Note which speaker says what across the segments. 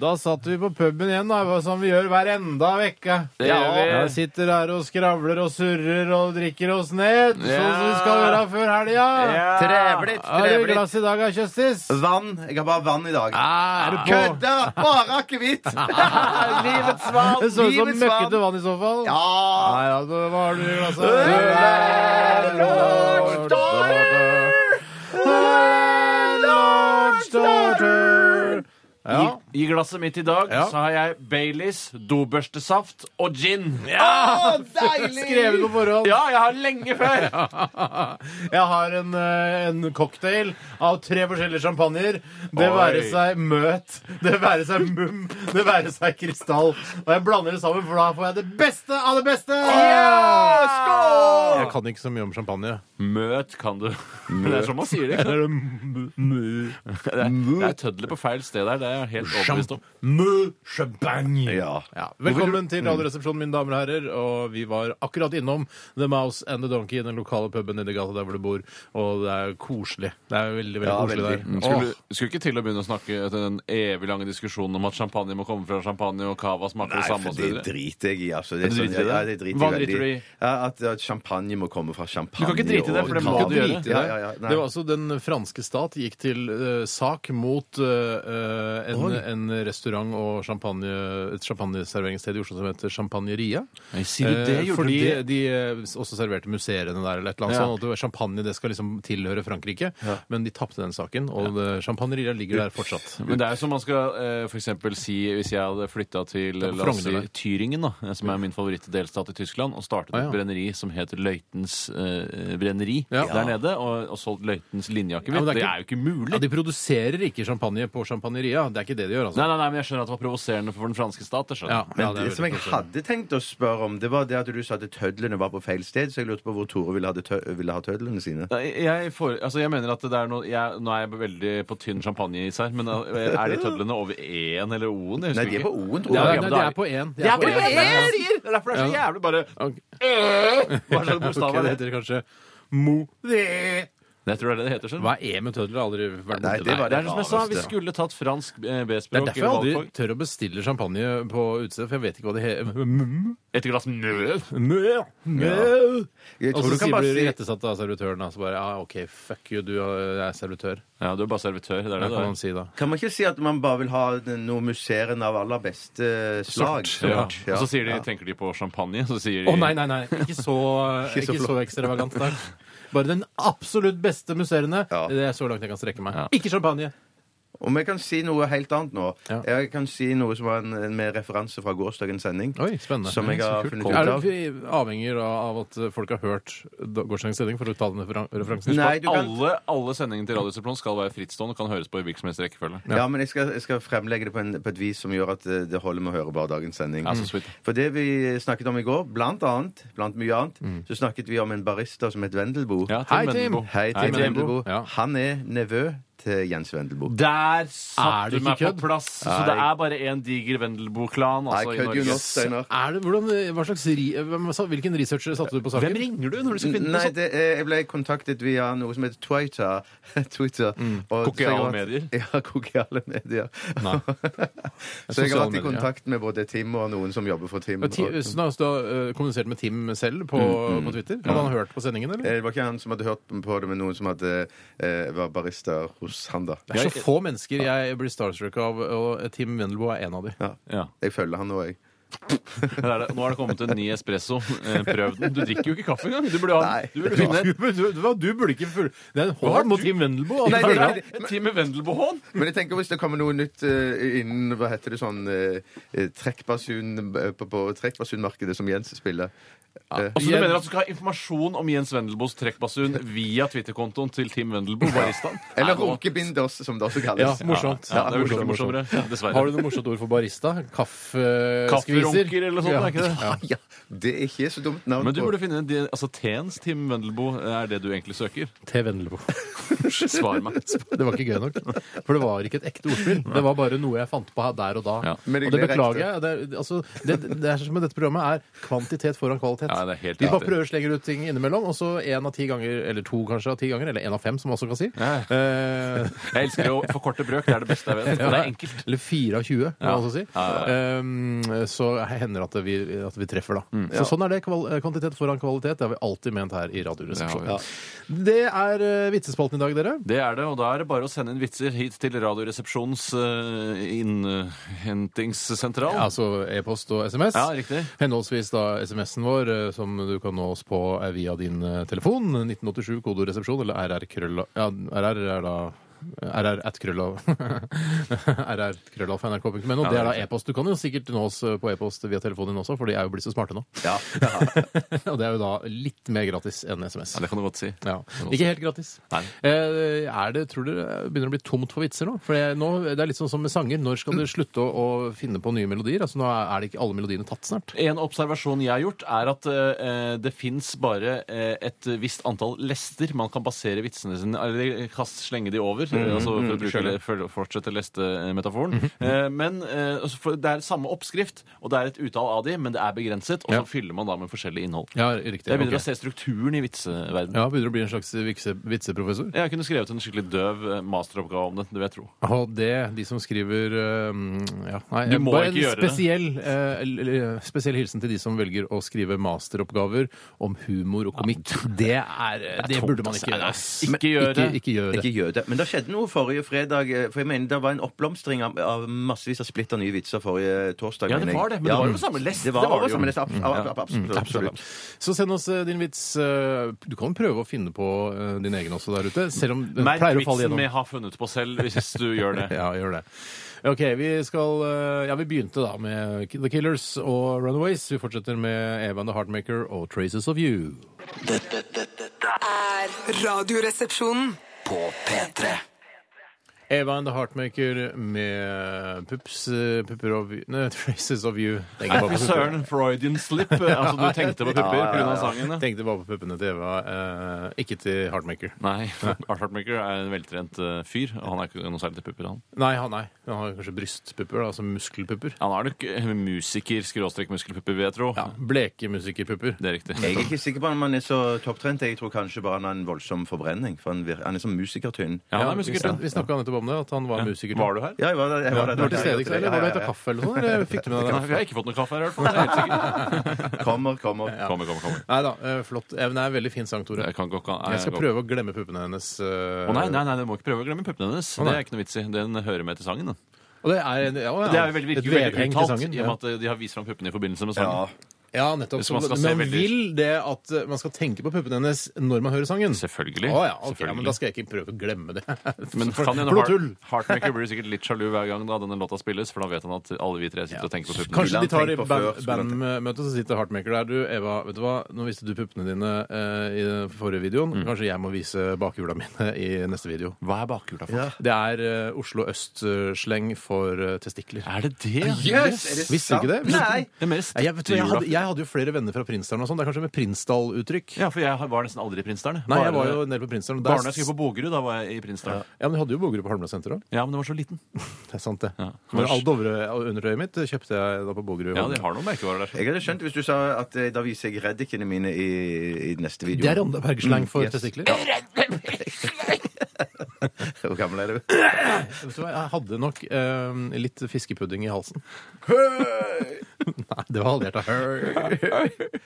Speaker 1: Da satt vi på puben igjen, da, hva som vi gjør hver enda vekke.
Speaker 2: Det gjør vi.
Speaker 1: Ja, sitter her og skravler og surrer og drikker oss ned, sånn som vi skal gjøre før helga.
Speaker 2: Trevlig,
Speaker 1: Har du
Speaker 2: trevlig.
Speaker 1: glass i dag, Kjøstis?
Speaker 3: Vann. Jeg har bare vann i dag.
Speaker 1: Er du på?
Speaker 3: Kødda! Bare akevitt! Livets vann.
Speaker 1: Det så ut som
Speaker 3: Livets vann.
Speaker 1: møkkete vann i så fall.
Speaker 3: Ja.
Speaker 1: Nei, ja, da, hva har du i
Speaker 3: Øl
Speaker 1: glasset?
Speaker 3: er lordsdaughter! lordsdaughter!
Speaker 1: Ja.
Speaker 2: I glasset mitt i dag
Speaker 1: Ja.
Speaker 2: så har jeg Baileys, dobørstesaft og gin.
Speaker 3: Å, deilig!
Speaker 1: Skrevet på forhånd.
Speaker 2: Ja, jeg har lenge før!
Speaker 1: Jeg har en, eh, en cocktail av tre forskjellige champagner. Det
Speaker 2: Oi.
Speaker 1: være seg møt, det være seg mum, det være seg krystall. Og jeg blander det sammen, for da får jeg det beste av det beste! Jeg kan ikke så mye om champagne.
Speaker 2: Møt kan du. Det er sånn man sier det.
Speaker 1: Eller m- m-
Speaker 2: Det er, det er tødler på feil sted der. Det er jeg helt overbevist om.
Speaker 1: Mø champagne.
Speaker 3: Ja.
Speaker 1: Ja. Velkommen
Speaker 2: Mm.
Speaker 1: til Radioresepsjonen, mine damer og herrer. Og vi var akkurat innom The Mouse and the Donkey i den lokale puben nedi gata der hvor du bor. Og det er koselig. Det er veldig, veldig
Speaker 3: Ja,
Speaker 1: koselig
Speaker 3: veldig.
Speaker 1: der.
Speaker 2: Mm, Skulle, skulle ikke til å begynne å snakke etter den evig lange diskusjonen om at champagne må komme fra champagne, og cava smaker
Speaker 3: Nei,
Speaker 2: det samme
Speaker 3: for det
Speaker 2: osv.
Speaker 3: driter jeg i, altså. Det er
Speaker 2: Du
Speaker 3: sånn,
Speaker 2: driter i det?
Speaker 3: ja, det driter jeg
Speaker 2: Hva driter du i?
Speaker 3: veldig. Ja, at, at champagne må komme fra champagne.
Speaker 2: Du kan ikke drite i det,
Speaker 3: og
Speaker 2: for det
Speaker 1: Du
Speaker 2: må
Speaker 1: kan
Speaker 2: du
Speaker 3: kava.
Speaker 2: gjøre.
Speaker 1: drite i
Speaker 3: Ja,
Speaker 1: det.
Speaker 3: ja, ja, nei.
Speaker 1: det var altså Den franske stat gikk til eh, sak mot eh, en, en restaurant og champagne, et champagneserveringssted i Oslo som heter Champagneria.
Speaker 2: Nei, sier du det?
Speaker 1: Eh,
Speaker 2: Gjorde
Speaker 1: fordi
Speaker 2: du det?
Speaker 1: de eh, også serverte museene der, eller et eller annet
Speaker 2: Ja.
Speaker 1: sånt. Og det var champagne det skal liksom tilhøre Frankrike, men de tapte den saken. Og eh, Champagneria ligger der fortsatt.
Speaker 2: Men det er jo som man skal eh, for eksempel si hvis jeg hadde flytta til
Speaker 1: Det er på
Speaker 2: la oss si,
Speaker 1: Frogner der.
Speaker 2: Tyringen, da, eh, som er min favorittdelstat i Tyskland, og startet
Speaker 1: Ah, ja.
Speaker 2: et brenneri som het Løitens eh, brenneri
Speaker 1: Ja.
Speaker 2: der nede, og, og solgt Løitens linjeakevitt.
Speaker 1: Ja, men
Speaker 2: det,
Speaker 1: det er ikke-
Speaker 2: er jo ikke mulig!
Speaker 1: Ja, de produserer ikke champagne på Champagneria. Det er ikke det de gjør, altså.
Speaker 2: Nei, nei, nei, men jeg skjønner at det var provoserende for den franske stat.
Speaker 1: Ja,
Speaker 2: Jeg skjønner.
Speaker 1: ja,
Speaker 3: Men det,
Speaker 1: er
Speaker 3: som
Speaker 1: veldig
Speaker 3: jeg
Speaker 1: frustrerende.
Speaker 3: hadde tenkt å spørre om, det var det at du sa at tødlene var på feil sted, så jeg lurte på hvor Tore ville ha, det tø ville ha tødlene sine.
Speaker 2: Nei, Jeg, får, altså jeg mener at det er noe jeg, Nå er jeg veldig på tynn champagneis her, men eh, er de tødlene over E-en eller O-en? Jeg
Speaker 3: Nei,
Speaker 2: husker
Speaker 3: de er på
Speaker 2: ikke.
Speaker 3: O-en,
Speaker 1: Ja,
Speaker 3: tror jeg.
Speaker 2: Ja,
Speaker 1: nei,
Speaker 2: men
Speaker 1: de
Speaker 2: da-
Speaker 1: er på én.
Speaker 2: De er på
Speaker 1: én.
Speaker 2: E, jeg sier! Det er derfor det er så jævlig bare
Speaker 1: Ok.
Speaker 2: Hva slags bokstav
Speaker 1: Ok,
Speaker 2: er
Speaker 1: det
Speaker 2: det?
Speaker 1: heter kanskje Mo...
Speaker 2: Jeg tror det er det det heter. skjønner du?
Speaker 1: Hva er E med tødler? Jeg har Aldri vært
Speaker 3: Nei,
Speaker 1: borti
Speaker 3: det
Speaker 1: det.
Speaker 3: var
Speaker 2: Det er som jeg sa, vi
Speaker 3: rareste.
Speaker 2: skulle tatt fransk eh,
Speaker 1: Det er
Speaker 2: B-språk.
Speaker 1: derfor jeg aldri tør å bestille champagne på utestedet, for jeg vet ikke hva det heter.
Speaker 2: Et glass nød.
Speaker 3: Jeg tror
Speaker 1: Og så
Speaker 3: du kan
Speaker 1: sier-
Speaker 3: bare
Speaker 1: blir du
Speaker 3: si
Speaker 1: irettesatt av servitøren. Altså bare, ja, OK, fuck you, du er servitør.
Speaker 2: Ja, du er bare servitør. Det er
Speaker 1: Hva
Speaker 2: det
Speaker 1: kan man
Speaker 2: du er.
Speaker 1: si da?
Speaker 3: Kan man ikke si at man bare vil ha den- noe musserende av aller beste eh, slag?
Speaker 2: Ja.
Speaker 3: Sort, ja.
Speaker 2: Og så sier de, tenker de på champagne, så sier de
Speaker 1: Å nei, nei, nei. Ikke så,
Speaker 3: Ikke så
Speaker 1: ikke så ekstravagant. Takk. Bare den absolutt beste musserende.
Speaker 3: Ja.
Speaker 1: Det er så langt jeg kan strekke meg.
Speaker 2: Ja.
Speaker 1: Ikke champagne.
Speaker 3: Om jeg kan si noe helt annet nå?
Speaker 1: Ja.
Speaker 3: Jeg kan si noe som var en, en- med referanse fra gårsdagens sending.
Speaker 1: Oi, spennende.
Speaker 3: Som jeg
Speaker 1: Ja, så
Speaker 3: har
Speaker 1: kult.
Speaker 3: funnet
Speaker 1: Mm. Er
Speaker 3: ut av.
Speaker 1: du avhengig av av at folk har hørt da- gårsdagens sending for å ta den referan- referansen?
Speaker 3: Nei, du kan...
Speaker 2: alle, alle sendingene til Radiosepplon skal være frittstående og kan høres på i hvilken som helst rekkefølge.
Speaker 3: Ja, men jeg skal, jeg skal fremlegge det på, en, på et vis som gjør at eh, det holder med å høre bare dagens sending. Mm.
Speaker 2: Ja, så sweet.
Speaker 3: For det vi snakket om i går, blant annet, blant mye annet, så snakket vi om en barista som het Vendelbo.
Speaker 2: Ja,
Speaker 1: Hei,
Speaker 2: Tim
Speaker 1: Tim.
Speaker 2: Vendelbo.
Speaker 3: Hei til
Speaker 1: Tim
Speaker 3: Vendelbo.
Speaker 1: Vendelbo. Ja.
Speaker 3: Han er nevø til Jens Vendelbo.
Speaker 2: Der
Speaker 1: Er
Speaker 2: satt
Speaker 1: det
Speaker 2: du
Speaker 1: ikke
Speaker 2: meg på
Speaker 1: kødd?
Speaker 2: plass! Så
Speaker 3: Nei.
Speaker 2: det er bare én diger Vendelbo-klan altså,
Speaker 3: I
Speaker 2: i
Speaker 3: could you
Speaker 2: Norge.
Speaker 3: not, Steinar.
Speaker 1: Er det, hvordan, hva slags, ri- hvem, sa- hvilken researcher satte du på saken?
Speaker 2: Hvem ringer du når du skal finne
Speaker 3: Nei,
Speaker 2: noe sånt?
Speaker 3: det, er- jeg ble kontaktet via noe som heter Twitter. Twitter og- så jeg har
Speaker 2: Kokiale
Speaker 3: vært-
Speaker 2: medier?
Speaker 3: Ja, kokiale medier.
Speaker 1: Nei.
Speaker 3: så jeg har vært i
Speaker 1: Sosiale medier, ja.
Speaker 3: kontakt med både Tim og noen som jobber for Tim.
Speaker 1: Ja, Ti-
Speaker 3: og-
Speaker 1: Så da har du eh, kommunisert med Tim selv på,
Speaker 2: Mm,
Speaker 1: på Twitter? Hadde han hørt på sendingen,
Speaker 2: Eh,
Speaker 1: eller?
Speaker 3: Eh, Det var ikke han som hadde hørt på det, men noen som hadde, eh, var barista hos han, da.
Speaker 1: Det er så få mennesker jeg blir starstruck av, og Tim Wendelboe er en av de.
Speaker 2: Ja,
Speaker 3: Jeg følger han nå, jeg.
Speaker 2: det er det. Nå har det kommet en ny espresso. Eh, Prøv den. Du drikker jo ikke kaffe engang. Du burde ha
Speaker 3: Nei.
Speaker 2: Du burde finne
Speaker 1: Du, du, du, du burde ikke full... Det er en
Speaker 2: Hva har
Speaker 1: hån mot
Speaker 2: du-
Speaker 1: Tim Wendelboe.
Speaker 3: Nei,
Speaker 1: altså.
Speaker 3: det er-
Speaker 2: en, en time Vendelbo-hån!
Speaker 3: Men jeg tenker hvis det kommer noe nytt eh, innen hva heter det sånn eh, eh, trekkbasun eh, på, på trekkbasunmarkedet som Jens spiller
Speaker 2: Altså, du mener at du skal ha informasjon om Jens Wendelboes trekkbasun via Twitterkontoen til Tim Wendelboe, baristaen?
Speaker 3: Eller
Speaker 2: Nei, nå-
Speaker 3: runkebinders, som det også kalles.
Speaker 1: Ja, morsomt.
Speaker 2: Ja, det er
Speaker 1: morsomt,
Speaker 2: morsomt, morsommere. Dessverre.
Speaker 1: Har du noe morsomt ord for barista? eh, Kaffeskviser?
Speaker 2: Kafferunker eller noe sånt, er ikke det?
Speaker 3: Ja, ja. Det er ikke så dumt navn.
Speaker 2: Men du
Speaker 3: på-
Speaker 2: burde finne en di- altså Tens Tim Wendelboe er det du egentlig søker.
Speaker 1: T. Vendelbo.
Speaker 2: Svar meg.
Speaker 1: Det var ikke gøy nok. For det var ikke et ekte ordspill. Det var bare noe jeg fant på her der og da.
Speaker 2: Ja.
Speaker 3: Men det
Speaker 1: Og det
Speaker 3: ble
Speaker 1: beklager
Speaker 3: riktig.
Speaker 1: jeg. Det, er- altså, det, det er som med dette programmet er kvantitet foran kvalitet.
Speaker 2: Ja, det er helt
Speaker 1: Vi bare
Speaker 2: riktig.
Speaker 1: prøver å slegge ut ting innimellom, og så én av ti ganger, eller to kanskje av ti ganger, eller én av fem, som man også kan si.
Speaker 2: Ja.
Speaker 1: Eh,
Speaker 2: Jeg elsker å forkorte brøk. Det er det beste jeg vet. Og det er enkelt.
Speaker 1: Eller fire av 20, kan
Speaker 2: Ja.
Speaker 1: man også si.
Speaker 2: Ja,
Speaker 1: Um, så hender det at vi, at vi treffer, da.
Speaker 2: Mm.
Speaker 1: Så sånn er det. Kval kvantitet foran kvalitet. Det har vi alltid ment her i Radioresepsjonen.
Speaker 2: Det har
Speaker 1: Det er eh, vitsespalten i dag, dere.
Speaker 2: Det er det, og da er det bare å sende inn vitser hit til Radioresepsjonens eh, innhentingssentral.
Speaker 1: Altså e-post og SMS.
Speaker 2: Ja, riktig.
Speaker 1: Henholdsvis da SMS-en vår, eh, som du kan nå oss på eh, via din eh, telefon. 1987, kodoresepsjon, eller RR-krølla ja, RR er da RR at krølla RR krøllalfa nrk.no. Det er da e-post. Du kan jo sikkert nå oss eh, på e-post via telefonen din også, for de er jo blitt så smarte nå.
Speaker 3: Ja.
Speaker 1: Og det er jo da litt mer gratis enn SMS.
Speaker 2: Ja, det kan du godt si.
Speaker 1: Ja. Ikke helt gratis.
Speaker 2: Nei.
Speaker 1: Eh, Er det, tror dere det begynner å bli tomt for vitser nå? For jeg, nå, Det er litt sånn som med sanger. Når skal dere slutte å, å finne på nye melodier? Altså Nå er det ikke alle melodiene tatt snart.
Speaker 2: En observasjon jeg har gjort, er at eh, det fins bare eh, et visst antall lester man kan basere vitsene sine Eller kast, slenge de over,
Speaker 1: Mhm,
Speaker 2: eh, altså for å bruke, le- for, å fortsette lestemetaforen. eh, men eh, altså, for, det er samme oppskrift, og det er et utall av de, men det er begrenset. Og så
Speaker 1: Ja.
Speaker 2: fyller man da med forskjellig innhold.
Speaker 1: Ja, riktig.
Speaker 2: Jeg begynner
Speaker 1: Ok.
Speaker 2: å se strukturen i vitseverdenen.
Speaker 1: Ja, begynner å bli en slags vikse, vitseprofessor.
Speaker 2: Jeg kunne skrevet en skikkelig døv eh, masteroppgave om det. Det vil jeg tro.
Speaker 1: Og det, de som skriver eh, ja, nei,
Speaker 2: Du må
Speaker 1: bare
Speaker 2: ikke
Speaker 1: en
Speaker 2: gjøre det.
Speaker 1: spesiell, eh, eller- eller spesiell hilsen til de som velger å skrive masteroppgaver om humor og komikk. Det, er, det, burde man ikke gjøre. ass.
Speaker 2: altså. Ikke gjøre
Speaker 1: Ikke, ikke gjør det.
Speaker 4: Ikke gjør det. Men det skjedde noe forrige fredag. eh, For jeg mener, Det var en oppblomstring av, av massevis av splitter nye vitser forrige torsdag.
Speaker 2: Ja, det
Speaker 4: mener jeg.
Speaker 2: var det, men det var jo på samme lest,
Speaker 4: Det var,
Speaker 2: det var
Speaker 4: over
Speaker 2: det jo.
Speaker 4: samme lest, abs- ab- ab- absolutt. absolutt.
Speaker 1: Så send oss eh, din vits. eh, Du kan prøve å finne på eh, din egen også der ute, selv om den
Speaker 2: Merk
Speaker 1: pleier å falle
Speaker 2: vitsen
Speaker 1: gjennom.
Speaker 2: med 'har funnet på selv', hvis du gjør det.
Speaker 1: Ja, gjør det. Ok, vi skal eh, Ja, vi begynte da med The Killers og Runaways. Vi fortsetter med Eva and The Heartmaker og Traces of You.
Speaker 5: Dette, dette, dette er
Speaker 6: Er Radioresepsjonen.
Speaker 5: på P3.
Speaker 1: Eva and The Heartmaker med pups, eh, pupper of you Nei, Traces of You. Tenker
Speaker 2: Nei,
Speaker 1: bare
Speaker 2: fy
Speaker 1: på pupper.
Speaker 2: søren, Freudian slip. Altså, du tenkte på pupper pga. sangen? ja.
Speaker 1: Tenkte bare på puppene til Eva, eh, ikke til Heartmaker.
Speaker 2: Nei, Art Hartmaker er en veltrent eh, fyr. og Han er ikke noe særlig til pupper, han.
Speaker 1: Nei, han nei. Han har kanskje brystpupper, da, altså muskelpupper.
Speaker 2: Han er nok eh, musiker, skråstrek muskelpupper, vil jeg tro.
Speaker 1: Ja, Bleke musikerpupper.
Speaker 2: Det er riktig.
Speaker 4: Jeg er ikke sikker på om han er så topptrent. Jeg tror kanskje bare han har en voldsom forbrenning. For han, vir han er som musikertynn.
Speaker 2: Ja, han
Speaker 1: Ja,
Speaker 2: er
Speaker 1: vi snak-
Speaker 2: musiker.
Speaker 1: Vi snakka nettopp om det, at han var musiker.
Speaker 2: Var du her?
Speaker 4: Ja, jeg var der. Jeg var der
Speaker 1: Du var til stede, ikke sant? Eller var
Speaker 4: Ja,
Speaker 1: du etter
Speaker 4: ja,
Speaker 1: kaffe eller noe sånt? Eller fikk du med deg
Speaker 2: Nei,
Speaker 1: det?
Speaker 2: Jeg har ikke fått noe kaffe her, i hvert fall. Jeg er helt sikker.
Speaker 4: ja. Kommer, kommer.
Speaker 2: Kommer, kommer, kommer.
Speaker 1: Nei da, eh, flott. Eh, men Det er en veldig fin sang, Tore.
Speaker 2: Jeg kan gå, kan,
Speaker 1: Jeg skal
Speaker 2: går-
Speaker 1: prøve å glemme puppene hennes. eh,
Speaker 2: Å nei, nei, nei, du må ikke prøve å glemme puppene hennes. Det
Speaker 1: nei.
Speaker 2: er ikke noe vits i. Den hører med til sangen. Den.
Speaker 1: Og det er, en- ja, ja,
Speaker 2: Det er jo veldig,
Speaker 1: et
Speaker 2: virker veldig
Speaker 1: vedheng til
Speaker 2: uttalt,
Speaker 1: sangen.
Speaker 2: i og
Speaker 1: Ja.
Speaker 2: med at eh, de har vist fram puppene i forbindelse med
Speaker 4: Ja.
Speaker 2: sangen.
Speaker 1: Ja, nettopp.
Speaker 2: Hvis
Speaker 1: Så
Speaker 2: man skal
Speaker 1: man
Speaker 2: se veldig-
Speaker 1: vil det at eh, man skal tenke på puppene hennes når man hører sangen.
Speaker 2: Selvfølgelig.
Speaker 1: Å ja, ok, ja,
Speaker 2: Selvfølgelig.
Speaker 1: men da skal jeg ikke prøve å glemme det.
Speaker 2: Men
Speaker 1: For-
Speaker 2: kan hende
Speaker 1: for noe
Speaker 2: Heart-
Speaker 1: tull.
Speaker 2: Heartmaker blir sikkert litt sjalu hver gang da denne låta spilles, for da vet han at alle vi tre sitter og tenker på puppene.
Speaker 1: Kanskje
Speaker 4: Skulle han
Speaker 1: de tar i
Speaker 4: tenkt på før,
Speaker 1: band-
Speaker 4: skulle han
Speaker 1: bandmøte, så sitter Heartmaker der. Du, Eva, vet du hva? Nå viste du puppene dine eh, i den forrige videoen.
Speaker 2: Mm.
Speaker 1: Kanskje jeg må vise bakhjula mine i neste video.
Speaker 2: Hva er bakhjula for?
Speaker 1: Det er eh, Oslo Øst-sleng for eh, testikler.
Speaker 2: Er det det?
Speaker 4: Yes! Er det
Speaker 1: Visste du ikke det?
Speaker 4: sant? Nei!
Speaker 2: Det er
Speaker 1: Nei, Jeg, vet,
Speaker 2: mer
Speaker 1: du, jeg, hadde,
Speaker 2: strikkehjula.
Speaker 1: jeg hadde jo flere venner fra Prinsdalen og sånn. Det er kanskje med Prinsdal-uttrykk.
Speaker 2: Ja, for jeg var nesten aldri i Prinsdalen.
Speaker 1: Nei, jeg var jo en del på Prinsdalen. og der-
Speaker 2: Barne jeg skulle på Bogerud, da var jeg i Prinsdalen.
Speaker 1: Ja, men jeg hadde jo Bogerud på Holmlia senter òg.
Speaker 2: Ja. men det var så liten.
Speaker 1: Det er sant, det.
Speaker 2: Ja.
Speaker 1: Men all Dovre-undertøyet mitt eh, kjøpte jeg da på Bogerud.
Speaker 2: Ja, de har noen merkevarer der.
Speaker 4: Jeg hadde skjønt hvis du sa at eh, da viser jeg reddikene mine i, i neste video.
Speaker 1: Det er Randaberg-slang for
Speaker 4: Mm, yes.
Speaker 1: testikler.
Speaker 4: Hvor gammel er du?
Speaker 1: Vet du hva, Jeg hadde nok eh, litt fiskepudding i halsen. Nei, det var halvhjerta.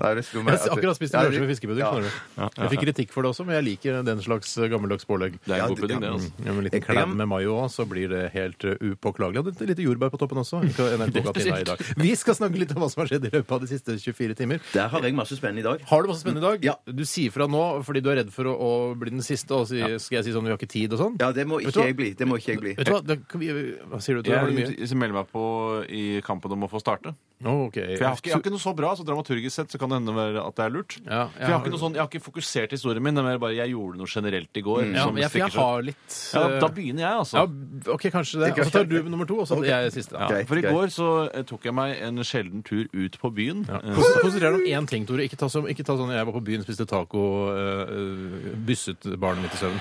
Speaker 4: Nei, det slo meg
Speaker 1: Jeg
Speaker 4: at-
Speaker 1: har akkurat spist
Speaker 4: Ja,
Speaker 1: en
Speaker 4: det-
Speaker 1: lunsj med fiskepudding.
Speaker 4: ja.
Speaker 1: skjønner du. Jeg fikk kritikk for det også, men jeg liker den slags eh, gammeldags pålegg.
Speaker 2: Det er
Speaker 4: Ja,
Speaker 2: en god
Speaker 4: det-
Speaker 2: pudding, det.
Speaker 4: ja,
Speaker 2: altså.
Speaker 1: Ja, med en liten klem med mayo òg, så blir det helt eh, upåklagelig. Og det er litt jordbær på toppen også. Ikke NRK Katina i dag. Vi skal snakke litt om hva som har skjedd i løpet av de siste 24 timer.
Speaker 4: Der har jeg masse spennende i dag.
Speaker 1: Har du masse spennende i dag?
Speaker 4: Ja.
Speaker 1: Du sier fra nå fordi du er redd for å, å bli den siste, og si, skal jeg si sånn vi har ikke tid og sånn?
Speaker 4: Ja, det må
Speaker 1: Vet du
Speaker 4: ikke
Speaker 1: hva?
Speaker 4: jeg bli. Det må ikke jeg bli.
Speaker 1: Vet du hva, da kan vi, hva sier du til det? Har du mye?
Speaker 2: Jeg melder meg på i kampen om å få starte.
Speaker 1: Å, ok.
Speaker 2: For jeg har ikke, jeg har ikke noe så bra, så dramaturgisk sett så så kan det hende være at det er lurt.
Speaker 1: Ja,
Speaker 2: For jeg har ikke noe sånn, jeg har ikke fokusert historien min, det er mer bare jeg gjorde noe generelt i går.
Speaker 1: Ja,
Speaker 2: som
Speaker 1: men jeg, for jeg
Speaker 2: sånn stikker seg ut.
Speaker 1: har litt
Speaker 2: ja, da,
Speaker 1: eh,
Speaker 2: da begynner jeg, altså.
Speaker 1: ja, OK, kanskje det. Og så tar du nummer to, og så jeg siste. da.
Speaker 2: Ja,
Speaker 3: Greit,
Speaker 2: for i
Speaker 3: greit.
Speaker 2: går så eh, tok jeg meg en sjelden tur ut på byen.
Speaker 1: Ja.
Speaker 2: Eh,
Speaker 1: Kons- Konsentrer deg om én ting, Tore. Ikke ta, som, ikke ta sånn jeg var på byen, spiste taco, øh, øh, bysset barnet mitt i søvn.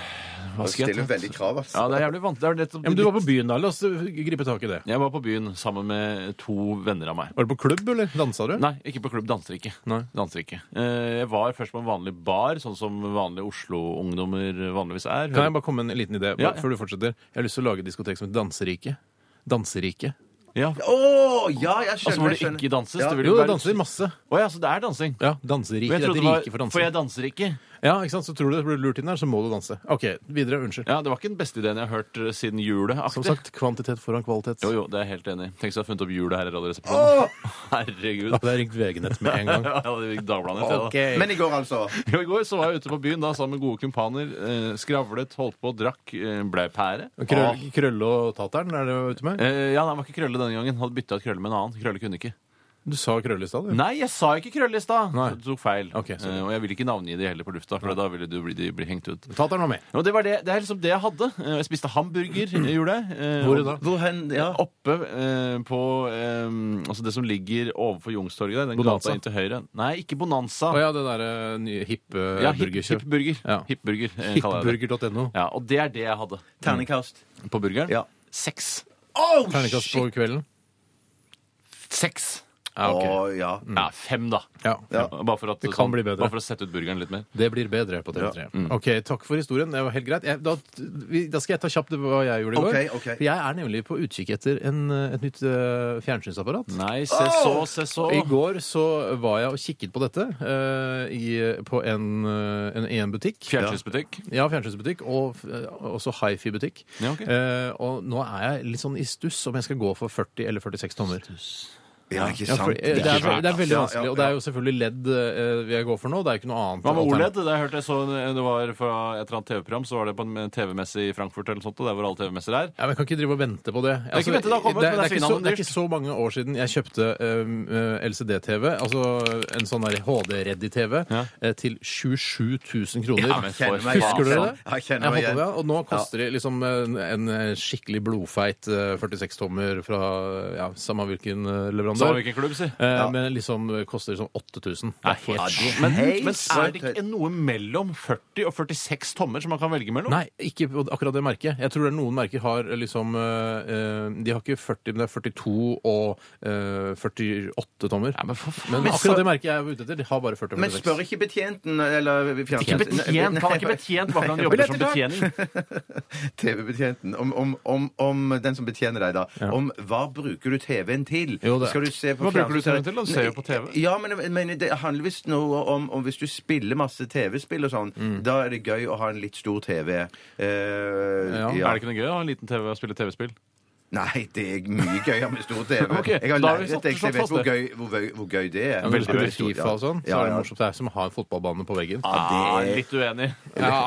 Speaker 3: Du
Speaker 2: skal jeg
Speaker 3: stiller
Speaker 2: ta?
Speaker 3: veldig krav,
Speaker 2: Ja,
Speaker 3: altså.
Speaker 2: det er jævlig vant. Det er
Speaker 1: Ja,
Speaker 2: nettopp
Speaker 1: men du var på byen da. La oss øh, gripe tak i det.
Speaker 2: Jeg var på byen sammen med to venner av meg.
Speaker 1: Var du på klubb, eller? Dansa du?
Speaker 2: Nei, ikke på klubb. Danser ikke.
Speaker 1: Nei.
Speaker 2: Danser ikke. Eh, Jeg var først på en vanlig bar, sånn som vanlige Oslo-ungdommer vanligvis er.
Speaker 1: Kan jeg bare komme med en liten idé
Speaker 2: Ja,
Speaker 1: bare
Speaker 2: ja.
Speaker 1: før du fortsetter? Jeg har lyst til å lage et diskotek som heter Danserike. Danserike.
Speaker 2: Ja,
Speaker 3: Å, ja, jeg
Speaker 2: Altså hvor
Speaker 3: skjønner. jeg
Speaker 2: det ikke danses?
Speaker 3: Ja.
Speaker 2: Det vil
Speaker 1: Jo,
Speaker 2: være-
Speaker 1: det danser masse.
Speaker 2: Å ja, så det er dansing?
Speaker 1: Ja, danserike. Det
Speaker 2: Men jeg
Speaker 1: er
Speaker 2: trodde
Speaker 1: et
Speaker 2: det var-
Speaker 1: rike for
Speaker 2: For jeg
Speaker 1: dansing.
Speaker 2: danser ikke.
Speaker 1: Ja, ikke sant? Så tror du det blir lurt inn der, så må du danse. OK, videre. Unnskyld.
Speaker 2: Ja, Det var ikke den beste ideen jeg har hørt eh, siden julet.
Speaker 1: Som sagt, kvantitet foran kvalitet.
Speaker 2: Jo, jo, det er jeg helt enig i. Tenk så jeg har funnet opp hjulet her i Radioresepsjonen. Herregud.
Speaker 1: Da hadde jeg ringt VG-nett med en gang.
Speaker 2: Ja, det gikk Dagbladet ned til, da.
Speaker 3: skjønner. Men i går, altså.
Speaker 2: Jo, I går så var jeg ute på byen da sammen med gode kumpaner. Eh, skravlet, holdt på, drakk, eh, blei pære.
Speaker 1: Krøll, krølle og tateren, er det ute med?
Speaker 2: Eh, ja, nei, det var ikke Krølle denne gangen. Hadde bytta ut Krølle med en annen. Krølle kunne ikke.
Speaker 1: Du sa krølle i stad, du.
Speaker 2: Nei, jeg sa ikke Krølle i stad!
Speaker 1: Nei.
Speaker 2: Så Du tok feil.
Speaker 1: Ok, sorry.
Speaker 2: Eh, og jeg vil ikke navngi de heller på lufta, for da ville du bli, de bli hengt ut.
Speaker 1: Tateren var med.
Speaker 2: Og det, var det, det er liksom det jeg hadde. Eh, jeg spiste hamburger, jeg gjorde jeg. Eh,
Speaker 1: Hvor
Speaker 2: og-
Speaker 1: da?
Speaker 4: Hvor hen, ja.
Speaker 2: Oppe eh, på eh, altså det som ligger overfor Youngstorget der. Den
Speaker 1: Bonanza?
Speaker 2: gata inn til høyre. Nei, ikke Bonanza.
Speaker 1: Å ja, det derre nye hippe
Speaker 2: Ja,
Speaker 1: ja,
Speaker 2: hip-
Speaker 1: burgerkjøp.
Speaker 2: Hipburger.
Speaker 1: Ja.
Speaker 2: Hipburger, eh, kaller jeg det.
Speaker 1: Hipburger.no.
Speaker 2: Ja, og det er det jeg hadde.
Speaker 4: Ternekast.
Speaker 2: På burgeren?
Speaker 4: Ja.
Speaker 2: Seks.
Speaker 1: Terningkast på kvelden.
Speaker 2: Seks!
Speaker 1: Ja, ok.
Speaker 4: Å, ja.
Speaker 2: Ja, fem, da.
Speaker 1: ja.
Speaker 2: Bare, for at, sånn-
Speaker 1: Det kan bli bedre.
Speaker 2: bare for å sette ut burgeren litt mer.
Speaker 1: Det blir bedre på TV3.
Speaker 3: mm.
Speaker 1: OK, takk for historien. Det var helt greit. Jeg, da, vi, da skal jeg ta kjapt hva jeg gjorde i går.
Speaker 3: Ok, ok.
Speaker 1: For jeg er nemlig på utkikk etter en, et nytt eh, fjernsynsapparat.
Speaker 2: Nei, se så, se så.
Speaker 1: I går så var jeg og kikket på dette eh, i, på en, eh, en, i en butikk.
Speaker 2: Fjernsynsbutikk.
Speaker 1: Ja, fjernsynsbutikk, og f- eh, også hifi-butikk.
Speaker 2: Ja, ok.
Speaker 1: Eh, og nå er jeg litt sånn i stuss om jeg skal gå for 40 eller 46 tommer.
Speaker 3: Ja, ikke
Speaker 1: Ja, for,
Speaker 3: sant.
Speaker 1: eh, det, er,
Speaker 2: svært,
Speaker 1: det er veldig
Speaker 3: Ja,
Speaker 1: vanskelig,
Speaker 3: ja,
Speaker 1: og det er jo selvfølgelig ledd eh, jeg går for nå. Det er jo ikke noe annet.
Speaker 2: Hva med
Speaker 3: E
Speaker 1: alternativ.
Speaker 2: OLED? Det, hørte jeg så, det var fra et eller annet TV-program, så var det på en TV-messe i Frankfurt eller noe sånt, og der hvor alle TV-messer er.
Speaker 1: Ja, men Jeg kan ikke drive og vente på det. Altså,
Speaker 2: vente, det har kommet,
Speaker 1: det,
Speaker 2: men
Speaker 1: det, er
Speaker 2: det er
Speaker 1: ikke så,
Speaker 2: svinhandel
Speaker 1: det er ikke så mange år siden jeg kjøpte um, eh, LCD-TV, altså en sånn der HD-ready-TV,
Speaker 2: Ja.
Speaker 1: eh, til 27 000 kroner.
Speaker 2: Ja, men for
Speaker 1: Husker
Speaker 2: faen.
Speaker 1: dere det?
Speaker 3: Ja, jeg kjenner
Speaker 1: Jeg
Speaker 3: meg
Speaker 1: håper
Speaker 3: igjen.
Speaker 1: det, Og nå koster det liksom en, en skikkelig blodfeit eh, 46-tommer fra ja, samme hvilken eh,
Speaker 2: Sa
Speaker 1: leverandør.
Speaker 2: hvilken klubb, si.
Speaker 1: Eh, Men liksom eh, koster liksom 8000. Det er helt sjukt.
Speaker 2: Men,
Speaker 3: Helt
Speaker 2: men er det
Speaker 3: sjukt.
Speaker 2: ikke noe mellom 40 og 46 tommer som man kan velge mellom?
Speaker 1: Nei, ikke på akkurat det merket. Jeg tror det er noen merker har liksom eh, eh, De har ikke 40, men det er 42 og eh, 48 tommer.
Speaker 2: Nei, men for faen.
Speaker 1: men
Speaker 2: Men så-
Speaker 1: akkurat det merket jeg er ute etter, de har bare 40 og
Speaker 3: Men spør
Speaker 1: 46.
Speaker 3: ikke betjenten eller
Speaker 2: Ikke betjent! Han er ikke betjent bare fordi han jobber som betjening.
Speaker 3: TV-betjenten. Om, om, om, om den som betjener deg, da. Om hva bruker du TV-en til?
Speaker 1: Jo, det-
Speaker 3: Skal du se på
Speaker 2: Hva bruker du
Speaker 3: fjernsynet?
Speaker 2: TV-en til, da? Du ser jo på TV.
Speaker 3: Ja, men, men det handler visst noe om, om hvis du spiller masse TV-spill og sånn,
Speaker 1: Mm.
Speaker 3: da er det gøy å ha en litt stor TV. Eh,
Speaker 1: Ja.
Speaker 2: Er det ikke noe gøy å ha en liten TV og spille TV-spill?
Speaker 3: Nei, det er mye gøyere med stor TV.
Speaker 2: Ok,
Speaker 3: Jeg har
Speaker 2: da har vi
Speaker 3: lært
Speaker 2: satt-
Speaker 3: det, jeg
Speaker 2: satt
Speaker 3: vet
Speaker 2: fast
Speaker 3: hvor
Speaker 2: det.
Speaker 3: gøy, hvor, gøy- hvor gøy det er.
Speaker 1: Ja, Hvis du spiller
Speaker 3: Veldig
Speaker 1: Fifa og sånn, så
Speaker 3: Ja,
Speaker 1: er det
Speaker 3: ja.
Speaker 1: morsomt. Det er som å ha en fotballbane på veggen.
Speaker 3: Ja,
Speaker 2: Ah,
Speaker 3: det er
Speaker 2: litt uenig.
Speaker 1: Ja.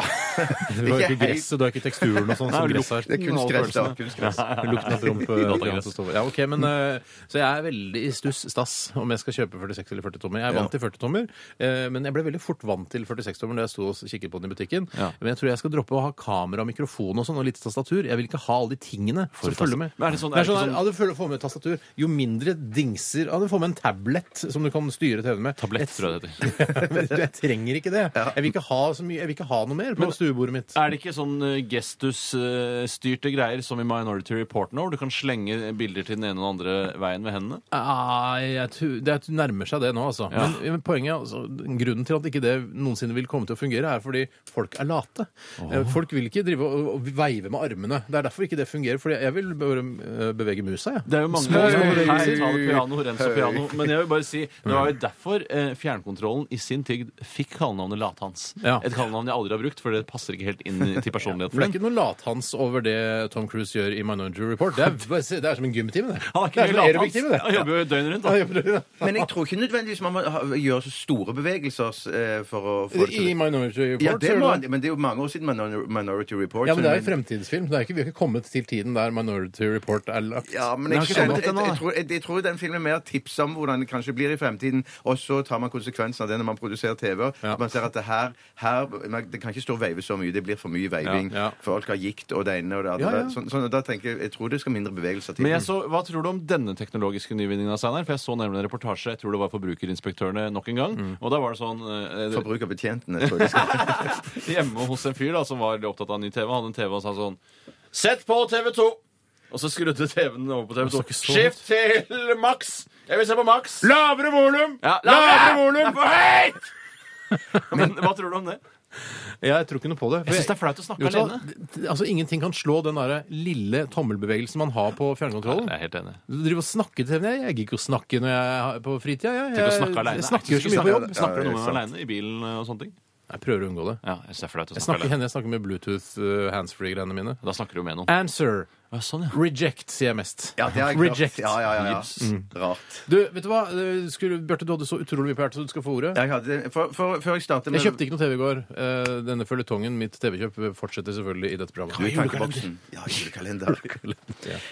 Speaker 1: Du har ikke gresset, du har ikke teksturen og sånn som
Speaker 2: Nei,
Speaker 1: gress
Speaker 3: Det
Speaker 1: her.
Speaker 3: er kunstgress, da.
Speaker 2: Alle følelsene.
Speaker 3: Kunstgress.
Speaker 1: Lukten av promp. eh, grann som står- Ja, ok, men, eh, så jeg er veldig i stuss stass om jeg skal kjøpe 46 eller 40 tommer. Jeg er vant til 40 tommer, eh, men jeg ble veldig fort vant til 46 tommer da jeg sto og kikket på den i butikken.
Speaker 2: Ja.
Speaker 1: Men jeg tror jeg skal droppe å ha kamera, mikrofon og sånn, og litt tastatur. Jeg vil ikke ha alle de tingene som følger med.
Speaker 2: Men er det sånn-
Speaker 1: Det
Speaker 2: er det ikke
Speaker 1: her,
Speaker 2: sånn-
Speaker 1: ja, du føler- får med tastatur. Jo mindre dingser Ja, du får med en tablet som du kan styre TV-en med.
Speaker 2: Tablett, tror jeg det heter.
Speaker 1: jeg, jeg trenger ikke det. Jeg vil ikke ha så mye, jeg vil ikke ha noe mer på stuebordet mitt.
Speaker 2: Er det ikke sånn gestusstyrte greier som i Minority Report nå, hvor du kan slenge bilder til den ene og den andre veien med hendene?
Speaker 1: Ah, jeg tror, det er- nærmer seg det nå, altså. Men, men poenget, er altså, grunnen til at ikke det noensinne vil komme til å fungere, er fordi folk er late. Eh, Folk vil ikke drive og, og veive med armene. Det er derfor ikke det fungerer. Fordi jeg vil bare eh, bevege musa, jeg.
Speaker 2: Det er jo mange
Speaker 1: Små-
Speaker 2: som
Speaker 1: Høy.
Speaker 2: Hei, ta det piano, rens og piano. Men jeg vil bare si, det var jo derfor eh, fjernkontrollen i sin tid fikk kallenavnet Lathans.
Speaker 1: Ja.
Speaker 2: Et kallenavn jeg aldri har brukt, for det passer ikke helt inn i- til personligheten
Speaker 1: For det er
Speaker 2: min.
Speaker 1: ikke noe lathans over det Tom Cruise gjør i Minority Report. Det er, bare se- det er som en gymtime, det.
Speaker 2: Han er
Speaker 1: det er
Speaker 2: ikke
Speaker 1: som
Speaker 2: mye
Speaker 1: en
Speaker 2: lavhans.
Speaker 1: aerobic-time, det.
Speaker 2: Han jobber jo døgnet rundt.
Speaker 1: Ja,
Speaker 2: da.
Speaker 1: jeg prøver det.
Speaker 3: Men jeg tror ikke nødvendigvis man må ha- gjøre så store bevegelser eh, for å få det
Speaker 1: I
Speaker 3: til.
Speaker 1: Minority Report
Speaker 3: Ja,
Speaker 1: så
Speaker 3: det
Speaker 1: gjør
Speaker 3: må,
Speaker 1: du
Speaker 3: han- men det er jo mange år siden Minor- Minority Report.
Speaker 1: Ja, men det er jo
Speaker 3: så-
Speaker 1: fremtidsfilm. Det er ikke, vi har ikke kommet til tiden der Minority Report er lagt.
Speaker 3: Ja, men
Speaker 2: Den
Speaker 3: jeg,
Speaker 2: har ikke
Speaker 3: skjønner,
Speaker 2: kommet
Speaker 3: jeg,
Speaker 2: ennå,
Speaker 3: jeg,
Speaker 2: da.
Speaker 3: tror, jeg, jeg tror den filmen mer tipser om hvordan det kanskje blir i fremtiden, og så tar man konsekvensen av det når man produserer TV.
Speaker 1: Ja.
Speaker 3: At Man ser at det her, her man, Det kan ikke stå og veive så mye. Det blir for mye veiving.
Speaker 1: Ja, ja.
Speaker 3: Folk har gikt og det ene og det andre.
Speaker 1: Ja, ja.
Speaker 3: Sånn, sånn, og da tenker jeg, jeg tror det skal mindre bevegelser til.
Speaker 2: Men jeg så, Hva tror du om denne teknologiske nyvinningen? Steinar? For jeg så nemlig en reportasje jeg tror det var Forbrukerinspektørene nok en gang.
Speaker 1: Mm.
Speaker 2: Og da var det sånn eh,
Speaker 3: Forbruk av betjentene, tror jeg. det skal.
Speaker 2: Hjemme hos en fyr da som var veldig opptatt av ny TV, han hadde en TV og sa sånn Sett på TV2! Og så skrudde TV-en over på TV2.
Speaker 1: snakker så
Speaker 2: Skift til maks! Jeg vil se på maks!
Speaker 1: Lavere volum!
Speaker 2: Ja,
Speaker 1: Lavere
Speaker 2: volum! Det er for høyt! Men hva tror du om det?
Speaker 1: Jeg tror ikke noe på det. for
Speaker 2: Jeg syns det er flaut å snakke
Speaker 1: Jo, så-
Speaker 2: alene.
Speaker 1: d- altså, Ingenting kan slå den der lille tommelbevegelsen man har på fjernkontrollen.
Speaker 2: Jeg er helt enig.
Speaker 1: Du driver og snakker til Jeg jeg gidder ikke å snakke når jeg har- på fritida. Jeg,
Speaker 2: Tenk å
Speaker 1: jeg,
Speaker 2: snakke alene.
Speaker 1: jeg snakker jo så mye på
Speaker 2: Snakker-
Speaker 1: jobb.
Speaker 2: Snakker
Speaker 3: Ja,
Speaker 2: du
Speaker 3: det er
Speaker 2: noe med
Speaker 3: sant.
Speaker 2: alene i bilen eh, og sånne ting?
Speaker 1: Jeg prøver å unngå det.
Speaker 2: Ja, jeg syns det er flaut å
Speaker 1: Jeg
Speaker 2: snakke
Speaker 1: snakker,
Speaker 2: alene.
Speaker 1: henne, jeg snakker med Bluetooth uh, handsfree-greiene mine.
Speaker 2: Da snakker du jo med noen.
Speaker 1: Answer.
Speaker 2: Ja, sånn, ja.
Speaker 1: Reject, sier jeg mest.
Speaker 3: Ja, det har jeg klart.
Speaker 1: Reject.
Speaker 3: Ja, ja, ja, ja.
Speaker 2: Yes.
Speaker 3: Rart.
Speaker 1: Du, vet du hva? Du Skulle, Bjarte, du hadde så utrolig mye på hjertet, så du skal få ordet.
Speaker 3: Jeg hadde, for, for, før jeg starter med
Speaker 1: Jeg kjøpte ikke noe TV i går. Eh, Denne føljetongen, mitt TV-kjøp, fortsetter selvfølgelig i
Speaker 3: Du,
Speaker 1: dette programmet.
Speaker 3: tankeboksen. Ja, julekalender.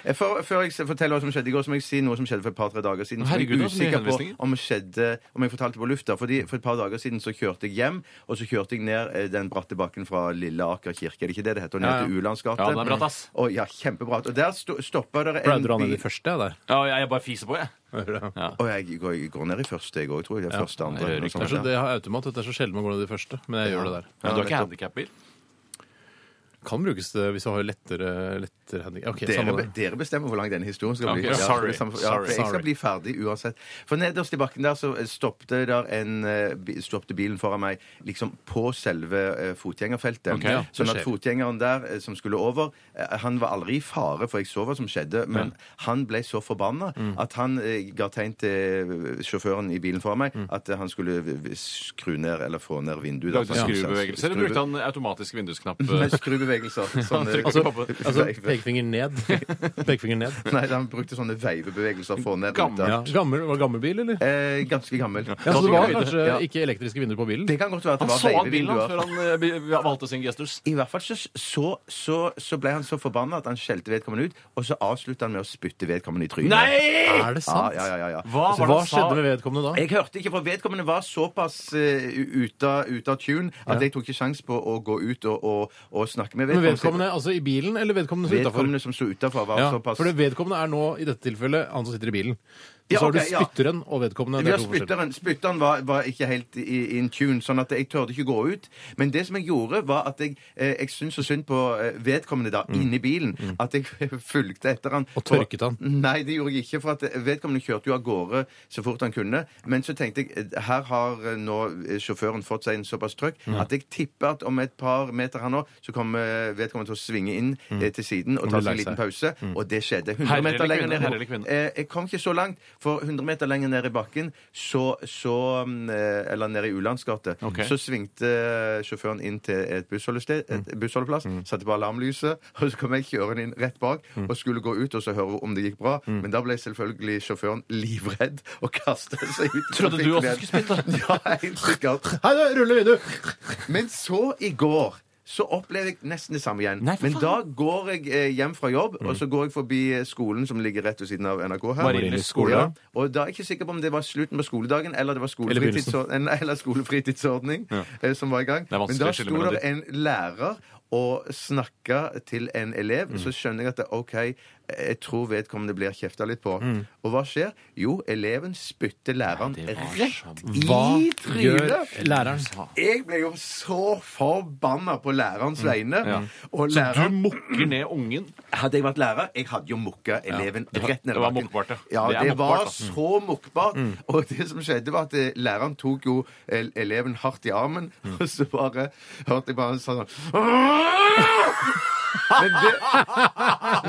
Speaker 3: Eh, For, før jeg s- forteller hva som skjedde i går, så må jeg si noe som skjedde for et par-tre dager siden. Som jeg
Speaker 2: Herregud, da,
Speaker 3: er
Speaker 2: så mye
Speaker 3: usikker på
Speaker 2: henvisninger.
Speaker 3: om, skjedde, om jeg fortalte på lufta. Fordi For et par dager siden så kjørte jeg hjem, og så kjørte jeg ned eh, den bratte bakken fra Lille Aker kirke. Er det ikke det det heter? Og ned
Speaker 1: Ja, ja.
Speaker 3: til Ulandsgate.
Speaker 2: Ja, den er bratt, ass.
Speaker 3: Og, ja, kjempebratt. Og der sto, stoppa der
Speaker 1: Pleide
Speaker 3: en
Speaker 1: du å ha ned de
Speaker 3: bil
Speaker 1: første ja, der?
Speaker 2: Ja, jeg, jeg bare fiser på, jeg.
Speaker 3: Og jeg går, jeg går ned i første, jeg òg, tror jeg. Det er sånn. første, andre.
Speaker 2: det er
Speaker 3: noe
Speaker 2: riktig.
Speaker 3: sånt,
Speaker 1: Det er så,
Speaker 3: ja.
Speaker 1: det har automat. Det er så sjelden man går ned i de første. Men jeg gjør det der.
Speaker 2: Men du har ikke
Speaker 3: nettopp.
Speaker 2: handikapbil?
Speaker 1: Kan brukes det hvis du har lettere, lettere handicap. Ok, samme
Speaker 3: Dere,
Speaker 1: det.
Speaker 3: be- dere bestemmer hvor lang denne historien skal bli.
Speaker 2: Ok, sorry,
Speaker 3: Ja, for
Speaker 2: sorry.
Speaker 3: jeg skal
Speaker 1: Sorry.
Speaker 3: bli ferdig uansett. For nederst i bakken der så eh, stoppte, der en, eh, bi- stoppte bilen foran meg liksom på selve eh, fotgjengerfeltet.
Speaker 2: Ok, ja,
Speaker 3: sånn
Speaker 1: det
Speaker 3: at
Speaker 1: skjer.
Speaker 3: fotgjengeren der eh, som skulle over, eh, han var aldri i fare, for jeg så hva som skjedde, men han ble så forbanna
Speaker 2: Mm.
Speaker 3: at han eh, ga tegn til sjåføren i bilen foran meg
Speaker 2: Mm.
Speaker 3: at eh, han skulle v- v- skru ned eller få ned vinduet. da.
Speaker 2: Lagde skrubevegelser, eller brukte han automatisk vindusknapp? eh,
Speaker 3: Nei, skrubevegelser. Sånn, eh,
Speaker 2: trykker på den.
Speaker 1: Altså pekefinger ned. pekefinger ned.
Speaker 3: Nei, han brukte sånne veivebevegelser for å ned
Speaker 2: Gammel.
Speaker 3: ruta.
Speaker 1: Ja. Gammel, var det gammel bil, eller?
Speaker 3: Eh, ganske gammel.
Speaker 1: Ja, så det var kanskje
Speaker 3: Ja.
Speaker 1: ikke elektriske vinduer på bilen?
Speaker 3: Det kan godt være at det
Speaker 2: Han
Speaker 3: var
Speaker 2: så han bilen
Speaker 3: veivevinduer.
Speaker 2: han før han eh, be- valgte sin gestus.
Speaker 3: I hvert fall så, så, så, så ble han så forbanna at han skjelte vedkommende ut, og så avslutta han med å spytte vedkommende i trynet.
Speaker 2: Nei!
Speaker 1: Er det
Speaker 3: Ja,
Speaker 1: sant?
Speaker 3: ja, ja, ja, ja.
Speaker 2: Hva
Speaker 1: Altså,
Speaker 2: var det
Speaker 1: hva
Speaker 2: han sa?
Speaker 1: skjedde med vedkommende da?
Speaker 3: Jeg hørte ikke, for vedkommende var såpass eh, ute av- ute av tune at jeg tok ikke sjans på å gå ut og, og, og snakke med
Speaker 1: Men
Speaker 3: vedkommende.
Speaker 1: vedkommende altså i bilen, eller vedkommende utafor?
Speaker 3: Vedkommende som sto utafor, var
Speaker 1: Ja,
Speaker 3: såpass
Speaker 1: for det vedkommende er nå i dette tilfellet han som sitter i bilen. Og
Speaker 3: Ja,
Speaker 1: så har du
Speaker 3: ok, ja.
Speaker 1: spytteren og vedkommende. Det
Speaker 3: Ja,
Speaker 1: er to forskjellige.
Speaker 3: spytteren, spytteren var, var ikke helt i- in tune, sånn at jeg tørde ikke gå ut. Men det som jeg gjorde, var at jeg, eh, jeg syntes så synd på eh, vedkommende da, inni bilen, at jeg fulgte etter han.
Speaker 1: Mm. Og tørket han.
Speaker 3: Nei, det gjorde jeg ikke, for at eh, vedkommende kjørte jo av gårde så fort han kunne. Men så tenkte jeg, eh, her har eh, nå eh, sjåføren fått seg en såpass trøkk
Speaker 1: Mm.
Speaker 3: at jeg tipper at om et par meter her nå, så kommer eh, vedkommende til å svinge inn eh, til siden og ta seg
Speaker 1: Mm. blir
Speaker 3: en
Speaker 1: lei seg. Mm.
Speaker 3: liten pause, og det skjedde.
Speaker 2: Herre
Speaker 3: 100
Speaker 2: eller
Speaker 3: meter lenger
Speaker 2: kvinne,
Speaker 3: ned.
Speaker 2: herre eller kvinne?
Speaker 3: Eh, Jeg kom ikke så langt, for 100 meter lenger ned i bakken, så, så mm, eh, Eller nede i Ulandsgate.
Speaker 2: Ok.
Speaker 3: Så svingte eh, sjåføren inn til et bussholdested, et
Speaker 2: Mm.
Speaker 3: bussholdeplass, satte på alarmlyset, og så kom jeg kjørende inn rett bak
Speaker 2: Mm.
Speaker 3: og skulle gå ut og så høre om det gikk bra. Men da ble selvfølgelig sjåføren livredd og kastet seg ut. i
Speaker 2: Trodde du også
Speaker 3: trafikken.
Speaker 2: skulle spytte?
Speaker 3: Ja, helt sikkert.
Speaker 1: Hei, det ruller vindu!
Speaker 3: Men så i går så opplever jeg nesten det samme igjen.
Speaker 2: Nei, for
Speaker 3: Men
Speaker 2: faen. Mm.
Speaker 3: da går jeg eh, hjem fra jobb, og så går jeg forbi eh, skolen som ligger rett ved siden av NRK her.
Speaker 2: Marienlyst skole.
Speaker 3: Ja. Og da er jeg ikke sikker på om det var slutten på skoledagen eller det var skolefritidsordning, eller, skolefritidsordning eh, som var i gang.
Speaker 2: er vanskelig
Speaker 3: Men da
Speaker 2: å skille
Speaker 3: sto
Speaker 2: mellom
Speaker 3: det en lærer og snakka til en
Speaker 2: Mm.
Speaker 3: elev. Så skjønner jeg at det, er OK, jeg tror vedkommende blir kjefta litt på. Og hva skjer? Jo, eleven spytter læreren
Speaker 2: Nei, Mm. det var så-
Speaker 3: rett
Speaker 1: Hva
Speaker 3: i
Speaker 1: gjør
Speaker 3: trynet!
Speaker 1: læreren?
Speaker 3: Jeg ble jo så forbanna på lærerens vegne. Og
Speaker 2: Du
Speaker 3: læreren
Speaker 2: mukker ned ungen.
Speaker 3: Hadde jeg vært lærer, jeg hadde jo mukka eleven
Speaker 2: det var-
Speaker 3: rett ned i
Speaker 2: det var
Speaker 3: bakken.
Speaker 2: mukkbart, ja.
Speaker 3: ja.
Speaker 2: Det er
Speaker 3: Det,
Speaker 2: mukkbart,
Speaker 3: var
Speaker 2: da. Mm.
Speaker 3: så mukkbart. Og det som skjedde, var at eh, læreren tok jo el- eleven hardt i armen,
Speaker 2: Mm.
Speaker 3: og så bare hørte jeg bare han sa sånn men det,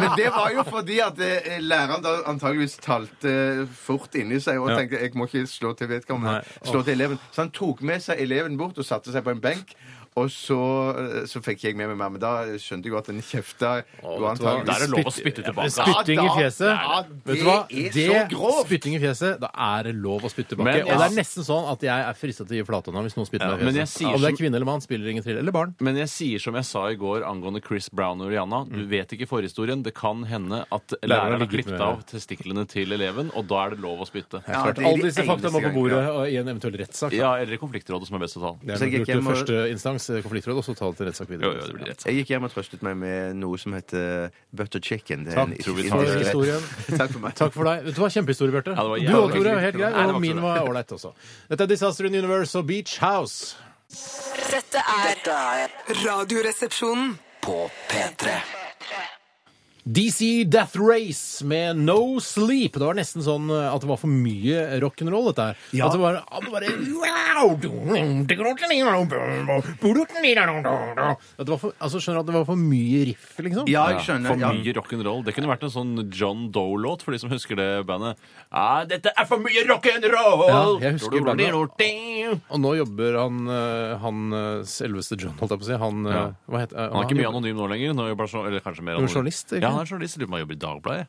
Speaker 3: men det var jo fordi at eh, læreren da antageligvis talte eh, fort inni seg og tenkte jeg må ikke slå til vedkommende,
Speaker 1: Nei.
Speaker 3: slå til eleven. Så han tok med seg eleven bort og satte seg på en benk. Og så, eh, så fikk jeg med meg mer, men da skjønte jeg jo at den kjefta jo
Speaker 1: vet du hva?
Speaker 2: Da er
Speaker 3: antageligvis
Speaker 2: det lov å spytte tilbake.
Speaker 1: Spytting
Speaker 3: Ja,
Speaker 1: i
Speaker 3: da-
Speaker 1: fjeset.
Speaker 3: ja,
Speaker 1: Vet du hva?
Speaker 3: det er så grovt!
Speaker 1: Spytting i fjeset, da er det lov å spytte tilbake.
Speaker 2: Men-
Speaker 1: Og det er nesten sånn at jeg er frista til å gi flatånda hvis noen spytter
Speaker 2: Ja,
Speaker 1: meg i
Speaker 2: men jeg
Speaker 1: fjeset.
Speaker 2: sier
Speaker 1: Om det
Speaker 2: som-
Speaker 1: er kvinne eller mann, spiller ingen trill. Eller barn.
Speaker 2: Men jeg sier som jeg sa i går angående Chris Brown og Rihanna. Du vet ikke forhistorien. Det kan hende at Mm. læreren har
Speaker 1: ligget
Speaker 2: klippet
Speaker 1: med-
Speaker 2: av testiklene til eleven, og da er det lov å spytte.
Speaker 3: Ja, det er
Speaker 1: Alle
Speaker 3: de
Speaker 1: disse fakta må
Speaker 3: eneste
Speaker 1: på bordet
Speaker 3: gangene,
Speaker 1: og i en eventuell rettssak.
Speaker 2: Ja, eller i konfliktrådet, som er best å ta.
Speaker 3: Så
Speaker 1: Det er
Speaker 3: jeg gikk
Speaker 1: nok lurt til
Speaker 3: hjem og-
Speaker 1: første instans, eh, konfliktråd, og så ta det til rettssak
Speaker 2: Jo,
Speaker 1: videre.
Speaker 2: jo, det blir rett.
Speaker 3: Jeg gikk hjem og trøstet meg med noe som heter butter chicken. Det er
Speaker 1: Takk
Speaker 3: en
Speaker 2: tror vi
Speaker 3: indisk
Speaker 2: tar
Speaker 1: for
Speaker 2: det.
Speaker 3: rett.
Speaker 1: historien.
Speaker 3: Takk for meg.
Speaker 1: Takk for deg. Vet Du var kjempehistorie, Bjarte.
Speaker 2: Ja, det var
Speaker 1: du
Speaker 2: jævlig
Speaker 1: òg, Tore. Helt
Speaker 2: hyggelig. Nei, det
Speaker 1: grei.
Speaker 2: var
Speaker 1: Og
Speaker 2: ikke så
Speaker 1: min
Speaker 2: bra.
Speaker 1: var ålreit også. Dette er Disaster in Universe og Beach House.
Speaker 6: Dette er
Speaker 5: Dette er
Speaker 6: Radioresepsjonen.
Speaker 5: på P3.
Speaker 1: DC Death Race med No Sleep. Det var nesten sånn eh, at det var for mye rock'n'roll, dette her. At det var at det mm, bare at det var for, altså, Skjønner du at det var for mye riff, liksom?
Speaker 3: Ja, jeg skjønner.
Speaker 2: For
Speaker 3: Ja.
Speaker 2: mye rock'n'roll. Det kunne vært en sånn John Doe-låt, for de som husker det bandet. Ah, dette er for mye rock'n'roll!
Speaker 1: Ja, jeg husker bandet. Og nå jobber han eh, han eh, selveste John, holdt jeg på å si. Han, eh,
Speaker 2: Ja.
Speaker 1: hva heter, eh,
Speaker 2: Han er ikke mye
Speaker 1: jobber-
Speaker 2: anonym nå lenger. Nå jobber han så, eller kanskje mer
Speaker 1: er
Speaker 2: anonym.
Speaker 1: journalist, ikke?
Speaker 2: Ja, han er journalist. Lurer på om han jobber i Dagbladet?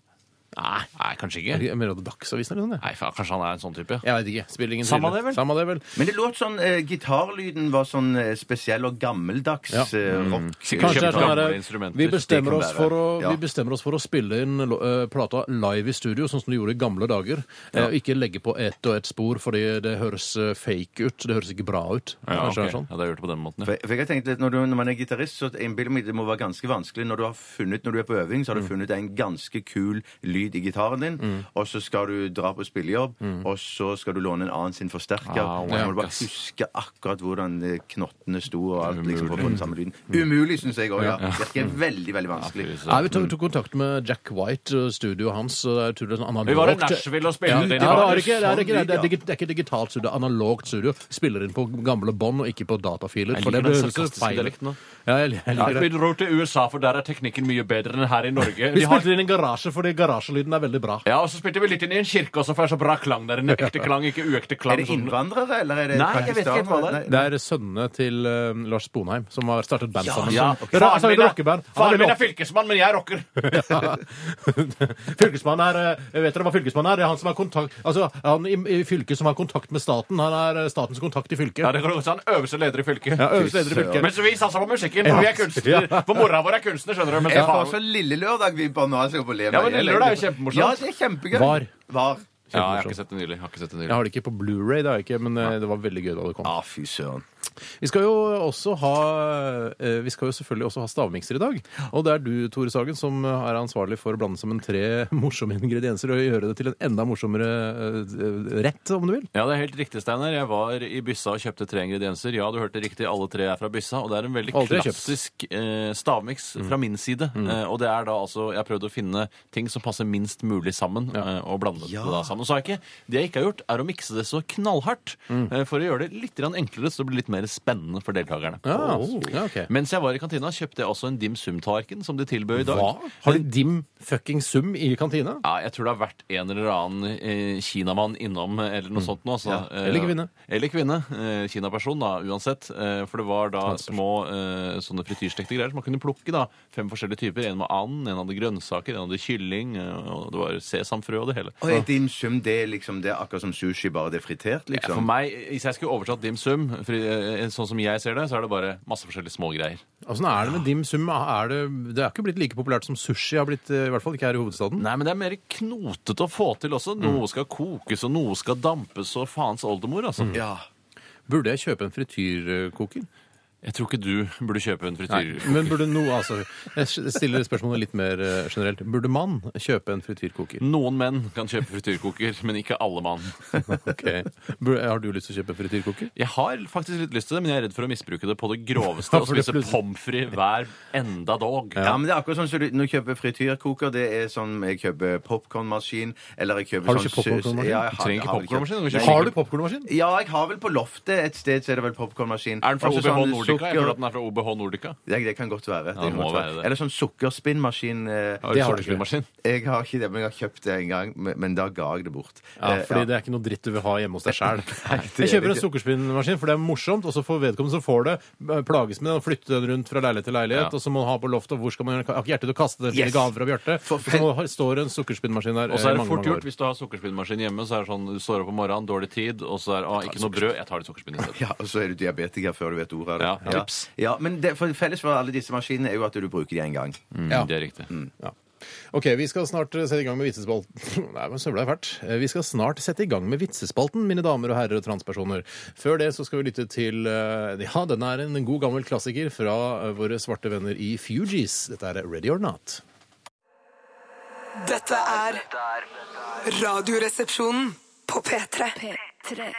Speaker 2: Nei, nei kanskje ikke.
Speaker 1: Jeg mener at det er Dagsavisen eller noe sånt.
Speaker 2: Nei, faen, Kanskje han er en sånn type.
Speaker 1: Jeg veit ikke. Spiller ingen
Speaker 2: Samme
Speaker 1: rolle.
Speaker 2: det vel?
Speaker 1: Samme det vel.
Speaker 3: Men det låt sånn eh, Gitarlyden var sånn eh, spesiell og gammeldags
Speaker 1: Ja.
Speaker 3: eh, rock.
Speaker 2: Sikkert
Speaker 1: Kanskje det er sånn
Speaker 2: gamle
Speaker 1: derre
Speaker 2: instrumenter.
Speaker 1: vi, bestemmer
Speaker 3: Det kan
Speaker 1: oss for å-
Speaker 3: være. Ja.
Speaker 1: vi bestemmer oss for å spille inn eh, plata live i studio, sånn som du gjorde i gamle dager. Eh, og Ikke legge på ett og ett spor, fordi det høres eh, fake ut. Det høres ikke bra ut.
Speaker 2: Ja,
Speaker 1: Kanskje det
Speaker 2: ok.
Speaker 1: er sånn.
Speaker 2: ja, det har jeg gjort det på den måten.
Speaker 3: For
Speaker 2: Ja.
Speaker 3: jeg- for jeg har tenkt litt, når, du, når man er gitarist, så innbiller jeg meg det må være ganske vanskelig. Når du har funnet, når du er på øving,
Speaker 2: Mm.
Speaker 3: så har du funnet en ganske kul lyd i gitaren din, og så skal du dra på spillejobb, og så skal du låne en annen sin forsterker.
Speaker 2: Mm. Ah,
Speaker 3: og så
Speaker 2: ja,
Speaker 3: må du bare
Speaker 2: ass.
Speaker 3: huske akkurat hvordan eh, knottene sto og alt, liksom, for å få den samme lyden. Umulig, syns jeg òg, ja. Virker veldig, veldig vanskelig.
Speaker 2: Mm. fy søren.
Speaker 1: Nei, vi tok, tok kontakt med Jack White, eh, studioet hans. og det er tydelig sånn analogt.
Speaker 2: Vi var i Nashville og spilte
Speaker 1: ja,
Speaker 2: inn i
Speaker 1: ja, det, er ikke, det,
Speaker 3: sånn
Speaker 1: er ikke, det, det,
Speaker 3: lyd,
Speaker 1: er digi- det er ikke digitalt studio, det er analogt studio. Spiller inn på gamle bånd og ikke på datafiler.
Speaker 2: Jeg
Speaker 1: For det
Speaker 2: liker den
Speaker 1: høres jo
Speaker 2: sarkastiske
Speaker 1: feil
Speaker 2: dialekten nå.
Speaker 1: Ja, jeg, jeg
Speaker 2: Ja,
Speaker 1: liker
Speaker 2: vi
Speaker 1: det.
Speaker 2: dro til USA, for der er teknikken mye bedre enn her i Norge.
Speaker 1: Vi
Speaker 2: De har...
Speaker 1: spilte inn i en garasje fordi garasjelyden er veldig bra.
Speaker 2: Ja, og Så spilte vi litt inn i en kirke også, for det er så bra klang der. En ekte klang, ikke uekte
Speaker 3: Er
Speaker 2: klang.
Speaker 3: det
Speaker 2: sånn-
Speaker 3: innvandrere, eller er det
Speaker 2: Nei, jeg vet ikke helt hva det er.
Speaker 3: pakistanere? Nei,
Speaker 1: Det er sønnene til eh, Lars Sponheim, som har startet band sammen.
Speaker 2: Ja,
Speaker 1: som,
Speaker 2: ok.
Speaker 1: Ra- altså, et rockeband. Han
Speaker 2: faren
Speaker 1: er
Speaker 2: min er
Speaker 1: veldig
Speaker 2: fylkesmann, men jeg rocker.
Speaker 1: opp- fylkesmannen er eh, Vet dere hva fylkesmannen er? Det er han som har kontakt Altså, han i, i fylket som har kontakt med staten. Han er eh, statens kontakt i fylket.
Speaker 2: Ja, det kan du godt si. Han øverste leder i fylket.
Speaker 1: Ja, øverste leder i fylket.
Speaker 2: Mens vi satser på musikken, for vi er kunstnere. For mora vår er kunstner, skjønner du. Mens
Speaker 3: Jeg får
Speaker 2: faren-
Speaker 3: så Lille Lørdag-vibber nå. altså, jeg får leve
Speaker 2: Ja, men
Speaker 3: meg
Speaker 2: Lille Lørdag er jo
Speaker 3: igjen.
Speaker 2: kjempemorsomt.
Speaker 3: Ja, det er kjempegøy.
Speaker 1: Var.
Speaker 3: Var.
Speaker 2: Ja, jeg har ikke sett det nylig. Jeg har ikke sett det
Speaker 1: Jeg
Speaker 2: nylig.
Speaker 1: har det ikke på Blu-ray, det har jeg ikke, men eh, det var veldig gøy da det kom.
Speaker 3: Ja, fy søren.
Speaker 1: Vi skal jo også ha eh, Vi skal jo selvfølgelig også ha stavmikser i dag. Og det er du, Tore Sagen, som er ansvarlig for å blande sammen tre morsomme ingredienser og gjøre det til en enda morsommere eh, rett, om du vil.
Speaker 2: Ja, det er helt riktig, Steinar. Jeg var i byssa og kjøpte tre ingredienser. Ja, du hørte riktig, alle tre er fra byssa, og det er en veldig
Speaker 1: Alle tre er kjøpt. Mm.
Speaker 2: klassisk eh, stavmiks fra min side. Eh, og det er da altså Jeg har prøvd å finne ting som passer minst mulig sammen, eh, og blande det da sammen. Så har jeg ikke Det jeg ikke har gjort, er å mikse det så knallhardt
Speaker 1: Mm.
Speaker 2: eh, for å gjøre det litt grann enklere, så det blir litt mer spennende for deltakerne.
Speaker 1: Ja, ja, ok.
Speaker 2: Mens jeg var i kantina, kjøpte jeg også en dim sum-tallerken, som de tilbød i dag.
Speaker 1: Hva? Har de dim fucking sum i kantina?
Speaker 2: Ja, jeg tror det har vært en eller annen eh, kinamann innom eh, eller noe sånt nå. Så, eh,
Speaker 1: eller kvinne.
Speaker 2: Eller kvinne. Eh, kinaperson, da, uansett. Eh, for det var da små eh, sånne frityrstekte greier som man kunne plukke. da. Fem forskjellige typer. En med and, en hadde grønnsaker, en hadde kylling, eh, og det var sesamfrø og det hele.
Speaker 3: Og er din sum det er liksom det er akkurat som sushi, bare det er fritert,
Speaker 2: For
Speaker 3: liksom?
Speaker 2: meg, Hvis jeg skulle oversatt dim sum, for, eh, sånn som jeg ser det, så er det bare masse forskjellige små greier.
Speaker 1: Åssen er det med dim sum? Er det, det er ikke blitt like populært som sushi har blitt, eh, i hvert fall ikke her i hovedstaden.
Speaker 2: Nei, men det er mer knotete å få til også. Noe skal kokes, og noe skal dampes, og faens oldemor, altså.
Speaker 3: Ja.
Speaker 1: Burde jeg kjøpe en frityrkoker?
Speaker 2: Jeg tror ikke du burde kjøpe en frityr.
Speaker 1: Men burde noe, altså Jeg stiller spørsmålet litt mer eh, generelt. Burde man kjøpe en frityrkoker?
Speaker 2: Noen menn kan kjøpe frityrkoker, men ikke alle mann.
Speaker 1: Ok. Bur- Har du lyst til å kjøpe frityrkoker?
Speaker 2: Jeg har faktisk litt lyst til det, men jeg er redd for å misbruke det på det groveste og
Speaker 1: For det
Speaker 2: spise
Speaker 1: plutselig-
Speaker 2: pommes frites hver enda dog.
Speaker 3: ja, men det er akkurat sånn som du når du kjøper frityrkoker. Det er sånn jeg kjøper popkornmaskin, eller jeg kjøper
Speaker 1: Har du
Speaker 3: sånn
Speaker 1: ikke popcornmaskin?
Speaker 3: sus- Ja, jeg
Speaker 2: Du
Speaker 3: har-
Speaker 2: trenger ikke
Speaker 3: har vel
Speaker 2: popcornmaskin, du kan
Speaker 3: Nei,
Speaker 2: kjøpe-
Speaker 1: popkornmaskin?
Speaker 3: Ja, jeg har vel på loftet et sted så er det vel popkornmaskin.
Speaker 2: Er den fra
Speaker 3: Også
Speaker 1: altså, sånn
Speaker 2: OBH Nordic Nordica? Jeg
Speaker 3: sukker-
Speaker 2: føler at den er fra OBH Nordica.
Speaker 3: Det, det kan godt være. Det
Speaker 2: det
Speaker 3: kan
Speaker 2: må
Speaker 3: godt
Speaker 2: være det.
Speaker 3: Eller sånn sukkerspinnmaskin. eh,
Speaker 2: Har
Speaker 1: Det
Speaker 2: du
Speaker 1: har du ikke.
Speaker 2: sukkermaskin?
Speaker 3: Jeg har ikke det, men jeg har kjøpt det en gang. Men, men da ga jeg det bort.
Speaker 1: Ja,
Speaker 3: Eh,
Speaker 1: fordi det er ikke noe dritt du vil ha hjemme hos deg sjæl.
Speaker 3: det
Speaker 1: Jeg
Speaker 3: er
Speaker 1: kjøper en
Speaker 3: det
Speaker 1: sukkerspinnmaskin, for det er morsomt, og så får vedkommende som får det, eh, plages med det og flytte den rundt fra leilighet til leilighet,
Speaker 2: Ja.
Speaker 1: og så må man ha på loftet, og hvor skal man gjøre Jeg har ikke hjerte til å kaste det til
Speaker 3: Yes.
Speaker 1: gaver fra Bjarte.
Speaker 3: For-
Speaker 1: Så må, har- står en sukkerspinnmaskin der
Speaker 2: Og
Speaker 1: eh,
Speaker 2: så er det
Speaker 1: mange,
Speaker 2: fort
Speaker 1: mange
Speaker 2: gjort
Speaker 1: år.
Speaker 2: hvis du har sukkerspinnmaskin hjemme. Så er det sånn, Du står opp om morgenen, dårlig tid, og så er det ah, ikke noe brød. Jeg tar litt sukkerspinn i stedet.
Speaker 3: Ja, og så er du diabetiker før du vet ordet av det.
Speaker 2: Ja, tips.
Speaker 3: ja Men det, for felles for alle disse maskinene er jo at du bruker de en gang.
Speaker 1: Ja.
Speaker 2: Mm, Det er riktig.
Speaker 1: Ja. Ok, vi skal snart eh, sette i gang med vitsespalten. Nei, men søvla er fælt. Eh, Vi skal snart sette i gang med vitsespalten, mine damer og herrer og transpersoner. Før det så skal vi lytte til eh, Ja, denne er en god gammel klassiker fra eh, våre svarte venner i Fugees. Dette er Ready or Not.
Speaker 6: Dette er Radioresepsjonen på P3.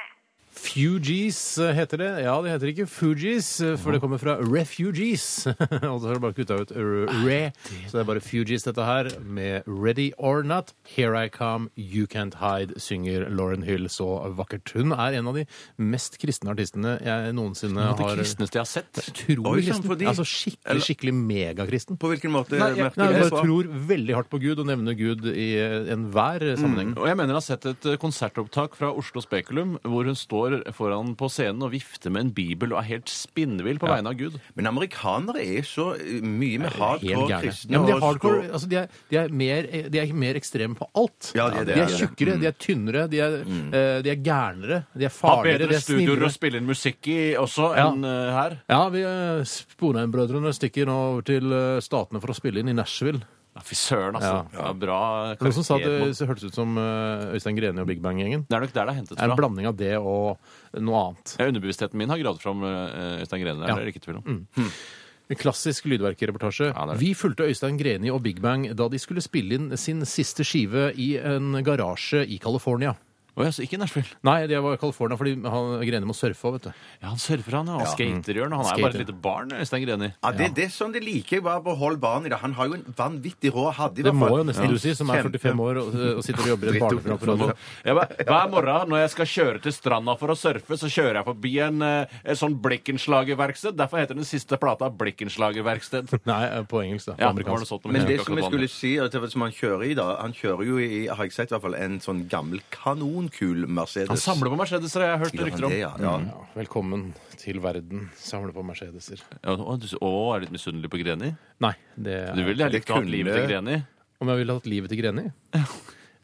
Speaker 1: Fugees eh, heter det. Ja, det heter ikke Fugees, eh, for det kommer fra refugees. Og så har det bare kutta ut r-
Speaker 3: Ah,
Speaker 1: re, så det er bare Fugees, dette her, med Ready or Not. Here I Come, You Can't Hide, synger Lauren Hill så vakkert. Hun er en av de mest kristne artistene jeg noensinne
Speaker 2: Det
Speaker 1: har
Speaker 2: kristneste jeg har sett.
Speaker 1: Tror
Speaker 3: Oi, sant,
Speaker 1: kristen.
Speaker 3: fordi-
Speaker 1: Altså skikkelig, skikkelig megakristen.
Speaker 3: På hvilken måte
Speaker 2: Nei, jeg-
Speaker 3: merker
Speaker 1: Nei,
Speaker 3: du
Speaker 1: hun
Speaker 3: det?
Speaker 1: bare tror veldig hardt på Gud og nevner Gud i eh, enhver sammenheng.
Speaker 2: Og jeg mener jeg har sett et eh, konsertopptak fra Oslo Spekulum hvor hun står foran på scenen og vifter med en bibel og er helt spinnvill på vegne av Gud.
Speaker 3: Men amerikanere er så eh, mye med
Speaker 1: Helt
Speaker 3: hardcore
Speaker 1: gærne.
Speaker 3: kristne.
Speaker 1: Ja, men de
Speaker 3: og
Speaker 1: er hardcore, altså de er, de er, mer, eh, de er mer ekstreme på alt.
Speaker 3: Ja, de er det,
Speaker 1: de er
Speaker 3: det er det.
Speaker 1: tjukkere, de er tynnere, de er, eh, de er gærnere, de er
Speaker 2: Ha
Speaker 1: farligere, de
Speaker 2: bedre
Speaker 1: er
Speaker 2: studioer
Speaker 1: snillere.
Speaker 2: å spille inn musikk i også
Speaker 1: Ja.
Speaker 2: enn eh, her.
Speaker 1: Ja, vi eh, Sponheim-brødrene stikker nå over til eh, Statene for å spille inn i Nashville.
Speaker 2: Ja, Fy søren, altså.
Speaker 1: Ja.
Speaker 2: Ja. bra
Speaker 1: Det er Noen som sa at
Speaker 2: karakter.
Speaker 1: det så hørtes ut som eh, Øystein Greni og Big Bang-gjengen.
Speaker 2: Det er nok der det er hentet
Speaker 1: Det er en
Speaker 2: fra.
Speaker 1: blanding av det og noe annet.
Speaker 2: Ja, underbevisstheten min har gravd fram eh, Øystein Grene.
Speaker 1: Ja. Mm.
Speaker 2: Det er det ikke tvil om.
Speaker 1: En klassisk lydverkereportasje.
Speaker 2: Ja, det er det.
Speaker 1: Vi fulgte Øystein Greni og Big Bang da de skulle spille inn sin siste skive i en garasje i California.
Speaker 2: Å, ja, så ikke Nashville.
Speaker 1: Nei, det var i California fordi han, Greni må surfe òg, vet du.
Speaker 2: Ja, han surfer, han. Ja. Han skater, gjør han. Han er jo bare et
Speaker 1: Skater.
Speaker 2: lite barn, Øystein Greni.
Speaker 3: Ja, det, det er sånn det liker jeg. Bare behold barnet i det. Han har jo en vanvittig rå hadde. i
Speaker 1: Det
Speaker 3: hvert
Speaker 1: må
Speaker 3: fall.
Speaker 1: jo
Speaker 3: Ja.
Speaker 1: nesten du si, som er
Speaker 3: Kjempe-
Speaker 1: 45 år og, eh, og sitter og jobber i et barneprogram på radio.
Speaker 2: Jeg bare, hver morgen når jeg skal kjøre til stranda for å surfe, så kjører jeg forbi en, eh, et sånn Blikkenslagerverksted. Derfor heter den siste plata Blikkenslagerverksted.
Speaker 1: Nei, eh, på engelsk, da. På
Speaker 2: Ja, det var noe
Speaker 1: amerikansk.
Speaker 2: sånt, men
Speaker 3: Men
Speaker 2: jeg
Speaker 3: det
Speaker 2: husker
Speaker 3: som jeg
Speaker 2: akkurat hva
Speaker 3: skulle
Speaker 2: den
Speaker 3: si, at det var som han kjører i da Han kjører jo i, har jeg sett i hvert fall, en sånn gammel kanonkul Mercedes.
Speaker 2: het. Han samler på Mercedeser, har jeg hørt
Speaker 3: Ja,
Speaker 2: rykter
Speaker 3: han
Speaker 2: om.
Speaker 3: det,
Speaker 2: Ja,
Speaker 3: ja, ja.
Speaker 1: Ja, velkommen til verden. Samle på Mercedeser.
Speaker 2: Å, du, å, er du litt misunnelig på Greni?
Speaker 1: Nei, det
Speaker 2: Du ville
Speaker 3: det
Speaker 2: likt å ha hatt
Speaker 3: kunne-
Speaker 2: livet til Greni.
Speaker 1: Om jeg ville hatt livet til Greni?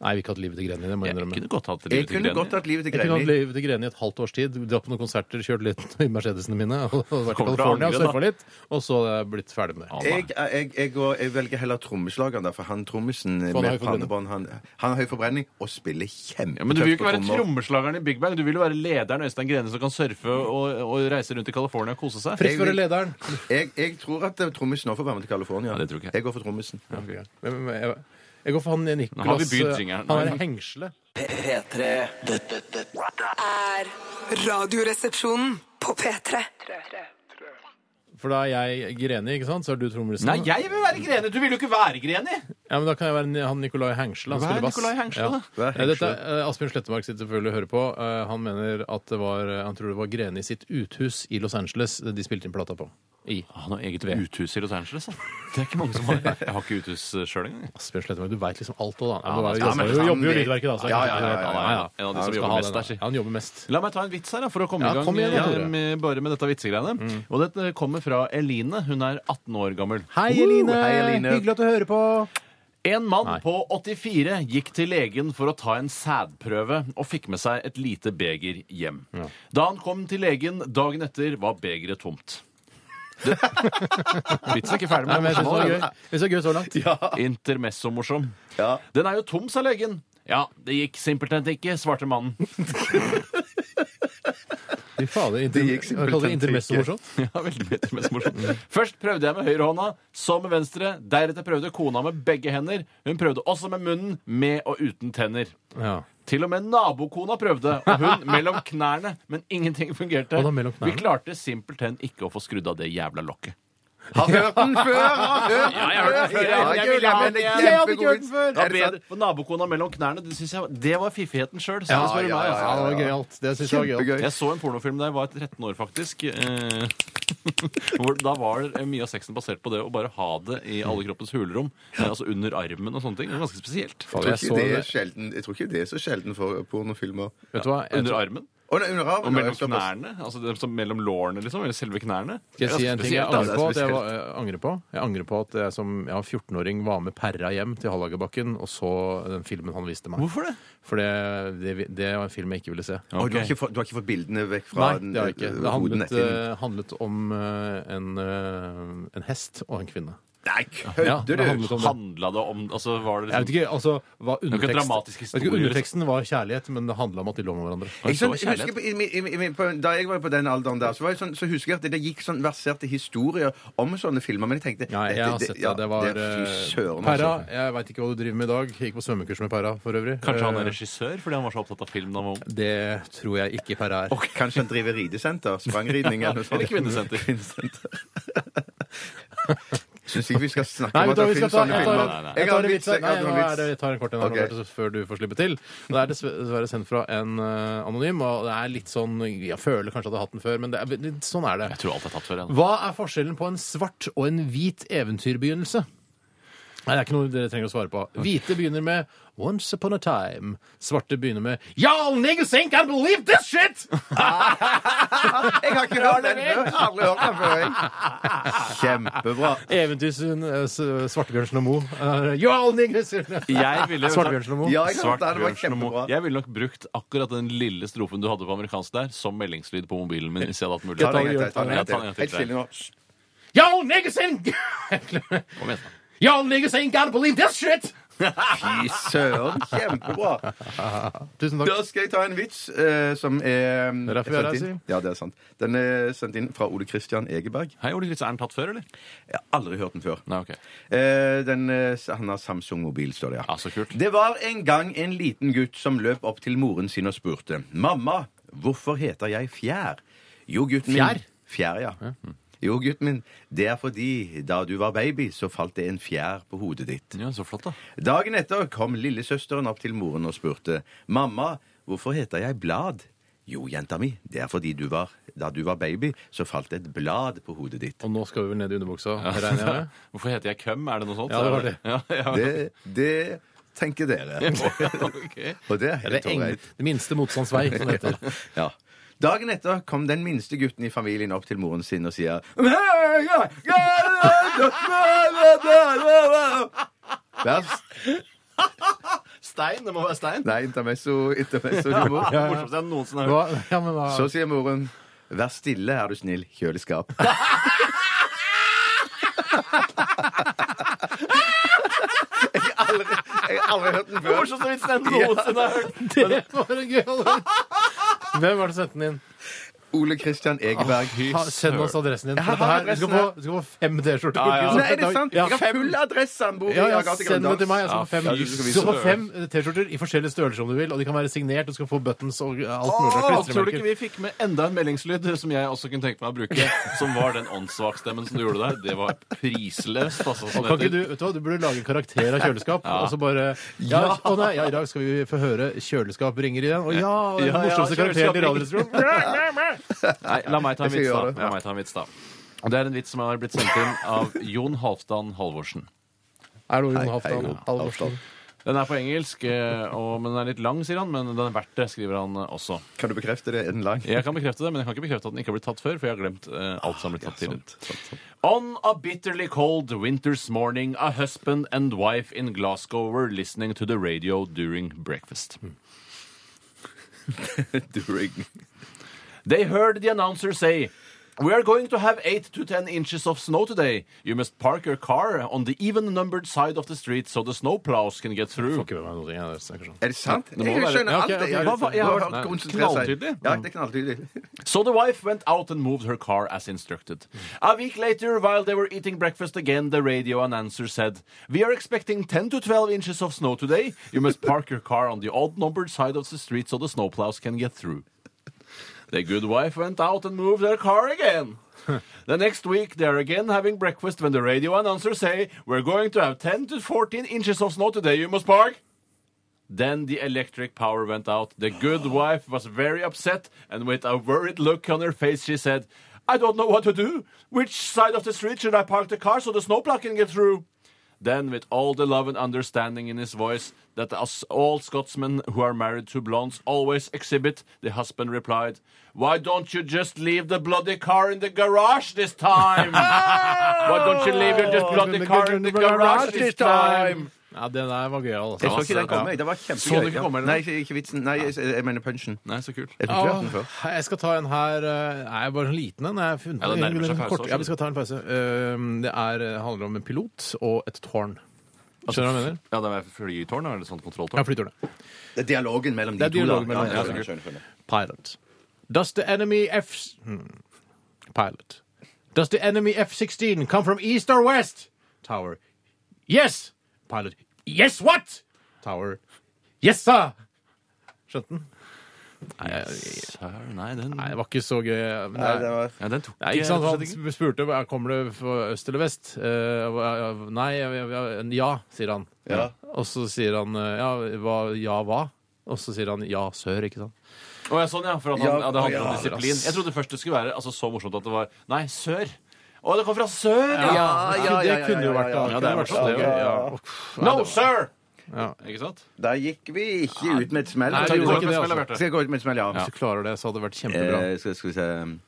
Speaker 1: Nei, vi har ikke hatt livet til Greni. det må jeg
Speaker 2: Jeg
Speaker 1: innrømme.
Speaker 2: kunne godt hatt
Speaker 3: Jeg
Speaker 2: livet til
Speaker 3: kunne godt
Speaker 2: Greni.
Speaker 3: hatt livet til
Speaker 1: Jeg kunne hatt
Speaker 3: Greni.
Speaker 1: livet til Greni i et halvt års tid, dratt på noen konserter, kjørt litt i Mercedesene mine, og og vært i
Speaker 2: Kommer til å
Speaker 1: California og
Speaker 2: angre, da.
Speaker 1: surfa litt, og så hadde jeg blitt ferdig med det.
Speaker 2: Ja, nei.
Speaker 3: Jeg, jeg, jeg, går, jeg velger heller trommeslageren, der, for han trommisen
Speaker 1: For han har høy
Speaker 3: med
Speaker 1: forbrenning.
Speaker 3: pannebånd han, han har høy forbrenning og spiller
Speaker 2: Ja, men du
Speaker 3: kjempetøft
Speaker 2: vil jo ikke
Speaker 3: på
Speaker 2: være
Speaker 3: trommer.
Speaker 2: trommeslageren i Big Bang. Du vil jo være lederen Øystein Grene som kan surfe og, og reise rundt i California og kose seg.
Speaker 1: Fritt før lederen.
Speaker 3: Jeg, jeg tror at eh, trommisen nå får være med til California.
Speaker 2: Ja, det tror ikke jeg.
Speaker 3: Jeg går for trommisen.
Speaker 1: Ok. Men- men Jeg jeg går for han Nicolas eh,
Speaker 2: Nå har vi begynt jingeren.
Speaker 1: Han er hengselet.
Speaker 5: P3 Dette
Speaker 6: Er Radioresepsjonen på P3.
Speaker 1: For da er jeg Greni, ikke sant? Så er du trommelisen.
Speaker 2: Nei, jeg vil være Greni! Du vil jo ikke være Greni!
Speaker 1: Ja, men Da kan jeg være han Nicolai Hengsle. Han
Speaker 2: Vær
Speaker 1: spiller bass.
Speaker 2: Nicolai Hengsle,
Speaker 1: ja.
Speaker 2: da.
Speaker 3: Vær
Speaker 1: Eh, Dette,
Speaker 3: Hengsle.
Speaker 1: eh, Asbjørn Slettemark sitter selvfølgelig og hører på. Eh, Han mener at det var, eh, han tror det var Greni sitt uthus i Los Angeles eh, de spilte inn plata på. I.
Speaker 2: Han har eget uthus i Los Angeles. da. Det er ikke mange som har. Jeg har ikke uthus eh, sjøl engang.
Speaker 1: Asbjørn Slettemark, du veit liksom alt òg, da. Han
Speaker 2: Ja,
Speaker 1: var- jobber
Speaker 2: ja, men
Speaker 1: jo-
Speaker 3: han
Speaker 1: jobber jo i
Speaker 3: vet-
Speaker 1: Lydverket, da.
Speaker 3: Ja,
Speaker 1: så
Speaker 3: ja, ja, ja,
Speaker 2: ja, ja. En av de
Speaker 1: Han
Speaker 2: som
Speaker 1: skal
Speaker 2: jobber
Speaker 1: ha den,
Speaker 2: mest der,
Speaker 1: da.
Speaker 2: si.
Speaker 1: Han jobber mest.
Speaker 2: La meg ta en vits her da, for å komme
Speaker 1: Ja,
Speaker 2: i gang
Speaker 1: kom igjen, da,
Speaker 2: eh,
Speaker 1: Tore. Mm.
Speaker 2: med, bare med dette vitsegreiene. Og dette kommer fra Eline. Hun er 18 år gammel.
Speaker 1: Hei,
Speaker 3: Woo!
Speaker 1: Eline!
Speaker 3: Hei, Eline.
Speaker 1: Hyggelig at du hører på.
Speaker 2: En mann
Speaker 1: Nei.
Speaker 2: på 84 gikk til legen for å ta en sædprøve og fikk med seg et lite beger hjem. Da han kom til legen dagen etter, var begeret tomt. Det- Vitsen er ikke ferdig
Speaker 1: Nei,
Speaker 2: med
Speaker 1: men jeg synes det var gøy. Jeg synes det var gøy så langt.
Speaker 2: Intermesso-morsom.
Speaker 3: Ja.
Speaker 2: Den er jo tom, sa legen. Ja, det gikk simpelthen ikke, svarte mannen.
Speaker 1: Fy fader.
Speaker 3: Det gikk
Speaker 1: Inter... Jeg
Speaker 3: simpelthen
Speaker 1: kaller det intermesso
Speaker 3: ikke.
Speaker 1: morsomt.
Speaker 2: Ja, veldig mye mest morsomt. Først prøvde jeg med høyrehånda, så med venstre. Deretter prøvde kona med begge hender. Hun prøvde også med munnen, med og uten tenner.
Speaker 1: Ja.
Speaker 2: Til og med nabokona prøvde, og hun mellom knærne. Men ingenting fungerte.
Speaker 1: Og da mellom knærne?
Speaker 2: Vi klarte simpelthen ikke å få skrudd av det jævla lokket.
Speaker 3: Har hørt den før! Har hørt
Speaker 2: Ja, jeg har hørt den før, ja. Jeg ville ha den
Speaker 3: det er
Speaker 2: igjen. Jeg hadde
Speaker 3: kjempegod vits.
Speaker 2: Det
Speaker 3: Er
Speaker 2: var
Speaker 3: det sant?
Speaker 2: bedre på nabokona mellom knærne. Det, synes jeg, det var fiffigheten sjøl.
Speaker 1: Ja,
Speaker 2: Ja,
Speaker 1: ja, ja, ja, det var gøyalt. Det synes jeg var gøyalt.
Speaker 3: Kjempegøy.
Speaker 2: Jeg så en pornofilm da jeg var 13 år, faktisk. Eh, hvor da var det eh, mye av sexen basert på det å bare ha det i alle kroppens hulrom. Eh, altså under armen og sånne ting. Det var ganske spesielt.
Speaker 3: Jeg
Speaker 1: Jeg
Speaker 3: tror,
Speaker 1: så
Speaker 3: ikke det er
Speaker 1: det.
Speaker 3: sjelden, jeg tror ikke det er så sjelden for pornofilmer.
Speaker 1: Vet du hva? Jeg
Speaker 2: Under
Speaker 1: tror-
Speaker 2: armen.
Speaker 3: Å, nei, under armen,
Speaker 2: Og mellom
Speaker 3: ja, såpass.
Speaker 2: knærne. Altså det, som mellom lårene, liksom. Eller selve knærne.
Speaker 1: Skal jeg si en ting jeg
Speaker 2: Ganske spesielt,
Speaker 1: angrer på? At jeg,
Speaker 2: altså. da.
Speaker 1: var, jeg angrer på Jeg angrer på at jeg som ja, 14-åring var med Perra hjem til Hallagerbakken og så den filmen han viste meg.
Speaker 2: Hvorfor det?
Speaker 1: For det, det, det var en film jeg ikke ville se.
Speaker 3: Å, du, har ikke fått, du har ikke fått bildene vekk fra
Speaker 1: Nei, det har jeg ikke.
Speaker 3: den, eh,
Speaker 1: Det handlet,
Speaker 3: hodenetthinnen?
Speaker 1: eh, handlet om eh, en, eh, en hest og en kvinne.
Speaker 3: Nei,
Speaker 1: Ja,
Speaker 3: kødder
Speaker 1: det
Speaker 3: du?
Speaker 1: handlet om det.
Speaker 2: Handla det om altså, var det
Speaker 1: Jeg vet
Speaker 2: liksom,
Speaker 1: ikke, altså, hva
Speaker 2: er jo ikke en dramatisk
Speaker 1: undertekst, jeg vet ikke,
Speaker 2: historie,
Speaker 1: underteksten var kjærlighet, men det handla om at de lå med hverandre.
Speaker 3: Jeg
Speaker 2: Så
Speaker 3: sånn, jeg husker på, i, min- i, min- på, da jeg var på den alderen der, så, var jeg sånn, så husker jeg at det gikk sånn verserte historier om sånne filmer. Men jeg tenkte
Speaker 1: Nei, jeg har sett det. Det var
Speaker 3: Fy
Speaker 1: eh,
Speaker 3: søren,
Speaker 1: Perra.
Speaker 3: altså.
Speaker 1: Jeg veit ikke hva du driver med i dag. Gikk på svømmekurs med Perra for øvrig.
Speaker 2: Kanskje han
Speaker 1: Eh,
Speaker 2: er regissør fordi han var så opptatt av film da han var ung?
Speaker 1: Det tror jeg ikke Perra er.
Speaker 3: Og kanskje han driver ridesenter? Sprangridning eller noe sånt.
Speaker 2: Eller kvinnesenter.
Speaker 3: Kvinnesenter. Syns ikke vi skal snakke
Speaker 1: Nei,
Speaker 3: om at
Speaker 1: vet du hva,
Speaker 3: det
Speaker 1: vi skal
Speaker 3: finnes
Speaker 1: ta,
Speaker 3: sånne
Speaker 1: jeg
Speaker 3: filmer.
Speaker 1: tar,
Speaker 2: Nei, nei, nei.
Speaker 1: jeg tar en vits.
Speaker 3: jeg
Speaker 1: Nei,
Speaker 3: har en
Speaker 1: nå
Speaker 3: vits.
Speaker 1: er det, jeg tar en kort en her,
Speaker 3: Ok.
Speaker 1: Roberto, så før du får slippe til. Det er dessver- dessverre sendt fra en eh, anonym, og det er litt sånn Jeg føler kanskje at jeg har hatt den før, men det er, litt- sånn er det.
Speaker 2: Jeg tror alt er tatt før.
Speaker 1: Hva er forskjellen på en svart og en hvit eventyrbegynnelse? Nei, Det er ikke noe dere trenger å svare på. Hvite begynner med Once upon a time. Svarte begynner med Y'all niggas ain't gonna believe this shit!
Speaker 3: Jeg har ikke hørt den før. Aldri hørt den før. jeg. Kjempebra.
Speaker 1: Eventyrsund, eh, s- Svartebjørnsen og Mo. eh, Y'all niggas
Speaker 2: Jeg ville
Speaker 1: Svartebjørnsen og Mo.
Speaker 3: Ja, jeg hørte
Speaker 2: Svart
Speaker 3: den. Det var
Speaker 2: Bjørnsen og Mo.
Speaker 3: kjempebra.
Speaker 2: Jeg ville nok brukt akkurat den lille strofen du hadde på amerikansk der, som meldingslyd på mobilen min. Hvis jeg hadde hatt
Speaker 3: Ta det en
Speaker 2: mulighet.
Speaker 3: gang til, ta det en gang
Speaker 2: Ja, ta det en gang
Speaker 3: til.
Speaker 2: til.
Speaker 3: Helt stille nå.
Speaker 1: Y'all niggas ain't
Speaker 2: Kom igjen. da.
Speaker 1: Y'all niggas ain't gonna believe this shit!
Speaker 3: Fy søren, kjempebra.
Speaker 1: Tusen takk.
Speaker 3: Da skal jeg ta en vits eh, som er
Speaker 1: er derfor vi er her,
Speaker 3: sendt inn. Ja, det er sant. Den er sendt inn fra Ole Christian Egeberg.
Speaker 2: Hei, Ole Kristian, er den tatt før, eller?
Speaker 3: Jeg har aldri hørt den før.
Speaker 2: Nei, ok.
Speaker 3: Eh, den, eh, han har Samsung-mobil, står det. ja.
Speaker 2: Ja, så kult.
Speaker 3: Det var en gang en liten gutt som løp opp til moren sin og spurte Mamma, hvorfor heter jeg Fjær? Jo, gutten min
Speaker 1: Fjær? Mhm.
Speaker 3: Fjær, ja. Jo, gutten min, det er fordi da du var baby, så falt det en fjær på hodet ditt.
Speaker 2: Ja, så flott, da.
Speaker 3: Dagen etter kom lillesøsteren opp til moren og spurte Mamma, hvorfor heter jeg Blad? Jo, jenta mi, det er fordi du var, da du var baby, så falt et blad på hodet ditt.
Speaker 1: Og nå skal vi vel ned i underbuksa, regner jeg med?
Speaker 2: Hvorfor heter jeg Køm? Er det noe sånt?
Speaker 1: Ja, det var det.
Speaker 2: Ja, ja.
Speaker 3: Det, det tenker dere.
Speaker 2: Ok.
Speaker 3: Og det er
Speaker 1: Eller
Speaker 3: helt
Speaker 1: eng,
Speaker 3: ålreit.
Speaker 1: det minste motstands vei, som det heter.
Speaker 3: Ja. Dagen etter kom den minste gutten i familien opp til moren sin og sier Vers.
Speaker 2: Stein? Det må være stein.
Speaker 3: Nei, intermesso, intermesso humor.
Speaker 2: Ja, Morsomst jeg noensinne har hørt.
Speaker 1: Hva, ja, men hva,
Speaker 3: Så sier moren Vær stille, er du snill. Kjøleskap. Jeg har aldri, jeg har aldri hørt den
Speaker 2: Det er
Speaker 3: før.
Speaker 2: Morsomste vitsen jeg noensinne har hørt.
Speaker 1: det var en gøy Hvem var det som sendte den inn?
Speaker 3: Ole Christian Egeberg.
Speaker 1: Ha, send oss adressen din.
Speaker 3: Jeg har
Speaker 1: for dette her- Du skal få,
Speaker 3: adressen
Speaker 1: du skal få fem T-skjorter.
Speaker 2: Ja, ja.
Speaker 3: Nei, er det sant?
Speaker 1: Ja.
Speaker 3: Jeg har full adresseanbok.
Speaker 1: Ja, ja, send det til meg. altså. Jeg skal få fem,
Speaker 2: Ja,
Speaker 3: du skal
Speaker 1: du
Speaker 3: vise
Speaker 1: skal få
Speaker 2: det.
Speaker 1: fem T-skjorter i forskjellige størrelser om du vil, og de kan være signert, du skal få buttons og eh, alt mulig.
Speaker 2: Åh, tror du
Speaker 1: klistremerker.
Speaker 2: ikke vi fikk med enda en meldingslyd som jeg også kunne tenke meg å bruke? Som var den åndssvakstemmen som du gjorde der. Det var prisløst, altså. Som
Speaker 1: Kan ikke
Speaker 2: det
Speaker 1: du,
Speaker 2: heter.
Speaker 1: vet du, hva, du burde lage en karakter av kjøleskap, og så bare ja, Å nei, ja, i dag skal vi få høre 'Kjøleskap ringer' igjen. Å ja! Den
Speaker 2: Ja, ja,
Speaker 1: morsomste karakteren i
Speaker 2: kjøleskap
Speaker 1: Radioresepsjonen.
Speaker 2: Nei, la meg ta en
Speaker 3: Jeg skal
Speaker 2: vits, da.
Speaker 3: gjøre det.
Speaker 2: La meg ta en vits, da. Og det er en vits som har blitt sendt inn av Jon Halvdan Halvorsen.
Speaker 1: Er det Jon
Speaker 3: hei,
Speaker 1: Halvdan
Speaker 3: Jon
Speaker 1: Halvorsen?
Speaker 2: Den er på engelsk, eh, og, men den er litt lang, sier han. Men den er verdt det, skriver han eh, også.
Speaker 3: Kan du bekrefte det? Er den lang?
Speaker 2: Jeg kan bekrefte det, men jeg kan ikke bekrefte at den ikke har blitt tatt før, for jeg har glemt eh, alt som har blitt tatt tidligere. On a bitterly cold winter's morning, a husband and wife in Glasgow were listening to the radio during breakfast.
Speaker 3: During.
Speaker 2: They heard the announcer say, We are going to have 8 to 10 inches of snow today. You must park your car on the even numbered side of the street so the snow plows can get through.
Speaker 1: Får ikke med meg noe. Jeg snakker sånn.
Speaker 3: Er det sant?
Speaker 2: må
Speaker 3: Jeg
Speaker 2: være-
Speaker 3: skjønner
Speaker 1: Ja,
Speaker 3: alt
Speaker 1: ok,
Speaker 3: det.
Speaker 1: ok.
Speaker 3: Jeg
Speaker 2: Hva var- jeg har-
Speaker 3: har
Speaker 2: Nei,
Speaker 3: konsentrert seg.
Speaker 2: knalltydelig.
Speaker 3: Ja, det er knalltydelig.
Speaker 2: So the wife went out and moved her car as instructed. A week later, while they were eating breakfast again, the radio announcer said, We are expecting 10 to 12 inches of snow today. You must park your car on the odd numbered side of the street so the snowplows can get through. The good wife went out and moved her car again. The next week, they are again having breakfast when the radio announcer say, "We're going to have 10 to 14 inches of snow today, you must park." Then the electric power went out. The good wife was very upset, and with a worried look on her face, she said, I don't know what to do. Which side of the street should I park the car so the snowplow can get through? Then, with all the love and understanding in his voice that us all Scotsmen who are married to blondes always exhibit, the husband replied, Why don't you just leave the bloody car in the garage this time? Why don't you leave your just bloody car in the garage this time?
Speaker 1: Ja, den der var gøyal.
Speaker 3: Jeg så
Speaker 1: altså.
Speaker 3: ikke den komme. jeg. Det var
Speaker 2: Så du ikke
Speaker 3: kjempegøy.
Speaker 2: komme, eller?
Speaker 3: Nei, ikke vitsen. Nei, jeg, jeg mener punchen.
Speaker 2: Nei, så kult.
Speaker 3: Jeg tror ikke jeg har hørt den før.
Speaker 1: Åh, jeg skal ta en her eh, Nei, bare en liten en. Jeg har funnet
Speaker 2: Ja, det nærmer seg
Speaker 1: en
Speaker 2: pause
Speaker 1: kort-
Speaker 2: også.
Speaker 1: Ja, vi skal ta en pause. Eh, Det er, handler om en pilot og et tårn.
Speaker 2: Altså-
Speaker 1: Skjønner du hva jeg mener?
Speaker 2: Ja, det er flytårn, eller sånt kontrolltårn?
Speaker 1: Ja, flytårnet.
Speaker 3: Det er dialogen mellom de
Speaker 1: Det er
Speaker 3: to. da.
Speaker 1: dialogen mellom
Speaker 3: Ja,
Speaker 1: de
Speaker 3: ja,
Speaker 1: to.
Speaker 3: skjønner, skjønner, skjønner.
Speaker 1: Pilot. Does the enemy F... Hmm. Pilot. Does the enemy F-16 come from east or west? Tower. Yes! Pilot. Yes, what? Tower. Yes, sir! Skjønte den? Nei, jeg-
Speaker 2: Nei, den,
Speaker 1: nei, det var ikke så gøy. eh, Men
Speaker 3: Nei, det
Speaker 1: det,
Speaker 3: var...
Speaker 2: ja, den tok
Speaker 1: Nei, ikke sant? Han sp- spurte hva- kommer det fra øst eller vest. Eh, hva- nei, jeg- jeg- jeg- ja, sier han.
Speaker 3: Ja.
Speaker 1: Og så sier han eh, ja hva, ja, hva? Og så sier han ja, sør, ikke sant?
Speaker 2: Å, ja, sånn, ja. For at han,
Speaker 3: Ja,
Speaker 2: ja, det handler
Speaker 3: ja,
Speaker 2: om disiplin.
Speaker 1: ass.
Speaker 2: Jeg trodde først det skulle være altså, så morsomt at det var Nei, sør. Å, det kom fra sør! Ja.
Speaker 3: ja, ja,
Speaker 1: Det kunne jo
Speaker 3: ja,
Speaker 1: vært
Speaker 3: ja,
Speaker 1: det.
Speaker 2: ja, det er
Speaker 1: Kunne vært
Speaker 2: sånn,
Speaker 1: så
Speaker 2: det,
Speaker 1: gøy,
Speaker 3: ja.
Speaker 1: ja. Uff, nei,
Speaker 2: No,
Speaker 1: det var-
Speaker 2: sir!
Speaker 1: Ja.
Speaker 2: Ikke sant?
Speaker 3: Da gikk vi ikke ut med et smell.
Speaker 1: Nei,
Speaker 3: Skal
Speaker 1: vi
Speaker 3: jeg
Speaker 1: gjorde
Speaker 3: gå ut
Speaker 1: ikke
Speaker 3: med et
Speaker 1: det,
Speaker 3: smell,
Speaker 2: altså.
Speaker 3: Skal jeg gå ut med et smell, ja.
Speaker 1: Hvis du klarer det, så hadde det vært kjempebra.
Speaker 3: Eh, skal, skal vi se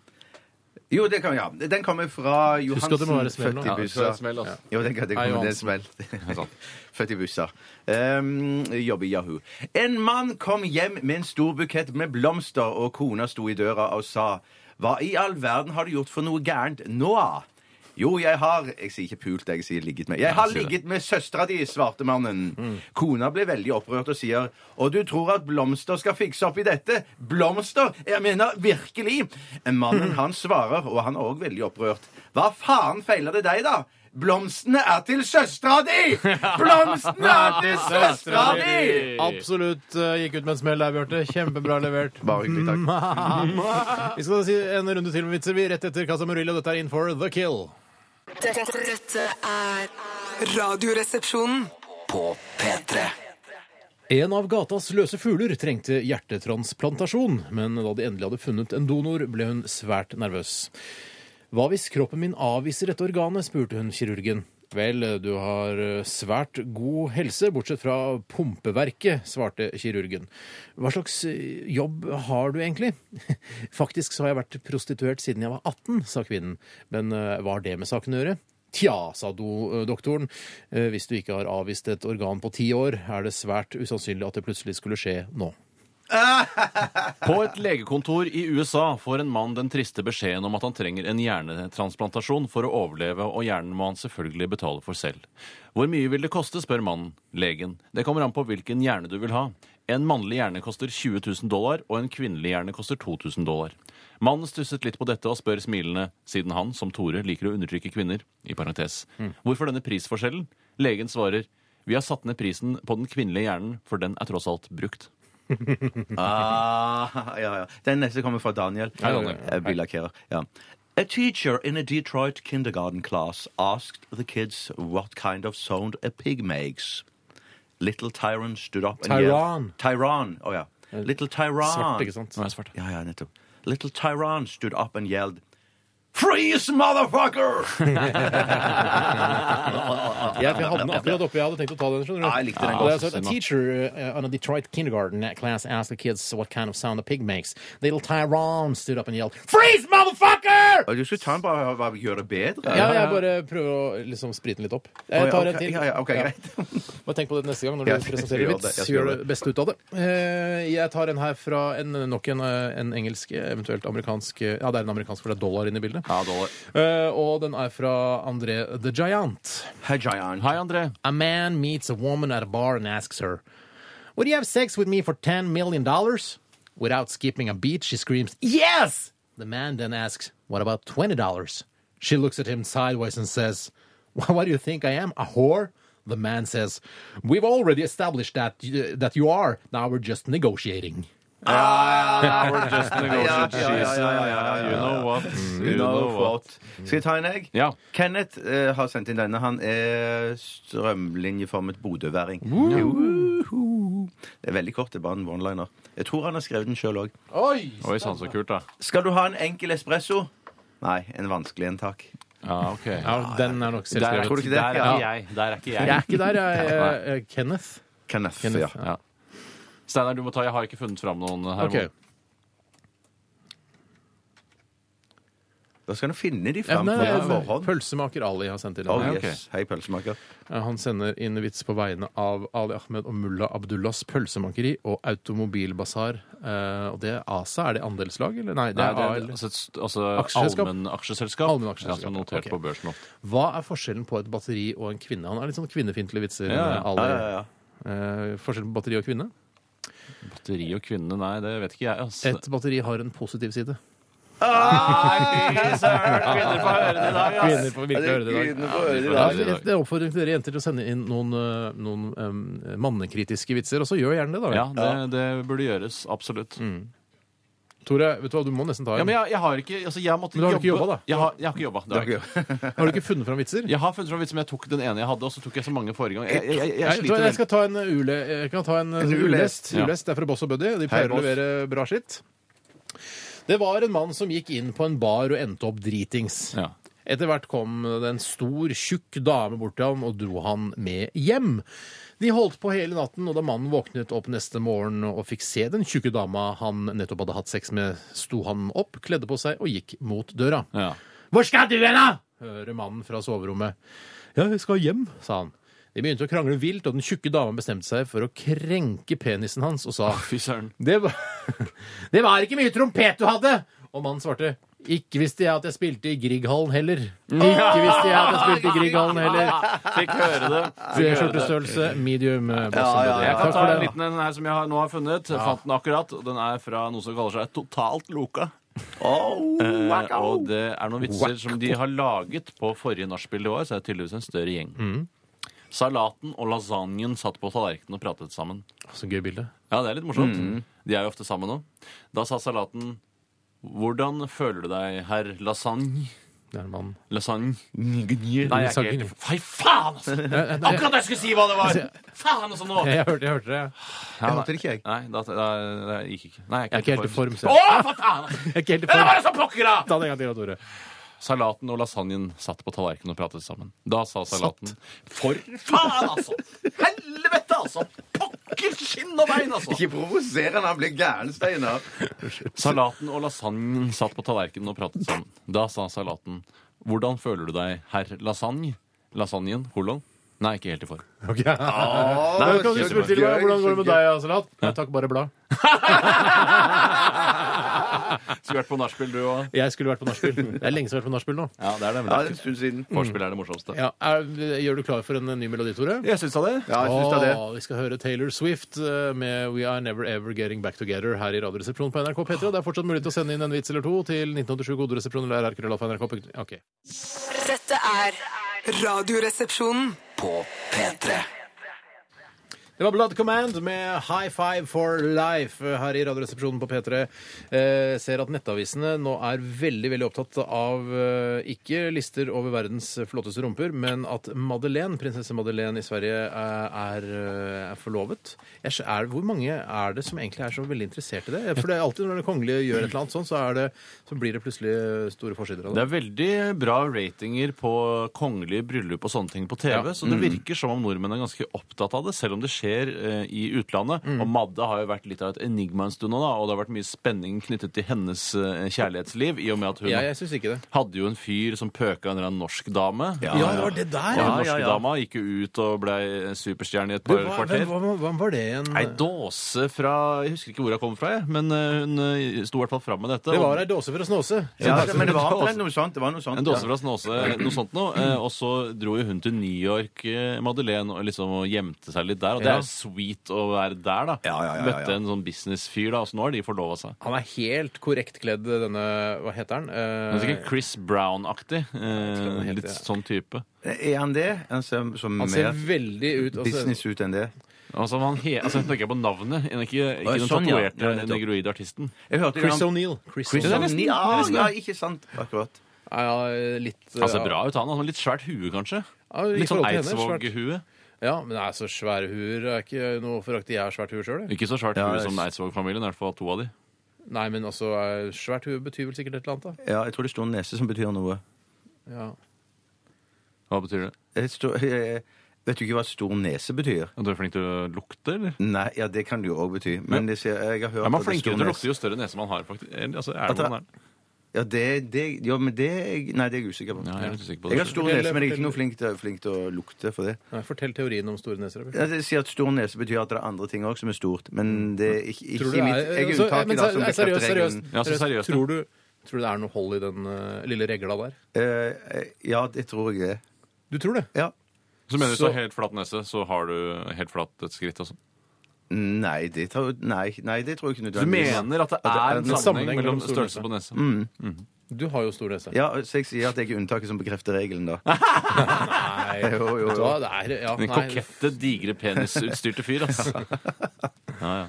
Speaker 3: Jo, det kan vi ha. Den kommer fra Johansen.
Speaker 1: at det må være smell nå.
Speaker 3: født i
Speaker 1: Ja,
Speaker 2: det skal være
Speaker 3: bussa.
Speaker 2: smell, altså.
Speaker 3: Jo, den kan det
Speaker 1: Nei,
Speaker 3: kommer det er
Speaker 1: Johansen.
Speaker 3: smell. Født i bussa. Um, jobber i Yahoo. En mann kom hjem med en stor bukett med blomster, og kona sto i døra og sa Hva i all verden har du gjort for noe gærent nå, da? Jo, jeg har Jeg sier ikke pult, jeg sier ligget med. Jeg har
Speaker 2: sier det.
Speaker 3: ligget med søstera di, svarte mannen. Kona ble veldig opprørt og sier Og du tror at blomster skal fikse opp i dette? Blomster? Jeg mener virkelig! Mannen han svarer, og han er òg veldig opprørt. Hva faen feiler det deg, da? Blomstene er til søstera di! Blomstene er til søstera di!
Speaker 1: Absolutt eh, gikk ut med en smell der, Bjarte. Kjempebra levert.
Speaker 3: Bare hyggelig, takk.
Speaker 1: Vi skal si en runde til med vitser, vi. Rett etter Casa Murillo. Dette er In for the kill.
Speaker 6: Dette, dette er Radioresepsjonen.
Speaker 5: På P3
Speaker 1: En av gatas løse fugler trengte hjertetransplantasjon, men da de endelig hadde funnet en donor, ble hun svært nervøs. Hva hvis kroppen min avviser dette organet, spurte hun kirurgen. Vel, du har eh, svært god helse, bortsett fra pumpeverket, svarte kirurgen. Hva slags eh, jobb har du egentlig? Faktisk så har jeg vært prostituert siden jeg var 18, sa kvinnen. Men eh, hva har det med saken å gjøre? Tja, sa do, doktoren, eh, hvis du ikke har avvist et organ på ti år, er det svært usannsynlig at det plutselig skulle skje nå.
Speaker 2: På et legekontor i USA får en mann den triste beskjeden om at han trenger en hjernetransplantasjon for å overleve, og hjernen må han selvfølgelig betale for selv. Hvor mye vil det koste, spør mannen. Legen. Det kommer an på hvilken hjerne du vil ha. En mannlig hjerne koster 20 000 dollar, og en kvinnelig hjerne koster 2000 dollar. Mannen stusset litt på dette og spør smilende, siden han, som Tore, liker å undertrykke kvinner, i parentes. Hvorfor denne prisforskjellen? Legen svarer, vi har satt ned prisen på den kvinnelige hjernen, for den er tross alt brukt.
Speaker 3: Ah, ja, ja. Den neste kommer fra Daniel.
Speaker 1: Hei, Daniel.
Speaker 3: Eh, Billakere. Ja. A teacher in a Detroit kindergarten class asked the kids what kind of sound a pig makes. Little Tyron stood up and
Speaker 1: Tyran.
Speaker 3: yelled. Tyran. Å ja. Little Tyran.
Speaker 1: Svart, ikke sant?
Speaker 2: Ah, Nå er jeg svart.
Speaker 3: Ja, ja, nettopp. Little Tyran stood up and yelled Freeze, motherfucker!
Speaker 1: Jeg, for jeg hadde den akkurat oppe. Jeg hadde tenkt å ta den. skjønner du?
Speaker 3: Ja, jeg likte den
Speaker 1: Og det
Speaker 2: godt.
Speaker 1: er sånn, a teacher uh, on a Detroit kindergarten class asked the kids what kind of sound a pig makes. Little Tyrone stood up and yelled, Freeze, motherfucker!
Speaker 3: Og Du skulle ta den bare og bare gjøre det bedre.
Speaker 1: Ja, jeg bare prøver å liksom sprite den litt opp.
Speaker 3: Å,
Speaker 1: Jeg
Speaker 3: ja, ok,
Speaker 1: tar en til.
Speaker 3: ja, ja, ok, greit.
Speaker 1: Bare tenk på det neste gang når
Speaker 3: Ja,
Speaker 1: du
Speaker 3: jeg
Speaker 1: presenterer
Speaker 3: gjør det,
Speaker 1: vits.
Speaker 3: jeg skal
Speaker 1: Gjør
Speaker 3: gjøre
Speaker 1: det beste ut av det. Eh, Jeg tar en her fra en, nok en, eh, en engelsk, eventuelt amerikansk eh, Ja, det er en amerikansk, for det er dollar inne i bildet.
Speaker 2: Ja, dollar.
Speaker 1: Eh, Og den er fra André the Giant.
Speaker 3: Hei, Giant.
Speaker 2: Hei, André.
Speaker 1: A man meets a woman at a bar and asks her, Would you have sex with me for $10 million? Without skipping a beat, she screams, Yes! The man then asks, What about $20? She looks at him sideways and says, "Wh- What do you think I am, a whore? The uh, man says, We've already established that, y- that you are. Now we're just negotiating.
Speaker 2: Ah, we're just in the
Speaker 3: Ja, ja,
Speaker 2: gorgeous
Speaker 3: ja, ja,
Speaker 2: cheese.
Speaker 3: ja, ja, ja, ja.
Speaker 2: Mm. You know what?
Speaker 3: You know what. Skal jeg ta en egg?
Speaker 2: Ja.
Speaker 3: Kenneth eh, har sendt inn denne. Han er strømlinjeformet bodøværing. Uhuhu. Det er veldig kort, det er bare en one-liner. Jeg tror han har skrevet den sjøl òg.
Speaker 2: Oi sann, så kult, da.
Speaker 3: Skal du ha en enkel espresso? Nei, en vanskelig en, takk.
Speaker 2: Ja, ok.
Speaker 1: Ja, den er nok
Speaker 2: Der er,
Speaker 3: Tror du ikke
Speaker 1: selvskrevet.
Speaker 2: ikke
Speaker 3: det?
Speaker 2: der er
Speaker 3: Ja.
Speaker 2: ikke jeg. Der er ikke jeg.
Speaker 1: Jeg er ikke der, jeg. eh, eh, Kenneth.
Speaker 3: Kenneth,
Speaker 1: Kenneth.
Speaker 3: ja.
Speaker 2: Ja. Steinar, du må ta. Jeg har ikke funnet fram noen eh, her.
Speaker 1: Ok.
Speaker 3: Da skal du finne de
Speaker 1: Ja,
Speaker 3: fram
Speaker 1: nei,
Speaker 3: på
Speaker 1: nei,
Speaker 3: forhånd.
Speaker 1: Pølsemaker Ali har sendt inn.
Speaker 3: Oh,
Speaker 1: Ja,
Speaker 3: yes.
Speaker 1: ok.
Speaker 3: Hei, pølsemaker.
Speaker 1: Eh, Han sender inn vits på vegne av Ali Ahmed og mulla Abdullahs pølsemakeri og Automobilbasar. Eh, og det ASA, er det andelslag, eller? Nei, det
Speaker 2: Nei,
Speaker 1: er
Speaker 2: det er
Speaker 1: AL.
Speaker 2: altså, et st- altså
Speaker 1: Aksjeselskap?
Speaker 2: allmennaksjeselskap.
Speaker 1: Allmennaksjeselskap,
Speaker 2: Ja, som er notert
Speaker 1: ok.
Speaker 2: på børsen ofte.
Speaker 1: Hva er forskjellen på et batteri og en kvinne? Han er litt sånn kvinnefiendtlige vitser.
Speaker 2: Ja, ja.
Speaker 1: Ali.
Speaker 3: Ja, ja, ja.
Speaker 1: Eh, forskjellen på batteri og kvinne?
Speaker 2: Batteri og kvinne, nei, det vet ikke jeg. ass.
Speaker 1: Et batteri har en positiv side.
Speaker 2: Fy søren, kvinner får høre det i dag, ass.
Speaker 1: Kvinner får virkelig høre det i dag.
Speaker 3: Kvinner får høre det i
Speaker 1: Ja,
Speaker 3: dag.
Speaker 2: i dag.
Speaker 1: det er oppfordring til dere jenter til å sende inn noen, eh, noen eh, mannekritiske vitser. Og så gjør gjerne det, da.
Speaker 2: Ja, det, det burde gjøres. Absolutt.
Speaker 1: Mm. Tore, vet du hva, du må nesten ta en.
Speaker 2: Ja, men jeg, jeg har ikke altså, jeg måtte
Speaker 1: Men du har ikke
Speaker 2: jobbe.
Speaker 1: jobba, da?
Speaker 2: Jeg har, jeg har ikke jobba. Det har jeg ikke.
Speaker 1: Har du ikke funnet fram vitser?
Speaker 2: Jeg har funnet fram vitser, men jeg tok den ene jeg hadde, og så tok jeg så mange forrige gang. Jeg, jeg, jeg, jeg
Speaker 1: Jeg, jeg,
Speaker 2: sliter
Speaker 1: jeg skal ta en, uh, ule, jeg kan ta en,
Speaker 3: ulest.
Speaker 1: uh, ulest.
Speaker 2: Ja.
Speaker 1: ulest. Det er fra Boss og Buddy. De pleier å
Speaker 2: Boss.
Speaker 1: levere bra skitt. Det var en mann som gikk inn på en bar og endte opp dritings.
Speaker 2: veldig. Ja.
Speaker 1: Etter hvert kom det en stor, tjukk dame bort til ham og dro han med hjem. De holdt på hele natten, og da mannen våknet opp neste morgen og fikk se den tjukke dama han nettopp hadde hatt sex med, sto han opp, kledde på seg og gikk mot døra.
Speaker 2: Ja.
Speaker 1: Hvor skal du hen, da? hører mannen fra soverommet. Ja, jeg skal hjem, sa han. De begynte å krangle vilt, og den tjukke dama bestemte seg for å krenke penisen hans og sa
Speaker 2: Fy søren.
Speaker 1: det var, det var ikke mye trompet du hadde! Og mannen svarte ikke visste jeg at jeg spilte i Grieghallen heller. Ikke visste jeg at jeg spilte i Grieghallen heller.
Speaker 2: Fikk høre det. Fikk høre det.
Speaker 1: T-skjortestørrelse medium. eh, Boss
Speaker 3: Ja, ja,
Speaker 1: Buddy.
Speaker 2: Jeg
Speaker 3: ja.
Speaker 2: kan
Speaker 1: Takk
Speaker 2: ta
Speaker 1: for
Speaker 2: en
Speaker 1: det.
Speaker 2: liten en her som jeg har, nå har funnet. Jeg Fant den akkurat. og Den er fra noe som kaller seg Totalt Loka. Eh, og det er noen vitser som de har laget på forrige nachspiel i år, så er det tydeligvis en større gjeng.
Speaker 1: Mm.
Speaker 2: Salaten og lasagnen satt på tallerkenen og pratet sammen.
Speaker 1: Så gøy bilde.
Speaker 2: Ja, det er litt morsomt.
Speaker 1: Mm.
Speaker 2: De er jo ofte sammen nå. Da sa salaten Hvordan føler du deg, herr lasagne?
Speaker 1: Det er en mann.
Speaker 2: Lasagne? Nei, jeg er ikke helt Fy faen, altså!
Speaker 1: Jeg,
Speaker 2: Akkurat da jeg skulle si hva det var! Faen, altså, nå!
Speaker 1: jeg, jeg, hørte, jeg hørte det.
Speaker 2: Ja,
Speaker 3: hørte det ikke, jeg.
Speaker 2: Nei, da, da, da jeg gikk ikke. Nei,
Speaker 1: Jeg er ikke helt i form. så
Speaker 2: Å,
Speaker 1: Jeg
Speaker 2: for faen!
Speaker 1: Jeg er ikke helt i
Speaker 2: Det var
Speaker 1: form.
Speaker 2: det som pokker, da!
Speaker 1: Ta det en gang til, da, Tore.
Speaker 2: Salaten og lasagnen satt på tallerkenen og pratet sammen. Da sa salaten For faen, altså! Helvete, altså! Pokker skinn og bein, altså!
Speaker 3: Ikke provoser han, han blir gæren, Steinar.
Speaker 2: Salaten og lasagnen satt på tallerkenen og pratet sammen. Da sa salaten Hvordan føler du deg, herr lasagne? Lasagnen? Holon? Nei, ikke helt i form.
Speaker 1: Ok.
Speaker 3: Åh,
Speaker 1: Da kan du spørre til meg,
Speaker 3: gøy,
Speaker 1: Hvordan går
Speaker 3: så
Speaker 1: det med
Speaker 3: gøy.
Speaker 1: deg, Asalat? Nei takk, bare blad.
Speaker 2: Skulle vært på nachspiel, du òg.
Speaker 1: Jeg skulle vært på nachspiel. Det er lenge siden jeg har vært på nachspiel nå.
Speaker 2: Ja, det er
Speaker 3: Ja,
Speaker 2: det. Men
Speaker 3: det er en stund siden.
Speaker 1: Mm.
Speaker 2: vorspiel er det morsomste.
Speaker 1: Ja, er, gjør du klar for en ny melodi, Tore?
Speaker 2: Jeg syns da det.
Speaker 3: Ja, jeg syns det er det.
Speaker 1: Åh, vi skal høre Taylor Swift eh, med We Are Never Ever Getting Back Together her i Radioresepsjonen på NRK P3. Og Det er fortsatt mulig til å sende inn en vits eller to til 1987 koderesepsjon eller rrkrøllalfa.nrk. Ok.
Speaker 6: Dette er Radioresepsjonen.
Speaker 5: På P3
Speaker 1: Det var Blood Command med High Five for Life her i Radioresepsjonen på P3. Eh, ser at nettavisene nå er veldig veldig opptatt av eh, ikke lister over verdens flotteste rumper, men at Madeleine, prinsesse Madeleine i Sverige, eh, er, eh, er forlovet. Jeg, skj- er, hvor mange er det som egentlig er så veldig interessert i det? For det er alltid når det kongelige gjør et eller annet sånn, så, er det, så blir det plutselig eh, store forsider av
Speaker 2: Det
Speaker 1: det.
Speaker 2: er veldig bra ratinger på kongelige bryllup og sånne ting på TV,
Speaker 1: Ja. Mm.
Speaker 2: så det virker som om nordmenn er ganske opptatt av det, selv om det skjer eh, i utlandet.
Speaker 1: Mm.
Speaker 2: Og Madde har jo vært litt av et enigma en stund nå, da, og det har vært mye spenning knyttet til hennes eh, kjærlighetsliv, i og med at hun
Speaker 1: Jeg, jeg syns ikke det.
Speaker 2: hadde jo en fyr som pøka en eller annen norsk dame.
Speaker 3: Ja,
Speaker 1: Ja, det var det der,
Speaker 2: Og
Speaker 1: ja.
Speaker 2: den norske
Speaker 3: ja, ja.
Speaker 2: dama gikk jo ut og ble eh, superstjerne i et
Speaker 1: Du,
Speaker 2: par
Speaker 1: Hva, hvem,
Speaker 2: kvarter.
Speaker 1: hva, hva var det igjen?
Speaker 2: Ei dåse fra Jeg husker ikke hvor hun kom fra, jeg, men eh, hun eh, sto i hvert fall fram med dette.
Speaker 1: Det
Speaker 2: og-
Speaker 1: var ei dåse for å snåse.
Speaker 3: Ja, men det var omtrent noe sånt. Det var noe sånt
Speaker 2: En dåse
Speaker 3: ja.
Speaker 2: fra Snåse, noe sånt noe. Eh, Og så dro jo hun til New York, eh, Madeleine, og liksom og gjemte seg litt der. Og det
Speaker 1: Ja.
Speaker 2: er jo sweet å være der, da.
Speaker 3: Ja, ja, ja, ja, Eh. ja.
Speaker 2: Møtte en sånn businessfyr, da, og så nå har de forlova seg.
Speaker 1: Han er helt korrekt kledd, denne Hva heter han?
Speaker 2: Men
Speaker 1: Eh,
Speaker 2: sikkert Chris Brown-aktig.
Speaker 1: ikke hva
Speaker 2: Eh,
Speaker 1: den
Speaker 2: litt
Speaker 1: heter,
Speaker 2: sånn type.
Speaker 3: Er Eh, han det? Han ser som
Speaker 1: Eh, han ser
Speaker 3: mer
Speaker 1: veldig ut altså,
Speaker 3: business ut enn det.
Speaker 2: Altså, han he, altså, jeg tenker på navnet, enn ikke, ikke
Speaker 3: Å,
Speaker 2: den
Speaker 3: sånn, ja.
Speaker 2: tatuerte
Speaker 3: Ja, nettopp.
Speaker 2: negroide artisten.
Speaker 3: Jeg hørte
Speaker 1: Chris
Speaker 3: det om-
Speaker 1: O'Neill.
Speaker 3: Chris
Speaker 1: O'Neill.
Speaker 3: O'Neill. Ja, ja, ikke sant. Akkurat.
Speaker 1: Ja, ja, litt
Speaker 2: Han ser
Speaker 1: ja.
Speaker 2: bra ut, han. han har litt svært hue, kanskje.
Speaker 1: Ja, i
Speaker 2: Litt sånn
Speaker 1: forhold til henne,
Speaker 2: Eidsvåg-hue.
Speaker 1: Ja, men nei, så svære huer er ikke noe foraktig. Jeg har svært hue sjøl, jeg.
Speaker 2: Ikke så svært
Speaker 3: Ja,
Speaker 2: hue
Speaker 3: jeg-
Speaker 2: som Eidsvåg-familien, i hvert fall to av de.
Speaker 1: Nei, men altså, eh, svært hue betyr vel sikkert et eller annet,
Speaker 3: Ja, jeg tror det står nese som betyr noe.
Speaker 1: da. Ja.
Speaker 2: Hva betyr det?
Speaker 3: Jeg står, jeg, vet du ikke hva stor nese betyr?
Speaker 2: At du er flink til å lukte, eller?
Speaker 3: Nei, ja, det kan det jo òg bety. Men jeg, sier- jeg har hørt
Speaker 2: Er man
Speaker 3: at det er
Speaker 2: flinkere
Speaker 3: stor
Speaker 2: til å
Speaker 3: nese.
Speaker 2: lukte jo større nese man har, faktisk? Eller, Altså, er
Speaker 3: At
Speaker 2: det
Speaker 3: det-
Speaker 2: man er?
Speaker 3: Ja, det, det, ja, men det er jeg- Nei, det er jeg usikker på.
Speaker 2: Ja, jeg er litt usikker på det.
Speaker 3: Jeg har stor
Speaker 1: Fortell-
Speaker 3: nese, men jeg er ikke
Speaker 1: fortell-
Speaker 3: noe flink til, flink til å lukte for det.
Speaker 1: Nei, fortell teorien om store neser. Bjørn.
Speaker 3: Ja, det sier at Stor nese betyr at det er andre ting òg som er stort.
Speaker 2: Mm.
Speaker 3: Men det er ikke, ikke
Speaker 1: Tror du
Speaker 3: i
Speaker 1: det
Speaker 3: mitt
Speaker 1: er-
Speaker 3: Jeg er
Speaker 1: altså,
Speaker 3: unntaket
Speaker 1: men
Speaker 3: da,
Speaker 1: se-
Speaker 3: som
Speaker 1: nei,
Speaker 3: bekrefter
Speaker 1: seriøst,
Speaker 3: regelen.
Speaker 2: Ja, så seriøst, ja.
Speaker 1: Tror du, tror du det er noe hold i den eh, lille regla der?
Speaker 3: Eh, ja, det tror jeg det. er.
Speaker 1: Du tror det?
Speaker 3: Ja.
Speaker 2: Så mener du så
Speaker 1: Så-
Speaker 2: helt flatt nese, så har du helt flatt et skritt også?
Speaker 3: Nei, det tar, nei, nei, det tror jeg ikke
Speaker 2: Du
Speaker 3: nødvendigvis.
Speaker 2: mener at det
Speaker 3: At det
Speaker 2: er en sammenheng mellom
Speaker 1: stor
Speaker 2: størrelse
Speaker 1: nese. Mm.
Speaker 2: på nese?
Speaker 1: Du har jo stor nese.
Speaker 3: Ja, så jeg sier at jeg er unntaket som bekrefter regelen, da.
Speaker 1: Nei,
Speaker 3: Jo, jo, jo.
Speaker 1: vet du hva, det er ja,
Speaker 2: Den
Speaker 1: nei,
Speaker 2: kokette, digre penisutstyrte fyr, altså. Ja, ja.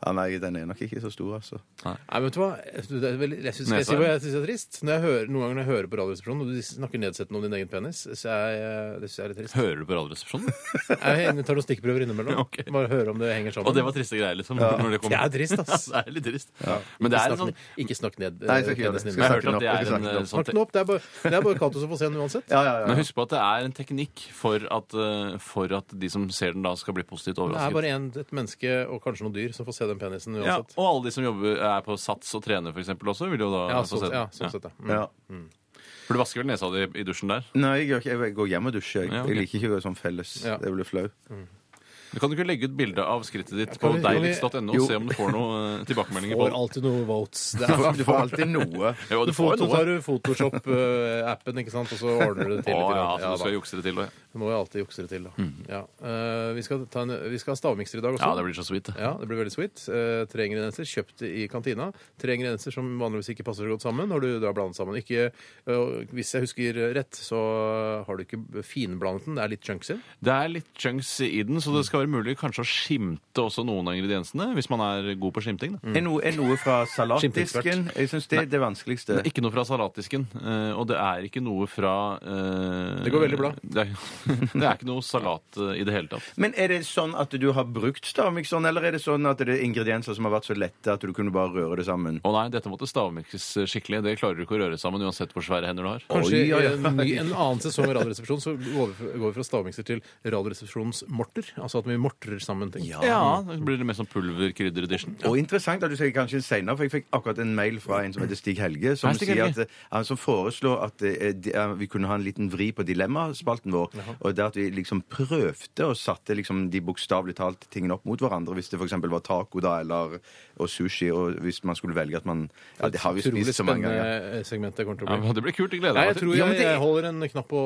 Speaker 3: Ja, nei, den er nok ikke så stor, altså.
Speaker 1: nei, vet du hva? Det er veldig- Jeg syns jeg,
Speaker 2: Nesa,
Speaker 1: sier hva jeg synes er trist. Når jeg hører, noen ganger når jeg hører på Radioresepsjonen, og du snakker nedsettende om din egen penis, så er jeg, det synes jeg er litt trist.
Speaker 2: Hører du på Radioresepsjonen?
Speaker 1: Jeg tar noen stikkprøver innimellom.
Speaker 2: Ok.
Speaker 1: Bare høre om det henger sammen.
Speaker 2: Og det var triste greier, liksom. Når det kom.
Speaker 1: Det er trist, ass.
Speaker 2: Det er litt trist. Men det er en sånn
Speaker 1: Ikke snakk ned eh,
Speaker 3: Nei, jeg skal ikke gjøre det. Jeg skal
Speaker 1: penisen din.
Speaker 2: Jeg
Speaker 3: snakke
Speaker 2: har hørt at
Speaker 3: den opp,
Speaker 2: det
Speaker 3: jeg
Speaker 2: er
Speaker 3: skal snakke
Speaker 2: en
Speaker 3: den
Speaker 2: eh,
Speaker 3: opp.
Speaker 2: sånn
Speaker 1: Snakk den opp. Det er bare, det er bare Cato som får se den uansett.
Speaker 3: Ja, ja, ja.
Speaker 2: Men husk på at det er en teknikk for at, eh, for at de som ser den da, skal bli positivt
Speaker 1: Det er
Speaker 2: overrasket.
Speaker 1: bare en, et menneske og kanskje noen dyr som får se den penisen
Speaker 2: Ja,
Speaker 1: uansett.
Speaker 2: og alle de som jobber, er på sats og trener for eksempel også, vil jo da
Speaker 1: Ja,
Speaker 2: få
Speaker 1: sånn,
Speaker 2: se den.
Speaker 1: ja, sånn sett, ja. Mm.
Speaker 3: Ja.
Speaker 2: For du vasker vel nesa di i dusjen der?
Speaker 3: Nei, jeg, gjør ikke, jeg går hjem og dusjer. Jeg,
Speaker 2: Ja, ok.
Speaker 3: jeg liker ikke å gjøre sånn felles.
Speaker 1: Ja.
Speaker 3: Det blir flau.
Speaker 2: Du kan du ikke legge ut bilde av skrittet ditt på
Speaker 1: Kan vi- kan vi-
Speaker 2: deiligst.no
Speaker 3: Jo.
Speaker 2: og se om du får noen eh, tilbakemeldinger på
Speaker 1: Får
Speaker 2: det?
Speaker 1: alltid noe votes. Det
Speaker 3: Du
Speaker 1: er
Speaker 3: får, du får alltid noe.
Speaker 2: Jo,
Speaker 1: Du
Speaker 2: du får
Speaker 1: foto,
Speaker 2: jo noe.
Speaker 1: tar du Photoshop-appen, ikke sant, og så ordner du det til.
Speaker 2: Å
Speaker 1: litt
Speaker 2: ja,
Speaker 1: grann.
Speaker 2: så du skal
Speaker 1: da.
Speaker 2: jukse det til. da.
Speaker 1: Må jo alltid jukse det til, da. Ja. Eh, vi, skal ta en, vi skal ha stavmikser i dag også.
Speaker 2: Ja, det blir så sweet. det.
Speaker 1: Ja, det blir veldig sweet. Eh, tre ingredienser kjøpt i kantina. Tre ingredienser som vanligvis ikke passer så godt sammen når du da blander sammen. Ikke, eh, hvis jeg husker rett, så har du ikke finblandet den. Det er litt chunksy.
Speaker 2: Det er litt chunks i den, så det skal være mulig kanskje å skimte også noen av ingrediensene, hvis man er god på skimting.
Speaker 1: Mm.
Speaker 2: da.
Speaker 3: Er noe, er noe fra salatdisken?
Speaker 1: Skimtingekspert.
Speaker 3: Jeg syns det er det vanskeligste.
Speaker 2: Det er ikke noe fra salatdisken, eh, og det er ikke noe fra eh,
Speaker 1: Det går veldig bra.
Speaker 2: Det er, det er ikke noe salat eh, i det hele tatt.
Speaker 3: Men er det sånn at du har brukt stavmikseren, eller er det sånn at det er ingredienser som har vært så lette at du kunne bare røre det sammen?
Speaker 2: Å nei, dette måtte stavmikses eh, skikkelig. Det klarer du ikke å røre sammen uansett hvor svære hender du har.
Speaker 3: Oi,
Speaker 1: Kanskje
Speaker 3: oi, oi.
Speaker 1: i en, ny, en annen sesong av Radioresepsjonen så går vi, går vi fra stavmikser til Radioresepsjonens morter. Altså at vi morterer sammen ting.
Speaker 2: Ja, da blir det mer sånn pulverkrydder-edition.
Speaker 3: Og interessant at du sier kanskje senere, for jeg fikk akkurat en mail fra en som heter Stig Helge, som,
Speaker 2: Hei, Stig Helge.
Speaker 3: Sier at, eh, han som foreslår at eh, de, eh, vi kunne ha en liten vri på dilemmaspalten vår, og det at vi liksom prøvde og satte liksom de bokstavelig talt tingene opp mot hverandre, hvis det for eksempel var taco da, eller og sushi, og hvis man skulle velge at man Ja, det har vi spist så mange ganger.
Speaker 1: Utrolig spennende eh, segment det kommer til
Speaker 2: Ja,
Speaker 1: å bli.
Speaker 2: men det blir kult. Det gleder
Speaker 1: Nei,
Speaker 2: jeg
Speaker 1: jeg
Speaker 2: meg til.
Speaker 1: tror
Speaker 3: Ja, men
Speaker 1: jeg,
Speaker 3: det-
Speaker 1: jeg holder en knapp på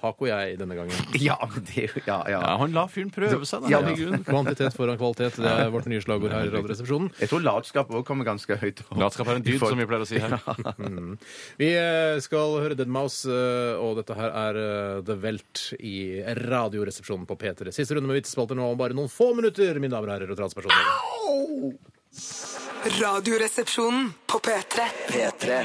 Speaker 1: taco, jeg, denne gangen.
Speaker 3: Ja, men det er jo Ja, ja.
Speaker 2: Ja, han la fyren prøve seg, da.
Speaker 3: Ja.
Speaker 2: Herregud.
Speaker 1: Kvantitet foran kvalitet, det er vårt nye slagord her i Radioresepsjonen.
Speaker 3: Jeg tror latskap òg kommer ganske høyt opp.
Speaker 2: Latskap er en dyd, som vi pleier å si her.
Speaker 1: Vi eh, skal høre Dead Mouse, eh, og dette her er eh, The Welt i Radioresepsjonen på P3. Siste runde med vitsespalter nå om bare noen få minutter, mine damer og herrer og transpersoner.
Speaker 6: Radioresepsjonen på P3.
Speaker 7: P3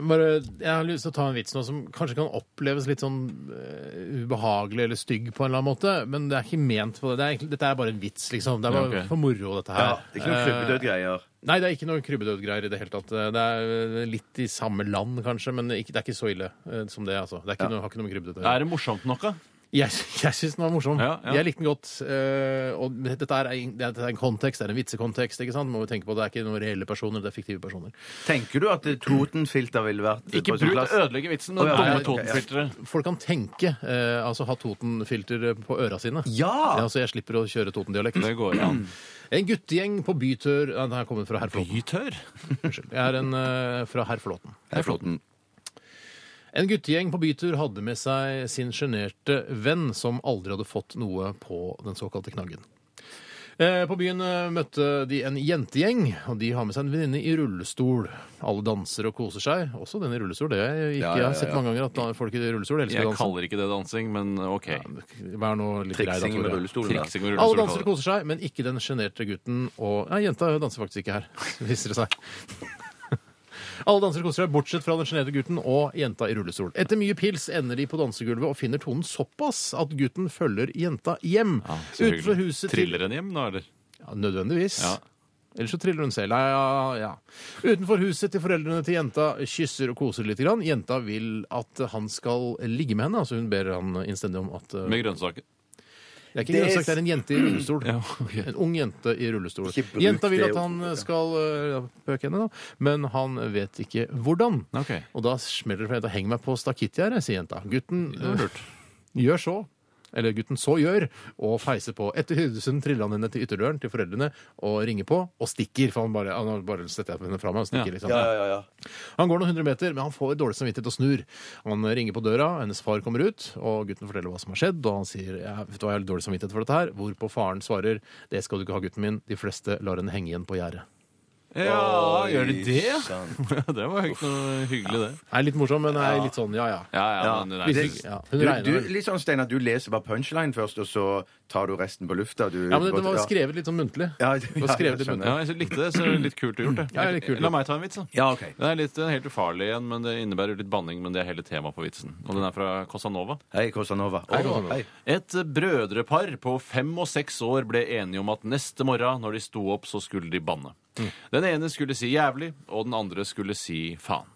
Speaker 1: Bare, jeg har lyst til å ta en vits nå som kanskje kan oppleves litt sånn eh, ubehagelig eller stygg på en eller annen måte, men det er ikke ment for det. det er, egentlig- dette er bare en vits, liksom. Det er bare
Speaker 2: Ja, ok.
Speaker 1: for moro, dette
Speaker 3: Ja,
Speaker 1: her.
Speaker 3: det er ikke
Speaker 2: Eh,
Speaker 3: noe klubbedød greier.
Speaker 1: Nei, det er ikke noe krybbedød-greier i det hele tatt. Det er litt i samme land, kanskje, men ikke, det er ikke så ille eh, som det, altså. Det er ikke noe, har ikke noe med krybbedød å gjøre.
Speaker 2: Er det morsomt nok, da?
Speaker 1: Jeg, jeg syns den var morsom.
Speaker 2: Ja, ja.
Speaker 1: Jeg likte den godt. eh, og dette er, en- dette er en kontekst, det er en vitsekontekst. ikke sant? Må vi tenke på, Det er ikke noen reelle personer, det er fiktive personer.
Speaker 3: Tenker du at eh, Totenfilter ville vært
Speaker 2: Ikke
Speaker 3: på sin
Speaker 2: bruk
Speaker 3: plass?
Speaker 2: ødelegge vitsen med
Speaker 3: Å, ja,
Speaker 2: dumme
Speaker 3: ja, ja.
Speaker 2: Totenfilteret.
Speaker 1: Folk kan tenke, eh, altså ha Toten-filter på øra sine.
Speaker 3: Ja!
Speaker 1: Ja, så jeg slipper å kjøre Toten-dialekt.
Speaker 2: Det går an.
Speaker 1: En guttegjeng på bytur Nei, Den her kommer fra Herflåten.
Speaker 2: Bytør?
Speaker 1: Unnskyld. Jeg er en eh, fra Herflåten.
Speaker 3: Det er flott.
Speaker 1: En guttegjeng på bytur hadde med seg sin sjenerte venn som aldri hadde fått noe på den såkalte knaggen. Eh, På byen eh, møtte de en jentegjeng, og de har med seg en venninne i rullestol. Alle danser og koser seg, også den i rullestol. Det er ikke,
Speaker 2: Ja, ja,
Speaker 1: Jeg
Speaker 2: ja,
Speaker 1: har sett
Speaker 2: ja.
Speaker 1: mange ganger at da- folk i rullestol elsker å
Speaker 2: Jeg
Speaker 1: danse.
Speaker 2: kaller ikke det dansing, men eh, OK.
Speaker 1: Vær nå litt grei, da,
Speaker 4: Triksing med
Speaker 1: Tore.
Speaker 4: rullestolen. da.
Speaker 2: Triksing med
Speaker 1: Alle
Speaker 2: rullestol.
Speaker 1: danser og koser seg, men ikke den sjenerte gutten og Nei, jenta danser faktisk ikke her, viser det seg. Alle danser og koser seg, bortsett fra den sjenerte gutten og jenta i rullestol. Etter mye pils ender de på dansegulvet og finner tonen såpass at gutten følger jenta hjem.
Speaker 2: Ja, så
Speaker 1: ut fra
Speaker 2: hyggelig.
Speaker 1: huset til
Speaker 2: Triller en hjem nå, eller?
Speaker 1: ja, Nødvendigvis.
Speaker 2: Ja.
Speaker 1: Ellers så triller hun selv. Ja, ja, ja. Utenfor huset til foreldrene til jenta kysser og koser litt. Grann. Jenta vil at han skal ligge med henne, altså hun ber han innstendig om at uh,
Speaker 2: Med grønnsaker.
Speaker 1: Det er ikke en grønnsak, det er en jente i rullestol.
Speaker 2: Ja, ok.
Speaker 1: En ung jente i rullestol.
Speaker 3: Ikke bruk
Speaker 1: Jenta vil
Speaker 3: det
Speaker 1: at han
Speaker 3: ordet, ja.
Speaker 1: skal uh, ja, pøke henne, da, men han vet ikke hvordan.
Speaker 2: Ok.
Speaker 1: Og da smeller det fra jenta 'heng meg på stakittgjerdet', sier jenta. Gutten
Speaker 2: Det var
Speaker 1: uh,
Speaker 2: lurt.
Speaker 1: gjør så. Eller gutten så gjør, og feiser på. Etter Hydesund triller han henne til ytterdøren til foreldrene og ringer på, og stikker. For han bare, han bare setter henne fra meg og stikker.
Speaker 2: Ja.
Speaker 1: Liksom. Han går noen hundre meter, men han får dårlig samvittighet og snur. Han ringer på døra, hennes far kommer ut, og gutten forteller hva som har skjedd. Og han sier ja, vet du hva, jeg har litt dårlig samvittighet for dette her, hvorpå faren svarer det skal du ikke ha, gutten min. De fleste lar henne henge igjen på gjerdet.
Speaker 2: Ja,
Speaker 3: Oi,
Speaker 2: gjør de det?
Speaker 3: sant.
Speaker 2: det var ikke noe hyggelig, det.
Speaker 1: Er litt morsom, men er litt sånn ja ja.
Speaker 2: Ja, ja,
Speaker 3: Ja.
Speaker 2: men det
Speaker 1: Hvis
Speaker 2: er,
Speaker 1: ikke- ja hun
Speaker 3: Du,
Speaker 1: regner
Speaker 3: du,
Speaker 1: vel.
Speaker 3: litt sånn, Steinar, du leser bare punchline først, og så tar du resten på lufta. Du,
Speaker 1: Ja, men det, det var
Speaker 3: ja.
Speaker 1: skrevet litt sånn muntlig.
Speaker 3: Ja, det-
Speaker 1: Det var
Speaker 3: ja, jeg
Speaker 1: skrevet litt
Speaker 3: skjønner.
Speaker 1: muntlig.
Speaker 2: ja, jeg likte det, så det er litt kult gjort, det.
Speaker 1: Ja, det er litt kult.
Speaker 2: La meg ta en vits, da.
Speaker 3: Ja, ok.
Speaker 2: Den er litt, den er helt ufarlig igjen, men det innebærer litt banning, men det er hele temaet på vitsen. Og den er fra Cosanova.
Speaker 3: Hei, Kosanova. Hei,
Speaker 1: Kosanova.
Speaker 3: Hei.
Speaker 2: Et brødrepar på fem og seks år ble enige om at neste morgen når de sto opp, så skulle de banne. Den ene skulle si jævlig, og den andre skulle si faen.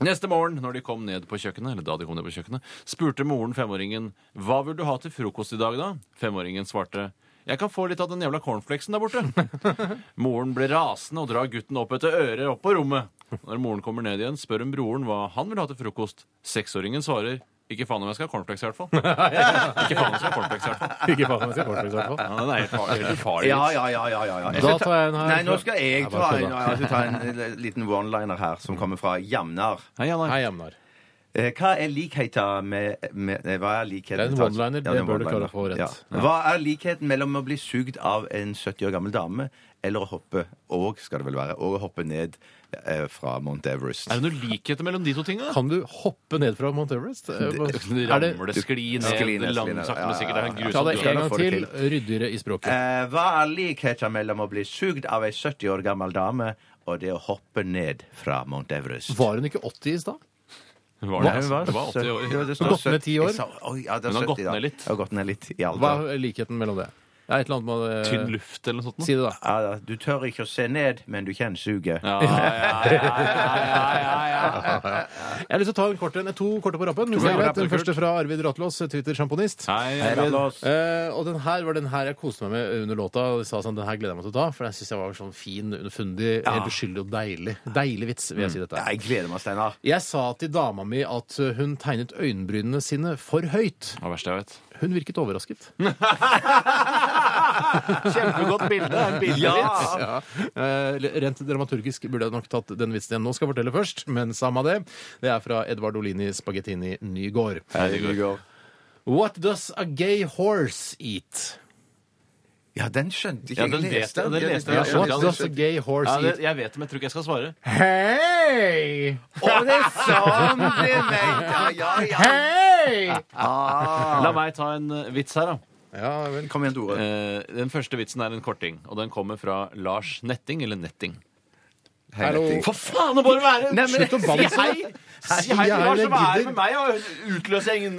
Speaker 2: Neste morgen når de kom ned på kjøkkenet, eller da de kom ned på kjøkkenet, spurte moren femåringen hva vil du ha til frokost i dag, da? Femåringen svarte jeg kan få litt av den jævla cornflakesen der borte. moren ble rasende og drar gutten opp etter øret opp på rommet. Når moren kommer ned igjen, spør hun broren hva han vil ha til frokost. Seksåringen svarer ikke faen om jeg skal ha cornflakes i hvert fall. Ikke faen om jeg skal ha cornflakes i hvert fall.
Speaker 1: Ikke faen, jeg skal kortfilme i hvert fall.
Speaker 2: Ja, den er helt far- helt ufarlig.
Speaker 3: Ja, ja, ja, ja, ja, ja.
Speaker 1: Da
Speaker 3: skal ta-
Speaker 1: tar jeg en her.
Speaker 3: Nei, nå skal jeg
Speaker 1: Jeg bare
Speaker 3: ta en,
Speaker 1: kødda.
Speaker 3: ja, jeg skal ta en eh, liten one-liner her, som kommer fra Jamnar.
Speaker 2: Hei, Jan Arne.
Speaker 1: Hei, Amnar.
Speaker 3: Eh, Hva er likheten med, med eh, Hva er likheten
Speaker 1: Det er en
Speaker 3: Ta-
Speaker 1: one-liner,
Speaker 3: Ja,
Speaker 1: det
Speaker 3: er en
Speaker 1: bør du klare
Speaker 3: one-liner.
Speaker 1: å få rett.
Speaker 3: Ja. Hva er likheten mellom å bli sugd av en 70 år gammel dame eller å hoppe og, skal det vel være, og å hoppe ned eh, fra Mount Everest?
Speaker 2: Er det noen likheter mellom de to tingene?
Speaker 1: Kan du hoppe ned fra Mount Everest? Eh, Er det,
Speaker 2: Ramle, skli ned,
Speaker 3: Skli ned, skli
Speaker 2: lang,
Speaker 3: ned.
Speaker 2: sakte, men sikkert. Det er en
Speaker 1: ta
Speaker 2: grusom
Speaker 1: det
Speaker 2: duell.
Speaker 1: en gang
Speaker 3: få det
Speaker 1: til, ryddigere i språket.
Speaker 3: Eh, hva er likheten mellom å bli sugd av ei 70 år gammel dame og det å hoppe ned fra Mount Everest?
Speaker 1: Var hun ikke 80 i stad?
Speaker 2: Var det,
Speaker 3: Nei,
Speaker 2: altså? det var 80
Speaker 3: Ja,
Speaker 2: år.
Speaker 3: det står
Speaker 1: Gått ned
Speaker 3: 70.
Speaker 1: ti år?
Speaker 3: Jeg Sa, oi, ja, det er
Speaker 2: Hun har
Speaker 3: 70,
Speaker 2: gått
Speaker 3: da.
Speaker 2: ned litt.
Speaker 3: Hun har gått ned litt i
Speaker 1: Hva
Speaker 3: alder.
Speaker 1: er likheten mellom det? Det er et eller annet med eh,
Speaker 2: Tynn luft eller noe sånt. nå.
Speaker 1: Si det, da.
Speaker 3: Ja, da. du tør ikke å se ned, men du kjenner suget.
Speaker 2: Ja, ja, ja, ja, ja, ja, ja.
Speaker 1: Jeg har lyst til å ta en kort en. To korte på rappen. hvis
Speaker 2: korte
Speaker 1: jeg
Speaker 2: på
Speaker 1: vet.
Speaker 2: rappen,
Speaker 1: Den
Speaker 2: kult.
Speaker 1: første fra Arvid Ratlås, Twitter-sjamponist.
Speaker 2: Hei,
Speaker 3: Eller-
Speaker 2: Arvid.
Speaker 1: Eh, og den her var den her jeg koste meg med under låta. Og jeg sa sånn, den her gleder jeg meg til å ta, for jeg syns jeg var sånn fin, underfundig, helt uskyldig og deilig. Deilig vits, vil jeg
Speaker 2: Mm.
Speaker 1: si dette. er.
Speaker 3: Jeg gleder meg, Steinar.
Speaker 1: Jeg sa til dama mi at hun tegnet øyenbrynene sine for høyt.
Speaker 2: Det var verst jeg vet.
Speaker 1: Hun virket overrasket.
Speaker 2: Kjempegodt bilde. Det er en bildevits.
Speaker 1: Ja. Eh, Rent dramaturgisk burde jeg nok tatt den vitsen jeg nå skal fortelle først, men samme det. Det er fra Edvard Olini Spagettini Nygård. What does a gay horse eat?
Speaker 3: Ja, den skjønte ikke
Speaker 2: Ja, den
Speaker 3: jeg.
Speaker 2: vet-
Speaker 3: leste
Speaker 2: den leste
Speaker 3: Ja,
Speaker 2: jeg.
Speaker 1: What
Speaker 2: skjønte
Speaker 3: den
Speaker 1: does a
Speaker 3: skjønte-
Speaker 1: gay horse
Speaker 2: Ja, det,
Speaker 1: eat?
Speaker 2: jeg vet det, men jeg tror ikke jeg skal svare.
Speaker 1: Hei!
Speaker 3: Å, det er sånn det er ment! Ja, ja, ja.
Speaker 1: Hei!
Speaker 2: La meg ta en eh, vits her, da.
Speaker 1: Ja, vel.
Speaker 3: Kom igjen, Tore.
Speaker 2: Eh, Den første vitsen er en korting, og den kommer fra Lars Netting, eller Netting.
Speaker 3: Hei,
Speaker 1: hallo.
Speaker 3: Netting.
Speaker 2: For faen å bare være!
Speaker 3: Nei, men-
Speaker 1: Slutt å banne
Speaker 2: hei! Si hei
Speaker 1: Jeg
Speaker 2: til Lars
Speaker 1: gidder.
Speaker 2: og være med meg og utløse ingen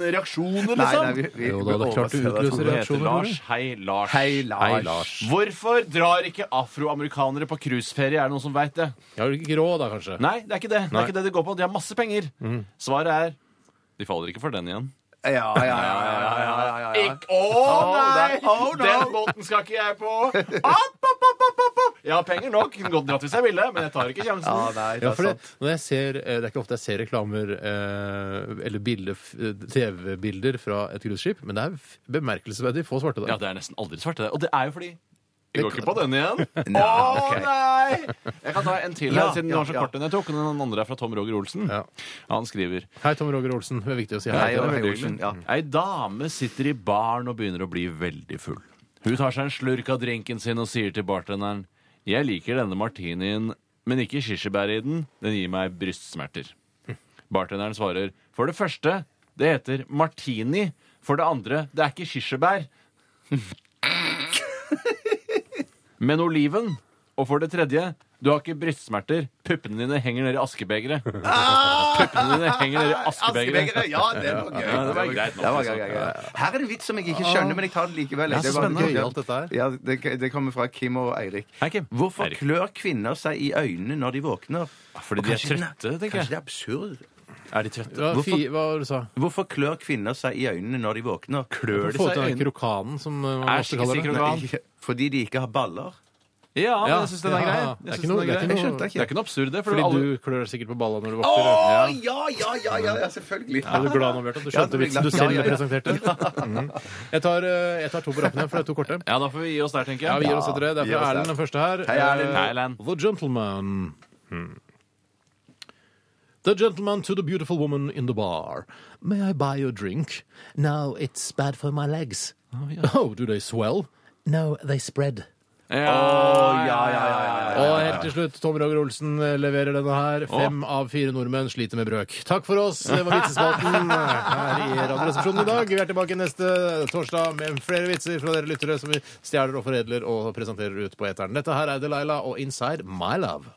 Speaker 3: Nei,
Speaker 2: reaksjoner,
Speaker 3: nei,
Speaker 2: liksom.
Speaker 3: vi, vi,
Speaker 1: Jo da, det er klart du
Speaker 3: overfører at
Speaker 1: utløser
Speaker 3: Tore-
Speaker 2: Det heter
Speaker 1: reaksjoner,
Speaker 2: Lars.
Speaker 1: Tore.
Speaker 2: Hei, Lars.
Speaker 3: Hei, Lars.
Speaker 1: Hei, Lars.
Speaker 2: Hvorfor drar ikke afroamerikanere på cruiseferie? Er det noen som veit det?
Speaker 1: Jeg har ikke råd da, kanskje.
Speaker 2: Nei, det er ikke det. Det
Speaker 1: Nei.
Speaker 2: er ikke det det går på. De har masse penger.
Speaker 3: Mm.
Speaker 2: Svaret er de faller ikke for den igjen.
Speaker 3: Ja, ja, ja, ja, ja, ja, ja, ja.
Speaker 2: Ikk- Å nei!
Speaker 3: nei. Å, nei.
Speaker 2: Den båten skal ikke jeg på! Opp, opp, opp, opp, opp, opp. Jeg har penger nok. Kunne godt dratt hvis jeg ville, men jeg tar ikke
Speaker 3: Ja,
Speaker 2: sjansen.
Speaker 3: nei, det
Speaker 1: Ja,
Speaker 3: er
Speaker 1: for det,
Speaker 3: sant.
Speaker 1: når jeg ser, eh, det er ikke ofte jeg ser reklamer eh, eller bilder, f- eh, TV-bilder fra et cruiseskip, men det er f- bemerkelsesverdig få svarte
Speaker 2: Ja,
Speaker 1: der.
Speaker 2: det er nesten aldri svart, det. der. Og det er jo fordi jeg går ikke på den igjen. Å
Speaker 3: Nei, ok.
Speaker 2: nei! Jeg kan ta en til her,
Speaker 3: Ja,
Speaker 2: siden den
Speaker 3: ja,
Speaker 2: var så
Speaker 3: ja.
Speaker 2: kort den jeg tok. og Den andre er fra Tom Roger Olsen.
Speaker 1: Ja.
Speaker 2: Han skriver
Speaker 1: Hei, Tom Roger Olsen. Det er viktig å si
Speaker 3: Hei,
Speaker 1: hei.
Speaker 3: og
Speaker 2: det er
Speaker 3: hei,
Speaker 2: veldig
Speaker 3: Olsen. Ja.
Speaker 2: Ei dame sitter i baren og begynner å bli veldig full. Hun tar seg en slurk av drinken sin og sier til bartenderen Jeg liker denne martinien, men ikke kirsebær i den. Den gir meg brystsmerter. Bartenderen svarer For det første, det heter martini. For det andre, det er ikke kirsebær. Men oliven. Og for det tredje, du har ikke brystsmerter. Puppene dine henger ned i askebegeret. Puppene dine henger ned i askebegeret.
Speaker 3: Askebegeret! Ja, det var gøy.
Speaker 2: Ja, det var greit nok,
Speaker 3: Det var
Speaker 2: liksom.
Speaker 3: gøy, gøy, gøy. Her er det vits som jeg ikke skjønner, men jeg tar det likevel.
Speaker 1: Ja, så
Speaker 3: var-
Speaker 1: spennende. Gøy, alt dette her.
Speaker 3: Ja, det, det kommer fra Kim og Eirik.
Speaker 2: Hei, Kim.
Speaker 3: Hvorfor
Speaker 2: Eirik.
Speaker 3: klør kvinner seg i øynene når de våkner?
Speaker 2: Fordi
Speaker 3: Og
Speaker 2: de er
Speaker 3: kanskje den
Speaker 2: trøtte, tenker
Speaker 3: Kanskje
Speaker 2: jeg.
Speaker 3: det er absurd?
Speaker 2: Er de trøtte?
Speaker 1: Hva, fi, hva var det du sa
Speaker 3: Hvorfor klør kvinner seg i øynene når de våkner?
Speaker 1: Få
Speaker 2: Klør de
Speaker 1: til
Speaker 2: seg i
Speaker 1: den
Speaker 2: øynene?
Speaker 1: krokanen, som uh, man
Speaker 2: Æsj,
Speaker 1: ofte
Speaker 2: ikke si
Speaker 1: kaller det.
Speaker 2: krokan.
Speaker 3: Nei, Fordi de ikke har baller?
Speaker 2: Ja, men
Speaker 1: Ja,
Speaker 2: jeg syns den
Speaker 1: ja,
Speaker 2: er grei.
Speaker 1: ja. Det er
Speaker 2: Jeg
Speaker 1: ikke
Speaker 2: synes
Speaker 1: noe-
Speaker 2: den er
Speaker 1: det er
Speaker 2: grei.
Speaker 1: ikke noe-
Speaker 2: Det er ikke noe absurd, det. For
Speaker 1: Fordi
Speaker 2: alle...
Speaker 1: du klør deg sikkert på balla når du
Speaker 3: Å,
Speaker 1: våkner. ja.
Speaker 3: ja, ja, ja, ja, ja, selvfølgelig.
Speaker 1: Er du glad nå, Bjarte, at du
Speaker 3: Ja,
Speaker 1: skjønte
Speaker 3: det blir
Speaker 1: vitsen du
Speaker 3: glad.
Speaker 1: selv
Speaker 3: Ja, ja, ja.
Speaker 1: presenterte? Mm. Jeg, tar, uh, jeg tar to på rappen igjen, for det er to korte.
Speaker 2: Ja, da får vi gi oss der, tenker
Speaker 1: Ja, vi
Speaker 2: jeg.
Speaker 1: gir oss etter det. Det er
Speaker 3: vi gir
Speaker 1: fra
Speaker 3: oss
Speaker 1: Erlend,
Speaker 3: der.
Speaker 1: den første her.
Speaker 3: Hei, Erlend.
Speaker 1: Eh,
Speaker 2: Hei, Erlend.
Speaker 1: The Gentleman. Hmm. The gentleman to the beautiful woman in the bar. May I buy you a drink?
Speaker 8: No, it's bad for my legs.
Speaker 1: Oh, do they swell?
Speaker 8: No, they spread.
Speaker 2: Ja, ja, ja.
Speaker 1: Og helt til slutt, Tom Roger Olsen eh, leverer denne her. Fem av fire nordmenn sliter med brøk. Takk for oss. Det var vitsespalten eh, her i Radioresepsjonen i dag. Vi er tilbake neste torsdag med flere vitser fra dere lyttere som vi stjeler og foredler og presenterer ut på eteren. Dette her er Delilah og Inside My Love.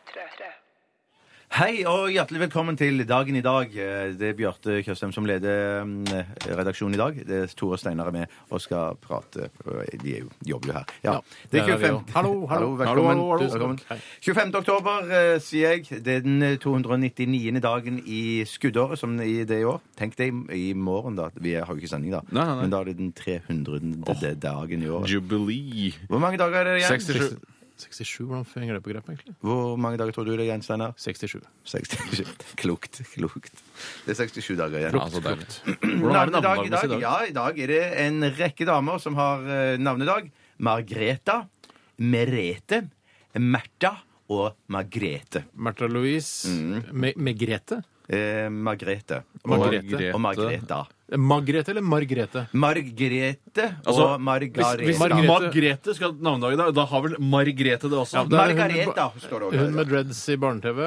Speaker 3: Hei og hjertelig velkommen til Dagen i dag. Eh, Det er Bjarte Tjøstheim som leder mm, redaksjonen i dag. Det er Tore Steinar er med og skal prate. De er jo, jobber jo her. Ja. Det
Speaker 1: der er
Speaker 3: er
Speaker 1: vi
Speaker 3: 25.
Speaker 1: også. Hallo, hallo. Hallo,
Speaker 3: velkommen.
Speaker 1: hallo, hallo.
Speaker 3: Tusen velkommen.
Speaker 1: Hei.
Speaker 3: 25. oktober, eh, sier jeg. Det er den eh, 299. dagen i skuddåret som i det i år. Tenk deg i i morgen, da. Vi har jo ikke sending, da.
Speaker 2: Nei, nei, nei.
Speaker 3: Men da er det den 300. dagen i år.
Speaker 2: Jubilee.
Speaker 3: Hvor mange dager er det igjen?
Speaker 2: 67.
Speaker 1: 67, hvordan henger det på grep, egentlig?
Speaker 3: Hvor mange dager tror du det er igjen, Steinar?
Speaker 1: 67.
Speaker 3: 67. Klokt. Klokt. Det er 67 dager igjen.
Speaker 2: Ja, så deilig. Hvordan er det
Speaker 3: Navnedag i
Speaker 2: navnedag
Speaker 3: dag?
Speaker 2: i dag?
Speaker 3: Ja, i dag er det en rekke damer som har eh, navnedag. Margreta, Merete, Märtha og Margrete.
Speaker 1: Märtha Louise.
Speaker 2: Mm.
Speaker 1: Me Megrete?
Speaker 3: Eh, Margrete.
Speaker 1: Margrete.
Speaker 3: Og Margreta.
Speaker 1: Margrete eller Margrete?
Speaker 3: Margrete
Speaker 2: Altså,
Speaker 3: og Margareta.
Speaker 1: hvis- hvis
Speaker 2: Margrete.
Speaker 1: Margrethe.
Speaker 2: Margrethe skal ha navnedag i dag. Da har vel Margrethe det også.
Speaker 1: det er hun-
Speaker 3: Margareta står det
Speaker 1: Hun med
Speaker 3: også.
Speaker 1: dreads i barne-TV.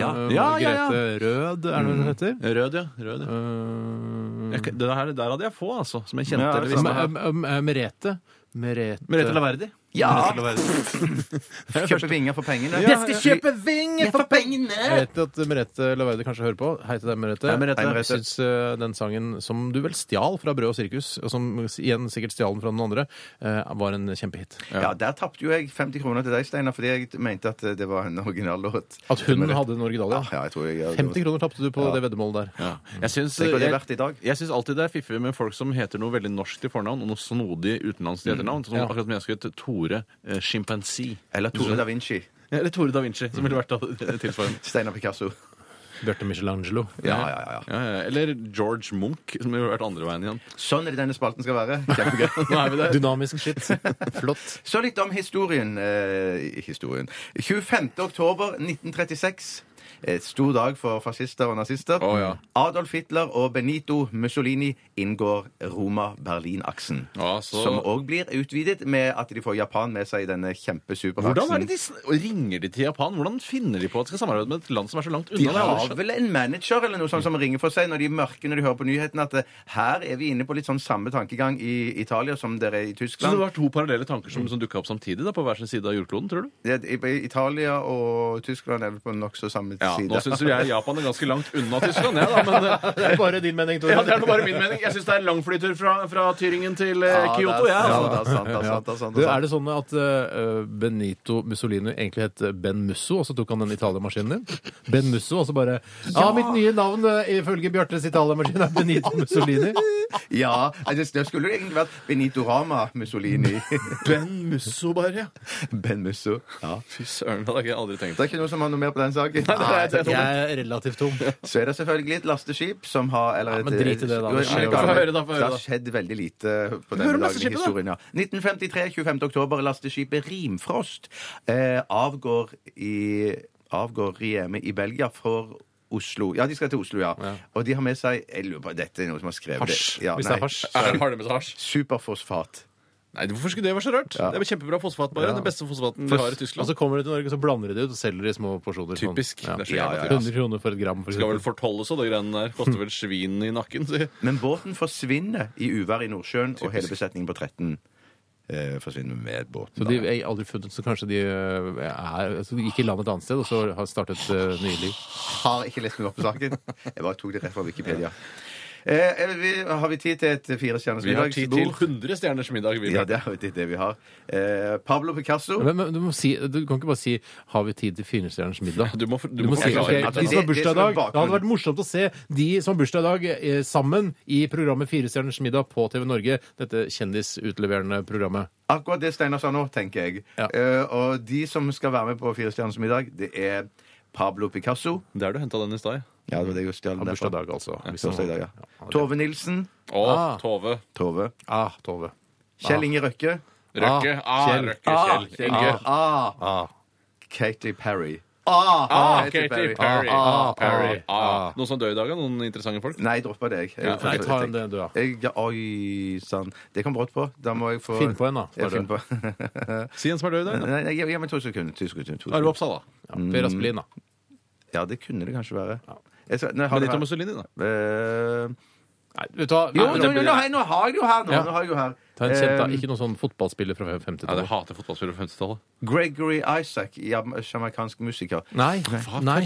Speaker 3: Ja.
Speaker 1: Eh,
Speaker 2: Ja, ja, ja.
Speaker 1: Margrethe Rød, er det hun heter?
Speaker 2: Rød, ja. Rød,
Speaker 1: Mm.
Speaker 2: ja.
Speaker 1: Eh,
Speaker 2: Jeg, det der, der hadde jeg få, altså. Som jeg kjente.
Speaker 3: Ja,
Speaker 2: eller
Speaker 3: samme
Speaker 2: visste.
Speaker 1: M- M- M- M- Merete. Merete.
Speaker 2: Merete Laverdi.
Speaker 3: Ja! Kjøpe vinger for pengene.
Speaker 1: Jeg skal kjøpe
Speaker 3: vinger for
Speaker 1: Jeg
Speaker 3: pengene!
Speaker 1: vet at Merete Laverdi kanskje hører på. Hei til deg, Merete.
Speaker 3: Hei, Merete.
Speaker 1: Jeg syns eh, den sangen som du vel stjal fra Brød og sirkus, og som igjen sikkert stjal den fra noen andre, eh, var en kjempehit.
Speaker 3: Ja, Der tapte jo jeg 50 kroner til deg, Steinar, fordi jeg mente at eh, det var en originallåt.
Speaker 1: At hun hadde den originale, ja.
Speaker 3: Ja, jeg tror jeg
Speaker 1: 50 kroner tapte du på det veddemålet der.
Speaker 2: Ja. Jeg syns
Speaker 3: Tenk hva det er
Speaker 2: jeg-
Speaker 3: verdt i dag.
Speaker 2: jeg syns alltid det er fiffig med folk som heter noe veldig norsk til fornavn, og noe snodig utenlandsk til etternavn. Som
Speaker 1: Mm. Ja.
Speaker 2: akkurat som jeg skulle hett Tore eh, Sjimpansi.
Speaker 3: Eller Tore da Vinci.
Speaker 2: Eller Tore da Vinci, som ville vært da- Mm. tilsvarende.
Speaker 3: Steinar Picasso.
Speaker 1: Bjarte Michelangelo.
Speaker 3: Ja, ja, ja, ja.
Speaker 2: Ja, ja. Eller George Munch, som ville vært andre veien igjen.
Speaker 3: Sånn er det denne spalten skal være. Kjempegøy.
Speaker 2: Nå er vi der.
Speaker 1: Dynamisk shit. Flott.
Speaker 3: Så litt om historien. Eh, historien. 25. oktober 1936. Et stor dag for fascister og nazister.
Speaker 2: Å, ja.
Speaker 3: Adolf Hitler og Benito Mussolini inngår Roma-Berlin-aksen.
Speaker 2: Ja, så-
Speaker 3: Som òg blir utvidet med at de får Japan med seg i denne
Speaker 2: Hvordan er
Speaker 3: kjempesuperaksen.
Speaker 2: det de sn- Ringer de til Japan? Hvordan finner de på at de skal samarbeide med et land som er så langt unna?
Speaker 3: De
Speaker 2: Det har jeg aldri
Speaker 3: har
Speaker 2: skjønt.
Speaker 3: vel en manager eller noe sånt som ringer for seg når de er mørke når de hører på nyhetene, at eh, her er vi inne på litt sånn samme tankegang i Italia som dere er i
Speaker 2: Så
Speaker 3: Tyskland.
Speaker 2: det var to parallelle tanker som, som dukka opp samtidig da, på hver sin side av jordkloden, tror du?
Speaker 3: Ja, i- i- Italia og Tyskland er vel på nokså samme side.
Speaker 2: Nå syns jo jeg Japan er ganske langt unna Tyskland, jeg, da. Men eh,
Speaker 1: Det er bare din mening, Tore.
Speaker 2: ja, det er nå bare min mening. Jeg syns det er langflytur fra, fra Tyringen til eh,
Speaker 3: Ja, det er
Speaker 2: Kyoto, jeg.
Speaker 3: sant,
Speaker 2: altså.
Speaker 3: det er sant, det er sant, det er sant,
Speaker 1: Du,
Speaker 3: det
Speaker 1: er
Speaker 3: er sant.
Speaker 1: det sånn at eh, Benito Mussolini egentlig het Ben Musso, og så tok han den Italia-maskinen din? Ben Musso, og så bare Ja, mitt nye navn eh, ifølge Bjartes Italia-maskin er Benito Mussolini.
Speaker 3: Ja, altså, det skulle jo egentlig vært Benito Rama Mussolini.
Speaker 2: Ben sånn Musso, bare.
Speaker 3: ben Musso. Ja.
Speaker 2: Fy søren, det hadde jeg aldri tenkt.
Speaker 3: Det er ikke noe som har noe mer på den saken.
Speaker 1: Jeg er relativt tom.
Speaker 3: Så er det selvfølgelig et lasteskip som har eller
Speaker 1: Ja, men
Speaker 3: et-
Speaker 1: drit i det, da. Det
Speaker 3: Jo,
Speaker 1: skjer
Speaker 3: men
Speaker 1: jo.
Speaker 3: kan-
Speaker 2: Få høre, da, få høre,
Speaker 3: Det har
Speaker 2: da.
Speaker 3: skjedd veldig lite på
Speaker 2: Hør
Speaker 3: denne dagen
Speaker 2: om
Speaker 3: i
Speaker 2: lasteskipet, da.
Speaker 3: historien. Ja. 1953, 25. oktober, lasteskipet Rimfrost eh, avgår i avgår Rieme i Belgia for Oslo. Ja, de skal til Oslo, ja. Og de har med seg jeg lurer på, Dette er noe som har skrevet
Speaker 1: Hasj.
Speaker 3: det. Ja,
Speaker 1: Hvis det er
Speaker 3: nei.
Speaker 1: hasj. så er
Speaker 2: Er,
Speaker 1: det-
Speaker 2: har det med seg hasj?
Speaker 3: Superfosfat.
Speaker 2: Nei, hvorfor skulle det være så rart? Det er jo kjempebra fosfat, bare. Den beste fosfaten vi har i
Speaker 1: Og
Speaker 2: Tyskland.
Speaker 1: så kommer de til Norge, så blander de det ut og selger det i små porsjoner. sånn.
Speaker 2: Typisk.
Speaker 1: Ja.
Speaker 2: Det er så jævla
Speaker 3: Ja, ja, ja.
Speaker 2: typisk.
Speaker 1: 100 kroner for et gram, for
Speaker 2: Skal vel
Speaker 1: eksempel.
Speaker 2: fortolles, og de greiene der. Koster vel svin i nakken. sier jeg.
Speaker 3: Men båten forsvinner i uvær i Nordsjøen, og hele besetningen på 13 eh, forsvinner med båten.
Speaker 1: Så de er aldri funnet, så kanskje de eh, er, altså, de gikk i land et annet sted, og så har startet eh, nye liv.
Speaker 3: har ikke lest meg opp på saken. Jeg bare tok det rett fra Wikipedia. Eh, eh, vi, har vi tid til et firestjerners
Speaker 2: Vi har tid til
Speaker 3: middagsbord?
Speaker 2: 100 stjerners middag. Vi
Speaker 3: Ja, det er jo det, det vi har. Eh, Pablo Picasso.
Speaker 1: Men, men du, må si, du kan ikke bare si 'Har vi tid til firestjerners middag'?
Speaker 2: Du må- du må
Speaker 1: si
Speaker 2: forklare
Speaker 1: ok, de som
Speaker 2: litt.
Speaker 1: har
Speaker 3: Det- det
Speaker 1: bursdag i
Speaker 3: som er
Speaker 1: dag. Det hadde vært morsomt å se de som har bursdag i dag, eh, sammen i programmet Firestjerners middag på TV Norge. Dette kjendisutleverende programmet.
Speaker 3: Akkurat det Steinar sa nå, tenker jeg.
Speaker 1: Ja.
Speaker 3: Eh, og de som skal være med på Firestjerners middag, det er Pablo Picasso.
Speaker 2: Der du henta den i stad.
Speaker 3: Ja, det var det jeg stjal
Speaker 1: Har
Speaker 3: den
Speaker 1: bursdag i
Speaker 3: derfra.
Speaker 1: dag, altså. Hvis
Speaker 3: Bursdag i dag,
Speaker 1: han-
Speaker 3: ja. Tove Nilsen.
Speaker 2: Å,
Speaker 1: Ah.
Speaker 2: Tove.
Speaker 3: Tove.
Speaker 1: Ah, Tove.
Speaker 3: Kjell Inge Røkke.
Speaker 2: Røkke. Ah,
Speaker 1: Kjell.
Speaker 2: Røkke. Kjell. Inge.
Speaker 3: Ah. Katy Perry. Ah,
Speaker 2: Ah,
Speaker 3: Katy Perry.
Speaker 2: Ah,
Speaker 1: Perry.
Speaker 2: Ah. Noen som dør i dag, ja? Noen interessante folk?
Speaker 3: Nei, jeg dropper det. Jeg,
Speaker 2: Ja,
Speaker 1: Nei, ta en det, du, ja.
Speaker 3: Jeg, ja, oi sann. Det kom brått på. Da må jeg få
Speaker 1: Finn på en, da.
Speaker 3: Jeg finner på.
Speaker 2: Si en som er død i dag. da.
Speaker 3: Nei, nei, gi gi meg to sekunder. To sekunder, to
Speaker 2: Arve
Speaker 3: sekunder.
Speaker 2: Oppsal, da.
Speaker 1: Ja,
Speaker 3: Mm.
Speaker 1: per Aspelin, da.
Speaker 3: Ja, det kunne det kanskje være. Jeg skal, nei, har det
Speaker 2: Benito
Speaker 3: her.
Speaker 2: Mussolini, da.
Speaker 3: Eh,
Speaker 1: Nei, vet du hva?
Speaker 3: jo,
Speaker 1: Nei,
Speaker 3: jo,
Speaker 1: det
Speaker 3: jo,
Speaker 1: blir-
Speaker 3: nå, har jeg- nå har jeg jo her! Nå,
Speaker 1: Ja.
Speaker 3: nå har jeg jo her.
Speaker 1: Ta en kjent, da.
Speaker 3: Eh,
Speaker 1: Ikke noen sånn fotballspiller fra 50-tallet.
Speaker 2: Jeg hater fotballspillere fra 50-tallet.
Speaker 3: Gregory Isaac, jam- jamaicansk musiker.
Speaker 1: Nei. Nei.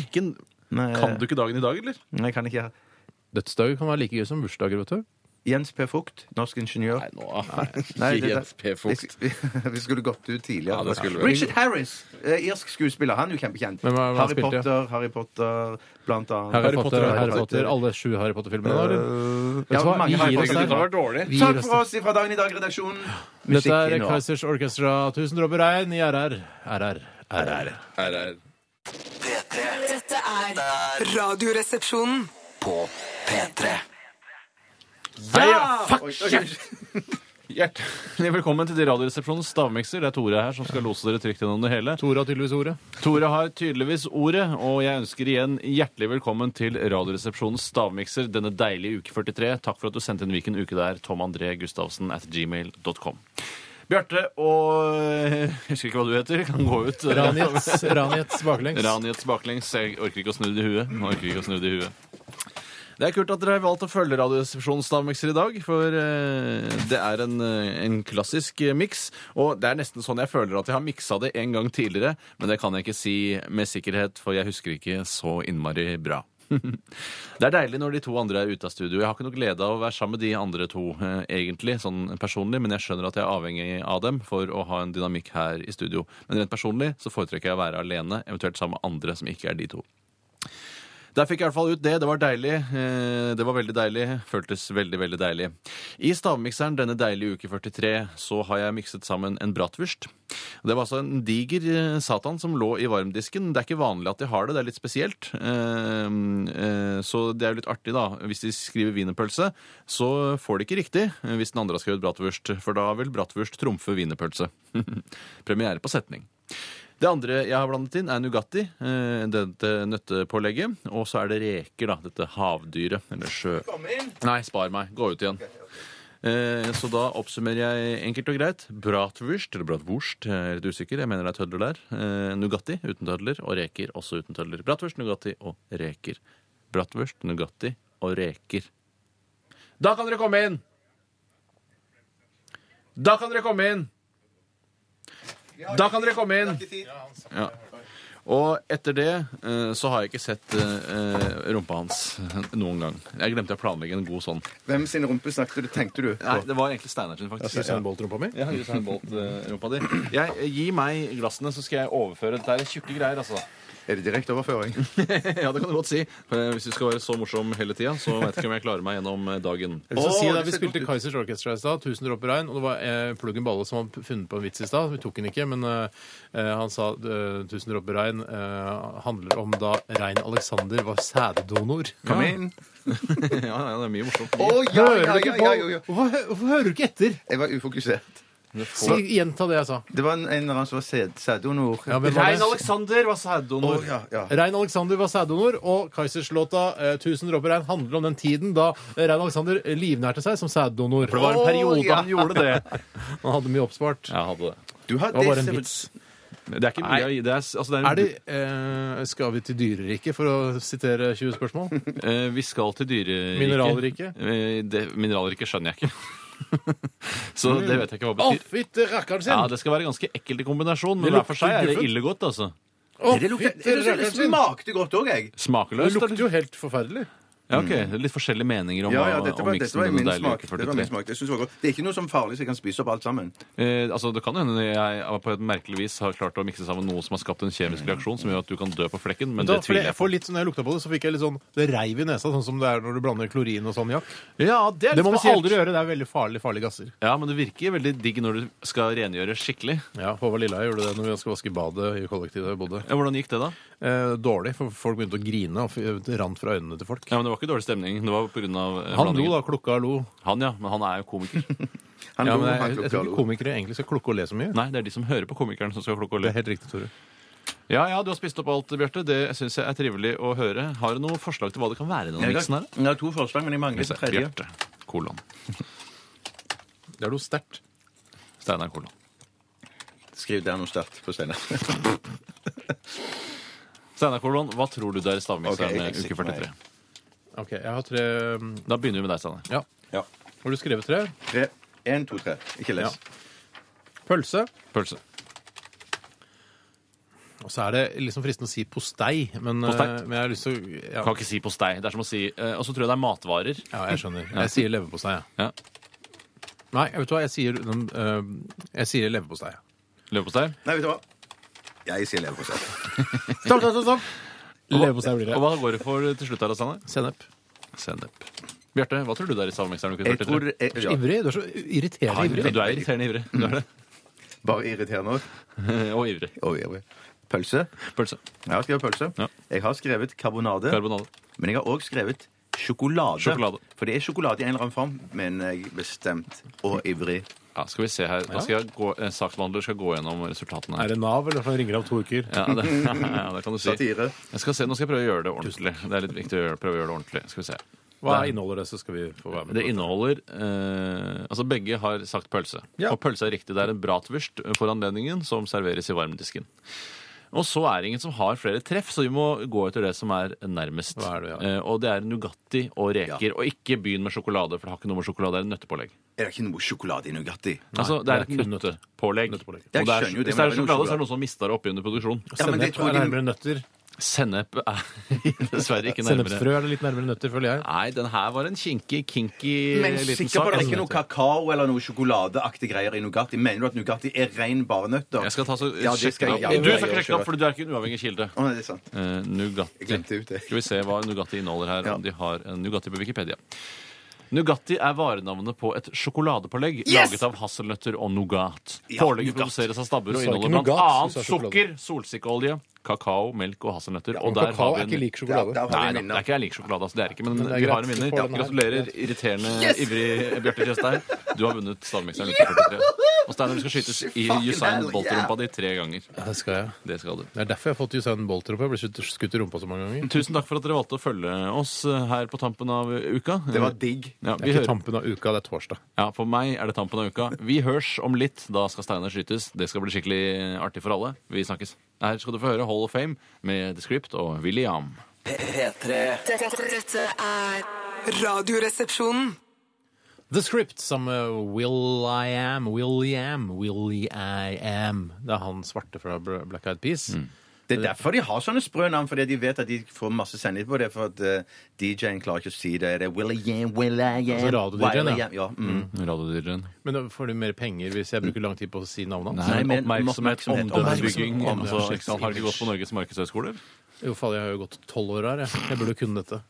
Speaker 2: Verken-
Speaker 3: Nei,
Speaker 2: Kan du ikke dagen i dag, eller?
Speaker 3: Nei, jeg kan ikke her.
Speaker 1: Dødsdager kan være like gøy som bursdager, vet du.
Speaker 3: Jens P. Fugt, norsk ingeniør.
Speaker 2: Nei, nå
Speaker 3: Nei, det-
Speaker 2: Jens P. Fugt.
Speaker 3: Vi, vi skulle gått ut tidligere.
Speaker 2: Ja, det skulle vi.
Speaker 3: Richard Harris, eh, irsk skuespiller. Han er jo kjempekjent.
Speaker 1: Hvem var det han
Speaker 3: Harry
Speaker 1: spilte?
Speaker 3: Potter, Harry Potter, blant annet.
Speaker 1: Harry Potter,
Speaker 3: Harry
Speaker 1: Harry Potter, alle sju Harry Potter-filmene. da, eller?
Speaker 3: Eh,
Speaker 1: Vet du hva?
Speaker 3: mange
Speaker 1: Vi
Speaker 3: Harry
Speaker 1: gir oss
Speaker 3: Potter-
Speaker 1: der.
Speaker 2: Det var dårlig.
Speaker 1: Vi gir
Speaker 3: Takk
Speaker 1: oss
Speaker 3: for oss fra Dagen i dag-redaksjonen.
Speaker 1: Dette
Speaker 3: Musikk
Speaker 1: er
Speaker 3: inn og-
Speaker 1: Kaizers Orchestra. Tusen dråper regn i RR. RR. RR.
Speaker 2: Her er
Speaker 5: P3
Speaker 9: Dette er
Speaker 6: Radioresepsjonen.
Speaker 5: på P3.
Speaker 2: Ja! Fuck Hjertelig velkommen til Radioresepsjonens stavmikser. Det er Tore her som skal lose dere trygt gjennom det hele.
Speaker 1: Tore har tydeligvis ordet.
Speaker 2: Tore har tydeligvis ordet, og jeg ønsker igjen hjertelig velkommen til Radioresepsjonens stavmikser denne deilige uke 43. Takk for at du sendte inn hvilken uke det er. Tom André Gustavsen at gmail.com. Bjarte og eh, Jeg husker ikke hva du heter. Kan gå ut.
Speaker 1: Ranjets, Ranjets baklengs.
Speaker 2: Ranjets baklengs. Jeg orker ikke å snu det i huet. Nå orker jeg ikke å snu det i huet. Det er kult at dere har valgt å følge Radioresepsjonens stavmikser i dag, for eh, det er en, eh, en klassisk eh, miks. Og det er nesten sånn jeg føler at jeg har miksa det en gang tidligere, men det kan jeg ikke si med sikkerhet, for jeg husker ikke så innmari bra. Det er deilig når de to andre er ute av studio. Jeg har ikke noe glede av å være sammen med de andre to, eh, egentlig, sånn personlig, men jeg skjønner at jeg er avhengig av dem for å ha en dynamikk her i studio. Men rent personlig så foretrekker jeg å være alene, eventuelt sammen med andre som ikke er de to. Der fikk jeg i hvert fall ut det. Det var deilig. Eh, Det var veldig deilig. Føltes veldig, veldig deilig. I stavmikseren denne deilige uke 43 så har jeg mikset sammen en bratwurst. Det var altså en diger eh, satan som lå i varmdisken. Det er ikke vanlig at de har det, det er litt spesielt. Eh, eh, Så det er jo litt artig, da. Hvis de skriver wienerpølse, så får de ikke riktig eh, hvis den andre har skrevet bratwurst, for da vil bratwurst trumfe wienerpølse. Premiere på setning. Det andre jeg har blandet inn, er Nugatti, eh, dette nøttepålegget. Og så er det reker, da. Dette havdyret. Eller sjø... Nei, spar meg. Gå ut igjen. Eh, Så da oppsummerer jeg enkelt og greit. Bratwurst, eller bratwurst, jeg er litt usikker. Jeg mener det er tødler der. Eh, Nugatti uten tødler, og reker også uten tødler. Bratwurst, Nugatti og reker. Bratwurst, Nugatti og reker. Da kan dere komme inn! Da kan dere komme inn! Da kan dere komme inn! Ja. Og etter det eh, så har jeg ikke sett eh, rumpa hans noen gang. Jeg glemte å planlegge en god sånn.
Speaker 3: Hvem sin rumpe snakket du, tenkte du?
Speaker 2: Nei,
Speaker 3: på?
Speaker 2: det var egentlig Steinar sin, faktisk.
Speaker 1: Susanne Bolt-rumpa mi?
Speaker 2: Ja, Usain Bolt-rumpa eh, di. Jeg, eh, gi meg glassene, så skal jeg overføre. Dette er tjukke greier, altså.
Speaker 3: Er det direkte overføring?
Speaker 2: Ja, det kan du godt si. Eh, Hvis du skal være så morsom hele tida, så veit ikke om jeg klarer meg gjennom eh, dagen.
Speaker 1: Så
Speaker 3: Åh,
Speaker 1: si det,
Speaker 3: det
Speaker 1: Vi
Speaker 3: ser
Speaker 1: spilte
Speaker 3: godt ut.
Speaker 1: Kaizers Orchestra i stad, 'Tusen dråper regn', og det var eh, Pluggen Balle som hadde funnet på en vits i stad. Vi tok den ikke, men eh, eh, han sa eh, 'Tusen dråper regn' eh, handler om da Rein Alexander var sæddonor.
Speaker 3: Kom inn.
Speaker 2: Ja, ja, det er mye morsomt.
Speaker 3: Å, ja,
Speaker 1: Hører
Speaker 3: ja,
Speaker 1: du
Speaker 3: ja,
Speaker 1: ikke
Speaker 3: ja,
Speaker 1: på?
Speaker 3: ja, ja.
Speaker 1: Hvorfor hø- hvorfor hører du ikke etter?
Speaker 3: Jeg var ufokusert.
Speaker 1: Si, gjenta det jeg sa.
Speaker 3: Det var en, en eller annen som var sæd- sæddonor.
Speaker 1: Ja, hvem var det?
Speaker 2: Rein Alexander var sæddonor.
Speaker 3: Å, ja, ja.
Speaker 1: Rein Alexander var sæddonor, og Kaiserslåta eh, 'Tusen dråper regn' handler om den tiden da eh, Rein Alexander livnærte seg som sæddonor.
Speaker 2: For det var en periode
Speaker 3: ja.
Speaker 2: han gjorde det.
Speaker 1: Han hadde mye oppspart.
Speaker 2: Ja, hadde det.
Speaker 3: Du har
Speaker 1: Det var bare
Speaker 3: disse-
Speaker 1: en vits.
Speaker 2: Det er ikke mye å gi. Det er, altså, det er,
Speaker 1: Er det, eh, skal vi til dyreriket, for å sitere 20 spørsmål?
Speaker 2: Eh, vi skal til dyreriket.
Speaker 1: Mineralriket?
Speaker 2: Eh, det- Mineralriket skjønner jeg ikke. Så
Speaker 3: Mm.
Speaker 2: det vet jeg ikke hva
Speaker 1: Å,
Speaker 2: betyr.
Speaker 1: fytte rakkeren sin!
Speaker 2: Ja, Det skal være ganske ekkelt i kombinasjon, men
Speaker 1: Det
Speaker 2: hver for seg er det
Speaker 1: lukter
Speaker 2: ille godt. altså.
Speaker 1: Å,
Speaker 3: Det lukter-
Speaker 1: fytte
Speaker 3: det
Speaker 1: rakkeren sin!
Speaker 3: smakte godt òg, jeg.
Speaker 1: Det
Speaker 2: Smakeløst.
Speaker 1: lukter
Speaker 2: eller?
Speaker 1: jo helt forferdelig.
Speaker 2: Ja, ok. Det er Litt forskjellige meninger om,
Speaker 3: Ja, ja,
Speaker 2: hva-
Speaker 3: dette
Speaker 2: om
Speaker 3: var,
Speaker 2: miksen
Speaker 3: dette var
Speaker 2: med
Speaker 3: min
Speaker 2: deilige
Speaker 3: smak.
Speaker 2: uke
Speaker 3: Det, var
Speaker 2: 43.
Speaker 3: min smak. Jeg synes det, var godt. det er ikke noe som er farlig, så jeg kan spise opp alt sammen.
Speaker 2: Eh, altså, det kan hende jeg på et merkelig vis har klart å mikse sammen noe som har skapt en kjemisk reaksjon som gjør at du kan dø på flekken, men
Speaker 1: Da,
Speaker 2: det
Speaker 1: for
Speaker 2: tviler jeg
Speaker 1: jeg
Speaker 2: på.
Speaker 1: får litt, sånn, når jeg lukta på det, så fikk jeg litt sånn Det reiv i nesa, sånn som det er når du blander klorin og salmiakk.
Speaker 2: Ja, er
Speaker 1: Det må
Speaker 2: litt
Speaker 1: man
Speaker 2: spesielt.
Speaker 1: aldri gjøre. Det er veldig farlige, farlige gasser.
Speaker 2: Ja, men det virker veldig digg når du skal rengjøre skikkelig.
Speaker 1: Ja, Håvard Lilleheie gjorde det når vi skulle vaske badet i kollektivet jeg bodde.
Speaker 2: Ja, hvordan gikk det, da?
Speaker 1: Eh, dårlig, for folk begynte å grine og f- det rant fra øynene til folk.
Speaker 2: Ja, men Det var ikke dårlig stemning. Det var pga.
Speaker 1: Han lo da, klukka lo.
Speaker 2: eh, Han, ja. Men han er jo komiker.
Speaker 3: Han
Speaker 1: Ja,
Speaker 3: lo,
Speaker 1: men jeg,
Speaker 3: han
Speaker 1: jeg,
Speaker 3: klokka
Speaker 1: tror
Speaker 3: lo.
Speaker 1: ikke komikere egentlig skal klukke og le så mye.
Speaker 2: Nei, det er de som hører på komikeren, som skal klukke
Speaker 1: Det
Speaker 2: og le.
Speaker 1: er helt riktig, Tore.
Speaker 2: Ja, ja, du har spist opp alt, Bjarte. Det syns jeg er trivelig å høre. Har du noe forslag til hva det kan være i denne
Speaker 3: Jeg
Speaker 2: miksen
Speaker 3: har,
Speaker 2: her?
Speaker 3: jeg har to forslag, men jeg mangler det tredje.
Speaker 2: Bjarte. Kolon.
Speaker 1: Det er noe sterkt.
Speaker 2: Steinar Kolon.
Speaker 3: Skriv der noe sterkt på Steinar.
Speaker 2: Steinar Kolon, hva tror du det er i stavmikseren
Speaker 3: Ok,
Speaker 2: med
Speaker 3: jeg
Speaker 2: uke
Speaker 3: sitter med
Speaker 2: 43?
Speaker 1: Ok, jeg har tre mm,
Speaker 2: Da begynner vi med deg, Steinar.
Speaker 1: Ja.
Speaker 3: Ja.
Speaker 1: Har du skrevet tre?
Speaker 3: Tre. En, to, tre. Ikke les.
Speaker 1: Pølse.
Speaker 2: Pølse.
Speaker 1: Og så er det liksom fristende å si postei, men,
Speaker 2: Postei?
Speaker 1: eh, men jeg har lyst til å ja.
Speaker 2: Kan ikke si postei. Det er som å si eh, Og så tror jeg det er matvarer.
Speaker 1: ja, jeg skjønner. Jeg sier leverpostei, jeg.
Speaker 2: Ja.
Speaker 1: Nei, vet du hva, jeg sier, den, eh, jeg sier leverpostei. jeg.
Speaker 2: Leverpostei.
Speaker 3: Nei, vet du hva? Jeg sier leverpostei.
Speaker 1: Stopp, stopp, stopp, stopp! Leverpostei blir
Speaker 2: Og
Speaker 1: det.
Speaker 2: hva går det for til slutt her, Steinar?
Speaker 1: Sennep.
Speaker 2: Sennep. Bjarte, hva tror du det er i stavmikseren uke
Speaker 3: Jeg tror
Speaker 2: 43?
Speaker 1: Du
Speaker 3: jeg,
Speaker 1: er så
Speaker 3: ja,
Speaker 1: ivrig. Du er så irriterende
Speaker 2: Du
Speaker 1: ivrig.
Speaker 2: er irriterende ivrig. Du er det.
Speaker 3: Bare irriterende òg.
Speaker 2: Og ivrig.
Speaker 3: Og ivrig. Pølse.
Speaker 2: Pølse.
Speaker 3: Jeg har skrevet pølse.
Speaker 2: Ja.
Speaker 3: Jeg har skrevet karbonade.
Speaker 2: Karbonade.
Speaker 3: Men jeg har òg skrevet sjokolade.
Speaker 2: Sjokolade.
Speaker 3: For det er sjokolade i en eller annen form, men jeg er bestemt og ivrig.
Speaker 2: Ja, skal vi se her. Da skal jeg gå, eh, saksbehandler skal gå gjennom resultatene.
Speaker 1: Er
Speaker 2: her.
Speaker 1: det Nav, eller hva ringer om to uker?
Speaker 2: Ja, det, ja, det kan du si.
Speaker 3: Satire.
Speaker 2: Jeg skal se, nå skal jeg prøve å gjøre det ordentlig. Det er litt viktig å gjøre, prøve å gjøre det ordentlig. Skal vi se.
Speaker 1: Hva inneholder det, så skal vi få være med.
Speaker 2: Det inneholder eh, Altså, begge har sagt pølse.
Speaker 1: Ja.
Speaker 2: Og pølse er riktig. Det er en bratwurst for anledningen som serveres i varmdisken. Og så er det ingen som har flere treff, så vi må gå etter det som er nærmest.
Speaker 1: Hva er det, ja?
Speaker 2: Eh, og det er Nugatti og reker. Og ikke begynn med sjokolade, for det har ikke noe med sjokolade, det er nøttepålegg.
Speaker 3: Er det ikke noe sjokolade i Nugatti?
Speaker 2: altså, det er
Speaker 1: det er
Speaker 2: et
Speaker 1: kun nøtte.
Speaker 2: nøttepålegg.
Speaker 1: Nøttepålegg.
Speaker 2: Og det
Speaker 3: Jeg
Speaker 2: er-
Speaker 3: skjønner jo det,
Speaker 2: Hvis det
Speaker 3: men
Speaker 2: er
Speaker 3: det er noe
Speaker 2: sjokolade, så er
Speaker 3: sjokolade.
Speaker 2: det noen som mister det oppi under produksjon.
Speaker 3: Ja, men det
Speaker 1: Sennep
Speaker 3: tror
Speaker 1: er
Speaker 3: jeg de-
Speaker 1: nærmere nøtter.
Speaker 2: Sennep er dessverre ikke nærmere.
Speaker 1: Sennepsfrø er litt nærmere nøtter, føler jeg.
Speaker 2: Nei, den her var en kinky, kinky
Speaker 3: Men sikker
Speaker 2: liten
Speaker 3: på
Speaker 2: sak.
Speaker 3: det er
Speaker 2: altså.
Speaker 3: ikke noe kakao eller noe sjokoladeaktige greier i Nugatti? Mener du at Nugatti er ren barnøtter?
Speaker 2: Jeg skal ta så
Speaker 3: Ja, det
Speaker 2: sjekke
Speaker 3: skal
Speaker 2: det
Speaker 3: jeg-
Speaker 2: opp.
Speaker 3: ja,
Speaker 2: du
Speaker 3: det
Speaker 2: skal
Speaker 3: gjør jeg
Speaker 2: sjekke det opp,
Speaker 3: selv.
Speaker 2: for du er ikke en uavhengig kilde.
Speaker 3: Å, nei, det er sant.
Speaker 2: Eh,
Speaker 3: Jeg
Speaker 2: Nugatti.
Speaker 3: glemte ut det.
Speaker 2: Skal vi se hva Nugatti inneholder her,
Speaker 3: Ja.
Speaker 2: om de har en Nugatti på Wikipedia. Nugatti er varenavnet på et sjokoladepålegg
Speaker 3: Yes!
Speaker 2: laget av hasselnøtter og nougat.
Speaker 3: Ja,
Speaker 2: Pålegget
Speaker 3: nougat.
Speaker 2: produseres av stabber og
Speaker 1: sa ikke
Speaker 2: inneholder blant
Speaker 1: nougat, du
Speaker 2: annet
Speaker 1: sa sjokolade.
Speaker 2: sukker, solsikkeolje, kakao, melk og hasselnøtter. og der
Speaker 1: Kakao er
Speaker 2: har vi
Speaker 1: ikke
Speaker 2: en
Speaker 1: lik sjokolade.
Speaker 3: Ja, Har
Speaker 2: Nei,
Speaker 3: vi
Speaker 2: da,
Speaker 3: en
Speaker 2: det er ikke jeg liker sjokolade. Altså, det er ikke, men,
Speaker 1: Men det er
Speaker 2: vi har
Speaker 1: greit,
Speaker 2: en
Speaker 1: du
Speaker 2: vinner.
Speaker 1: får
Speaker 2: Ja,
Speaker 1: den her.
Speaker 2: gratulerer, irriterende, ivrig Bjarte Tjøstheim. Du har vunnet stavmikseren uke 43. Og Steinar, du skal skytes i
Speaker 3: Fucking
Speaker 2: Usain
Speaker 3: hell,
Speaker 2: Bolt-rumpa di tre ganger.
Speaker 1: Ja, det skal jeg.
Speaker 2: Det skal du.
Speaker 1: Det er derfor jeg har fått Usain Bolt-rumpa. Jeg ble skutt- skutt i rumpa så mange ganger.
Speaker 2: Tusen takk for at dere valgte å følge oss eh, her på tampen av uka.
Speaker 3: Det var digg.
Speaker 2: ja,
Speaker 1: Det
Speaker 2: vi
Speaker 1: er ikke
Speaker 2: hører,
Speaker 1: tampen av uka, det er torsdag.
Speaker 2: ja, For meg er det tampen av uka. Vi hørs om litt. Da skal Steinar skytes. Det skal bli skikkelig artig for alle. Vi snakkes. Her skal du få høre Hall of Fame med The Script og William.
Speaker 5: P3
Speaker 9: Dette, dette er
Speaker 6: Radioresepsjonen.
Speaker 1: The Script sammen med Will I Am, Will I Am, Will I Am. Det er han svarte fra Bl- Black Eyed Peas.
Speaker 3: Det er derfor de har sånne sprø navn, fordi de vet at de får masse sendinger på det. For at eh, DJ-en klarer ikke å si det. Det er Will-I-am, Will-I-am,
Speaker 1: Altså radio-DJ-en, ja.
Speaker 3: ja. Mm.
Speaker 2: Radiodyreren.
Speaker 1: Men da får du mer penger hvis jeg bruker lang tid på å si navnene hans?
Speaker 2: Nei,
Speaker 3: Nei, men
Speaker 2: oppmerksomhet,
Speaker 3: oppmerksomhet,
Speaker 2: omdømmebygging
Speaker 1: oppmerksomhet.
Speaker 2: altså, ikke sant, Har du ikke gått på Norges markedshøgskoler?
Speaker 1: Jo, faen, jeg har jo gått tolv år her, jeg. Jeg burde jo kunne dette.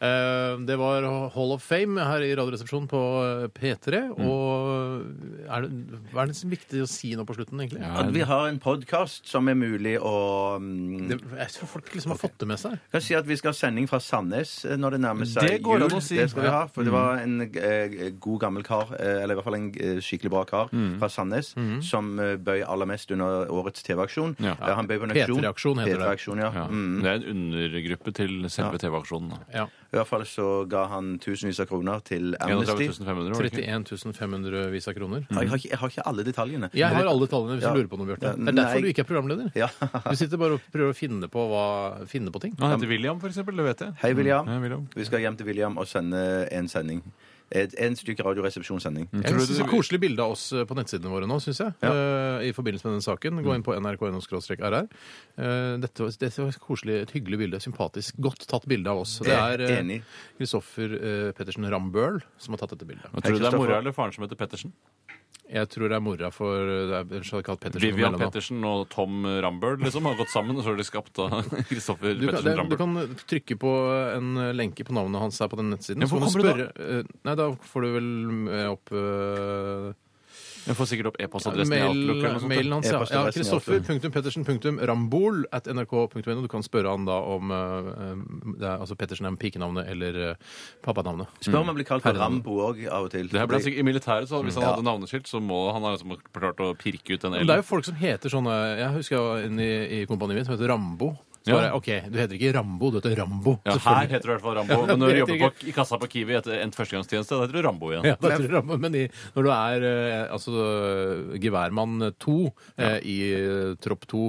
Speaker 1: Eh, det var Hall of Fame her i Radioresepsjonen på eh, P3.
Speaker 3: Mm.
Speaker 1: Og eh, er det, hva er det som er viktig å si nå på slutten, egentlig?
Speaker 3: At vi har en podkast som er mulig å mm,
Speaker 1: Det, jeg tror folk liksom har fått det med seg.
Speaker 3: kan si at vi skal ha sending fra Sandnes eh, når det nærmer seg
Speaker 2: Det går
Speaker 3: jul.
Speaker 2: an å si.
Speaker 3: Det skal vi ha, for det var en eh, god gammel kar, eh, eller i hvert fall en eh, skikkelig bra kar fra Sandnes, som eh, bøy aller mest under årets TV-aksjon.
Speaker 2: Ja.
Speaker 3: Eh, han bøy på en aksjon.
Speaker 1: P3-aksjon heter det.
Speaker 3: P3-aksjon, ja.
Speaker 2: Ja.
Speaker 3: Mm.
Speaker 2: Det er en undergruppe til selve TV-aksjonen. da.
Speaker 1: Ja.
Speaker 3: I hvert fall så ga han tusenvis av kroner til Amnesty.
Speaker 2: 31 500, var det ikke?
Speaker 1: 31 500 vis av kroner.
Speaker 3: Jeg har, ikke, jeg har ikke alle detaljene.
Speaker 1: Jeg har alle tallene hvis du
Speaker 3: Ja.
Speaker 1: lurer på noe, Bjarte. Det er
Speaker 3: Nei.
Speaker 1: derfor du ikke er programleder.
Speaker 3: Ja.
Speaker 1: Du sitter bare og prøver å finne på, hva, finne på ting.
Speaker 2: Han heter William, for eksempel. Det vet jeg.
Speaker 3: Hei, William.
Speaker 2: Hei, William.
Speaker 3: Vi skal hjem til William og sende en sending. Et, en stykke radioresepsjonssending.
Speaker 1: Jeg
Speaker 2: Tror
Speaker 1: synes
Speaker 2: du-
Speaker 1: det er Koselig bilde av oss eh, på nettsidene våre nå, syns jeg. eh, I forbindelse med den saken.
Speaker 2: Mm.
Speaker 1: Gå inn på nrk.no-rr. Eh, Dette, var- dette var et koselig, et hyggelig bilde. Sympatisk. Godt tatt bilde av oss.
Speaker 3: Jeg
Speaker 1: Det
Speaker 3: er
Speaker 1: er eh,
Speaker 3: enig.
Speaker 1: Kristoffer eh, Pettersen Rambøl som har tatt dette bildet.
Speaker 2: Tror du det er
Speaker 3: Kristoffer.
Speaker 2: mora eller faren som heter Pettersen?
Speaker 1: Jeg tror det er mora for eh, det er, ellers hadde jeg kalt Pettersen
Speaker 2: Vivian
Speaker 1: mellomnavn.
Speaker 2: Pettersen og Tom Rambøll liksom, har gått sammen, og så har de skapt da Kristoffer
Speaker 1: Du kan, det,
Speaker 2: Pettersen
Speaker 1: du
Speaker 2: Rambøll.
Speaker 1: kan trykke på en eh, lenke på navnet hans her på den nettsiden.
Speaker 2: Ja,
Speaker 1: og så
Speaker 2: hvor
Speaker 1: kan du
Speaker 2: kommer du
Speaker 1: spørre, eh, Nei, da får du vel eh, opp eh,
Speaker 2: Jeg får sikkert opp e-postadressen i Outlook. eller noe
Speaker 1: Mail,
Speaker 2: sånt.
Speaker 1: mailen hans, ja. ja
Speaker 3: E-postadressen i Outlook.
Speaker 1: Kristoffer.pettersen.rambol at nrk.no. Du kan spørre han da om eh, eh, det er, altså Pettersen er pikenavnet eller eh, pappanavnet.
Speaker 3: Spør om han blir kalt for Rambo òg av og til.
Speaker 2: Det her ble sikkert, I militæret, så hvis han hadde navneskilt, så må han ha liksom klart å pirke ut en
Speaker 1: Men
Speaker 2: L.
Speaker 1: det er jo folk som heter sånn eh, Jeg husker jeg var inne i, i kompaniet mitt som heter Rambo. Så
Speaker 2: Ja.
Speaker 1: var jeg, OK, du heter ikke Rambo, du heter Rambo.
Speaker 2: Ja, her
Speaker 1: selvfølgelig.
Speaker 2: heter du i hvert fall Rambo. Men når du
Speaker 1: jeg
Speaker 2: jobber
Speaker 1: heter
Speaker 2: på, i kassa på Kiwi etter endt førstegangstjeneste, da heter du Rambo igjen.
Speaker 1: Ja, da heter du Rambo. Men i, når du er eh, altså, eh, geværmann 2 eh, i eh, tropp 2,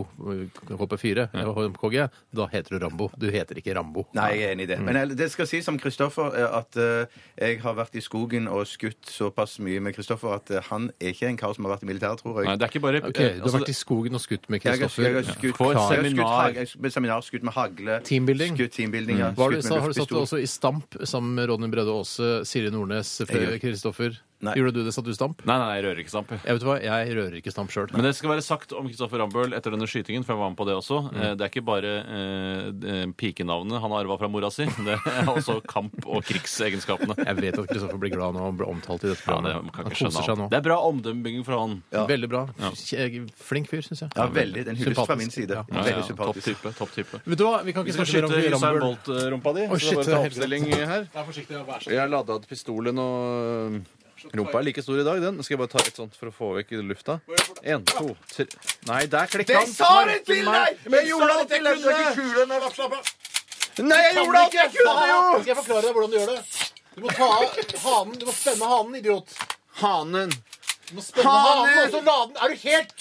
Speaker 1: HP4, HMKG, da heter du Rambo. Du heter ikke Rambo.
Speaker 3: Nei, jeg er enig i det. Men jeg, det skal sies om Kristoffer eh, at eh, jeg har vært i skogen og skutt såpass mye med Kristoffer at eh, han er ikke en kar som har vært i militæret, tror jeg.
Speaker 2: Nei, det er ikke bare
Speaker 1: Ok, Du har
Speaker 2: altså,
Speaker 1: vært i skogen og skutt med
Speaker 3: Eh, Jeg har,
Speaker 1: Kristoffer.
Speaker 3: jeg har skutt,
Speaker 2: På et
Speaker 3: jeg har skutt
Speaker 2: seminar.
Speaker 3: hag- jeg har skutt med seminar, skutt med hagle.
Speaker 1: Teambuilding.
Speaker 3: Skutt teambuilding, ja.
Speaker 1: Hva har du-
Speaker 3: Skutt
Speaker 1: sa-
Speaker 3: med
Speaker 1: har du satt
Speaker 3: luftpistol.
Speaker 1: også i stamp sammen med Ronny Brede Aase, Silje Nordnes,
Speaker 3: gjør-
Speaker 1: Kristoffer?
Speaker 3: Nei.
Speaker 1: Gjorde du det? Satt du i stamp?
Speaker 2: Nei, nei, jeg rører ikke stamp.
Speaker 1: Jeg vet hva, jeg rører ikke stamp sjøl.
Speaker 2: Men det skal være sagt om Kristoffer Rambøll etter denne skytingen, for jeg var med på det også.
Speaker 1: Mm.
Speaker 2: Eh, Det er ikke bare eh, eh, pikenavnet han har arva fra mora si, det er også kamp- og krigsegenskapene.
Speaker 1: Jeg vet at Kristoffer blir glad når han blir omtalt i dette
Speaker 2: Ja, det
Speaker 1: programmet.
Speaker 2: kan
Speaker 1: han
Speaker 2: ikke
Speaker 1: koser
Speaker 2: skjønne
Speaker 1: seg nå.
Speaker 2: alt. Det er bra omdømmebygging fra han.
Speaker 1: Veldig bra. Kje- Flink fyr, syns jeg.
Speaker 3: Ja, veldig. Den hylles fra min side.
Speaker 1: Ja.
Speaker 2: Ja,
Speaker 3: Veldig
Speaker 2: ja, topp
Speaker 3: sympatisk.
Speaker 2: type. topp type.
Speaker 1: Vet du hva, vi kan
Speaker 2: Vi
Speaker 1: ikke
Speaker 2: skal
Speaker 1: snakke mer om
Speaker 2: skyte Usain
Speaker 1: Rambøll.
Speaker 2: Bolt-rumpa di.
Speaker 1: Å,
Speaker 2: så det
Speaker 1: shit, det
Speaker 2: er bare
Speaker 1: er
Speaker 2: å ta
Speaker 1: helt
Speaker 2: oppstilling her.
Speaker 1: Vær forsiktig, vær så
Speaker 2: Jeg har lada ut pistolen og øh, Rumpa er like stor i dag, den. Skal jeg bare ta et sånt for å få vekk lufta? En, to, tre Nei, der klikka han!
Speaker 3: til deg! Jeg gjorde alt jeg kunne!
Speaker 2: Nei, jeg gjorde alt jeg kunne, jo!
Speaker 1: Skal jeg forklare deg hvordan du gjør det? Du må ta av hanen. Du må spenne hanen, idiot.
Speaker 2: Hanen.
Speaker 1: Du må spenne hanen, og så la den Er du helt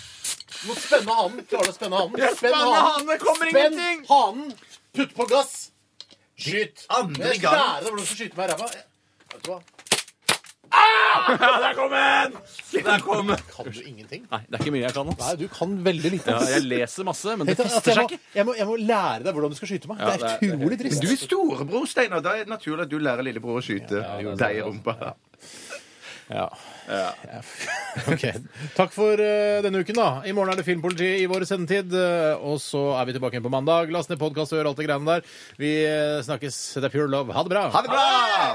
Speaker 1: Du må spenne hanen. Klarer du å spenne hanen? Spenn hanen.
Speaker 2: det kommer
Speaker 1: Spenn hanen. Putt på gass. Skyt.
Speaker 3: andre
Speaker 1: Jeg skal
Speaker 3: gang.
Speaker 1: lære deg hvordan du skal skyte med ræva. Jeg- Vet du hva?
Speaker 2: Ja, der kom den! Der kom den.
Speaker 1: Kan du ingenting?
Speaker 2: Nei, det er ikke mye jeg kan. ass.
Speaker 1: Nei, du kan veldig lite.
Speaker 2: Ja,
Speaker 1: ass.
Speaker 2: jeg leser masse, men det
Speaker 1: Tenk deg at
Speaker 2: fester
Speaker 1: jeg,
Speaker 2: seg
Speaker 1: må,
Speaker 2: ikke.
Speaker 1: jeg, må, jeg må lære deg hvordan du skal skyte meg.
Speaker 2: Ja,
Speaker 1: det er
Speaker 2: det er-
Speaker 1: utrolig trist.
Speaker 3: Du er storebror, Steinar. Da er det naturlig at du lærer lillebror å skyte deg i rumpa.
Speaker 1: Ja. ok. Takk for eh, denne uken, da. I morgen er det Filmpoliti i vår sendetid. eh, og så er vi tilbake igjen på mandag. Last ned podkast og gjør alt det greiene der. Vi eh, snakkes. Det er pure love. Ha det bra!
Speaker 3: Ha det bra!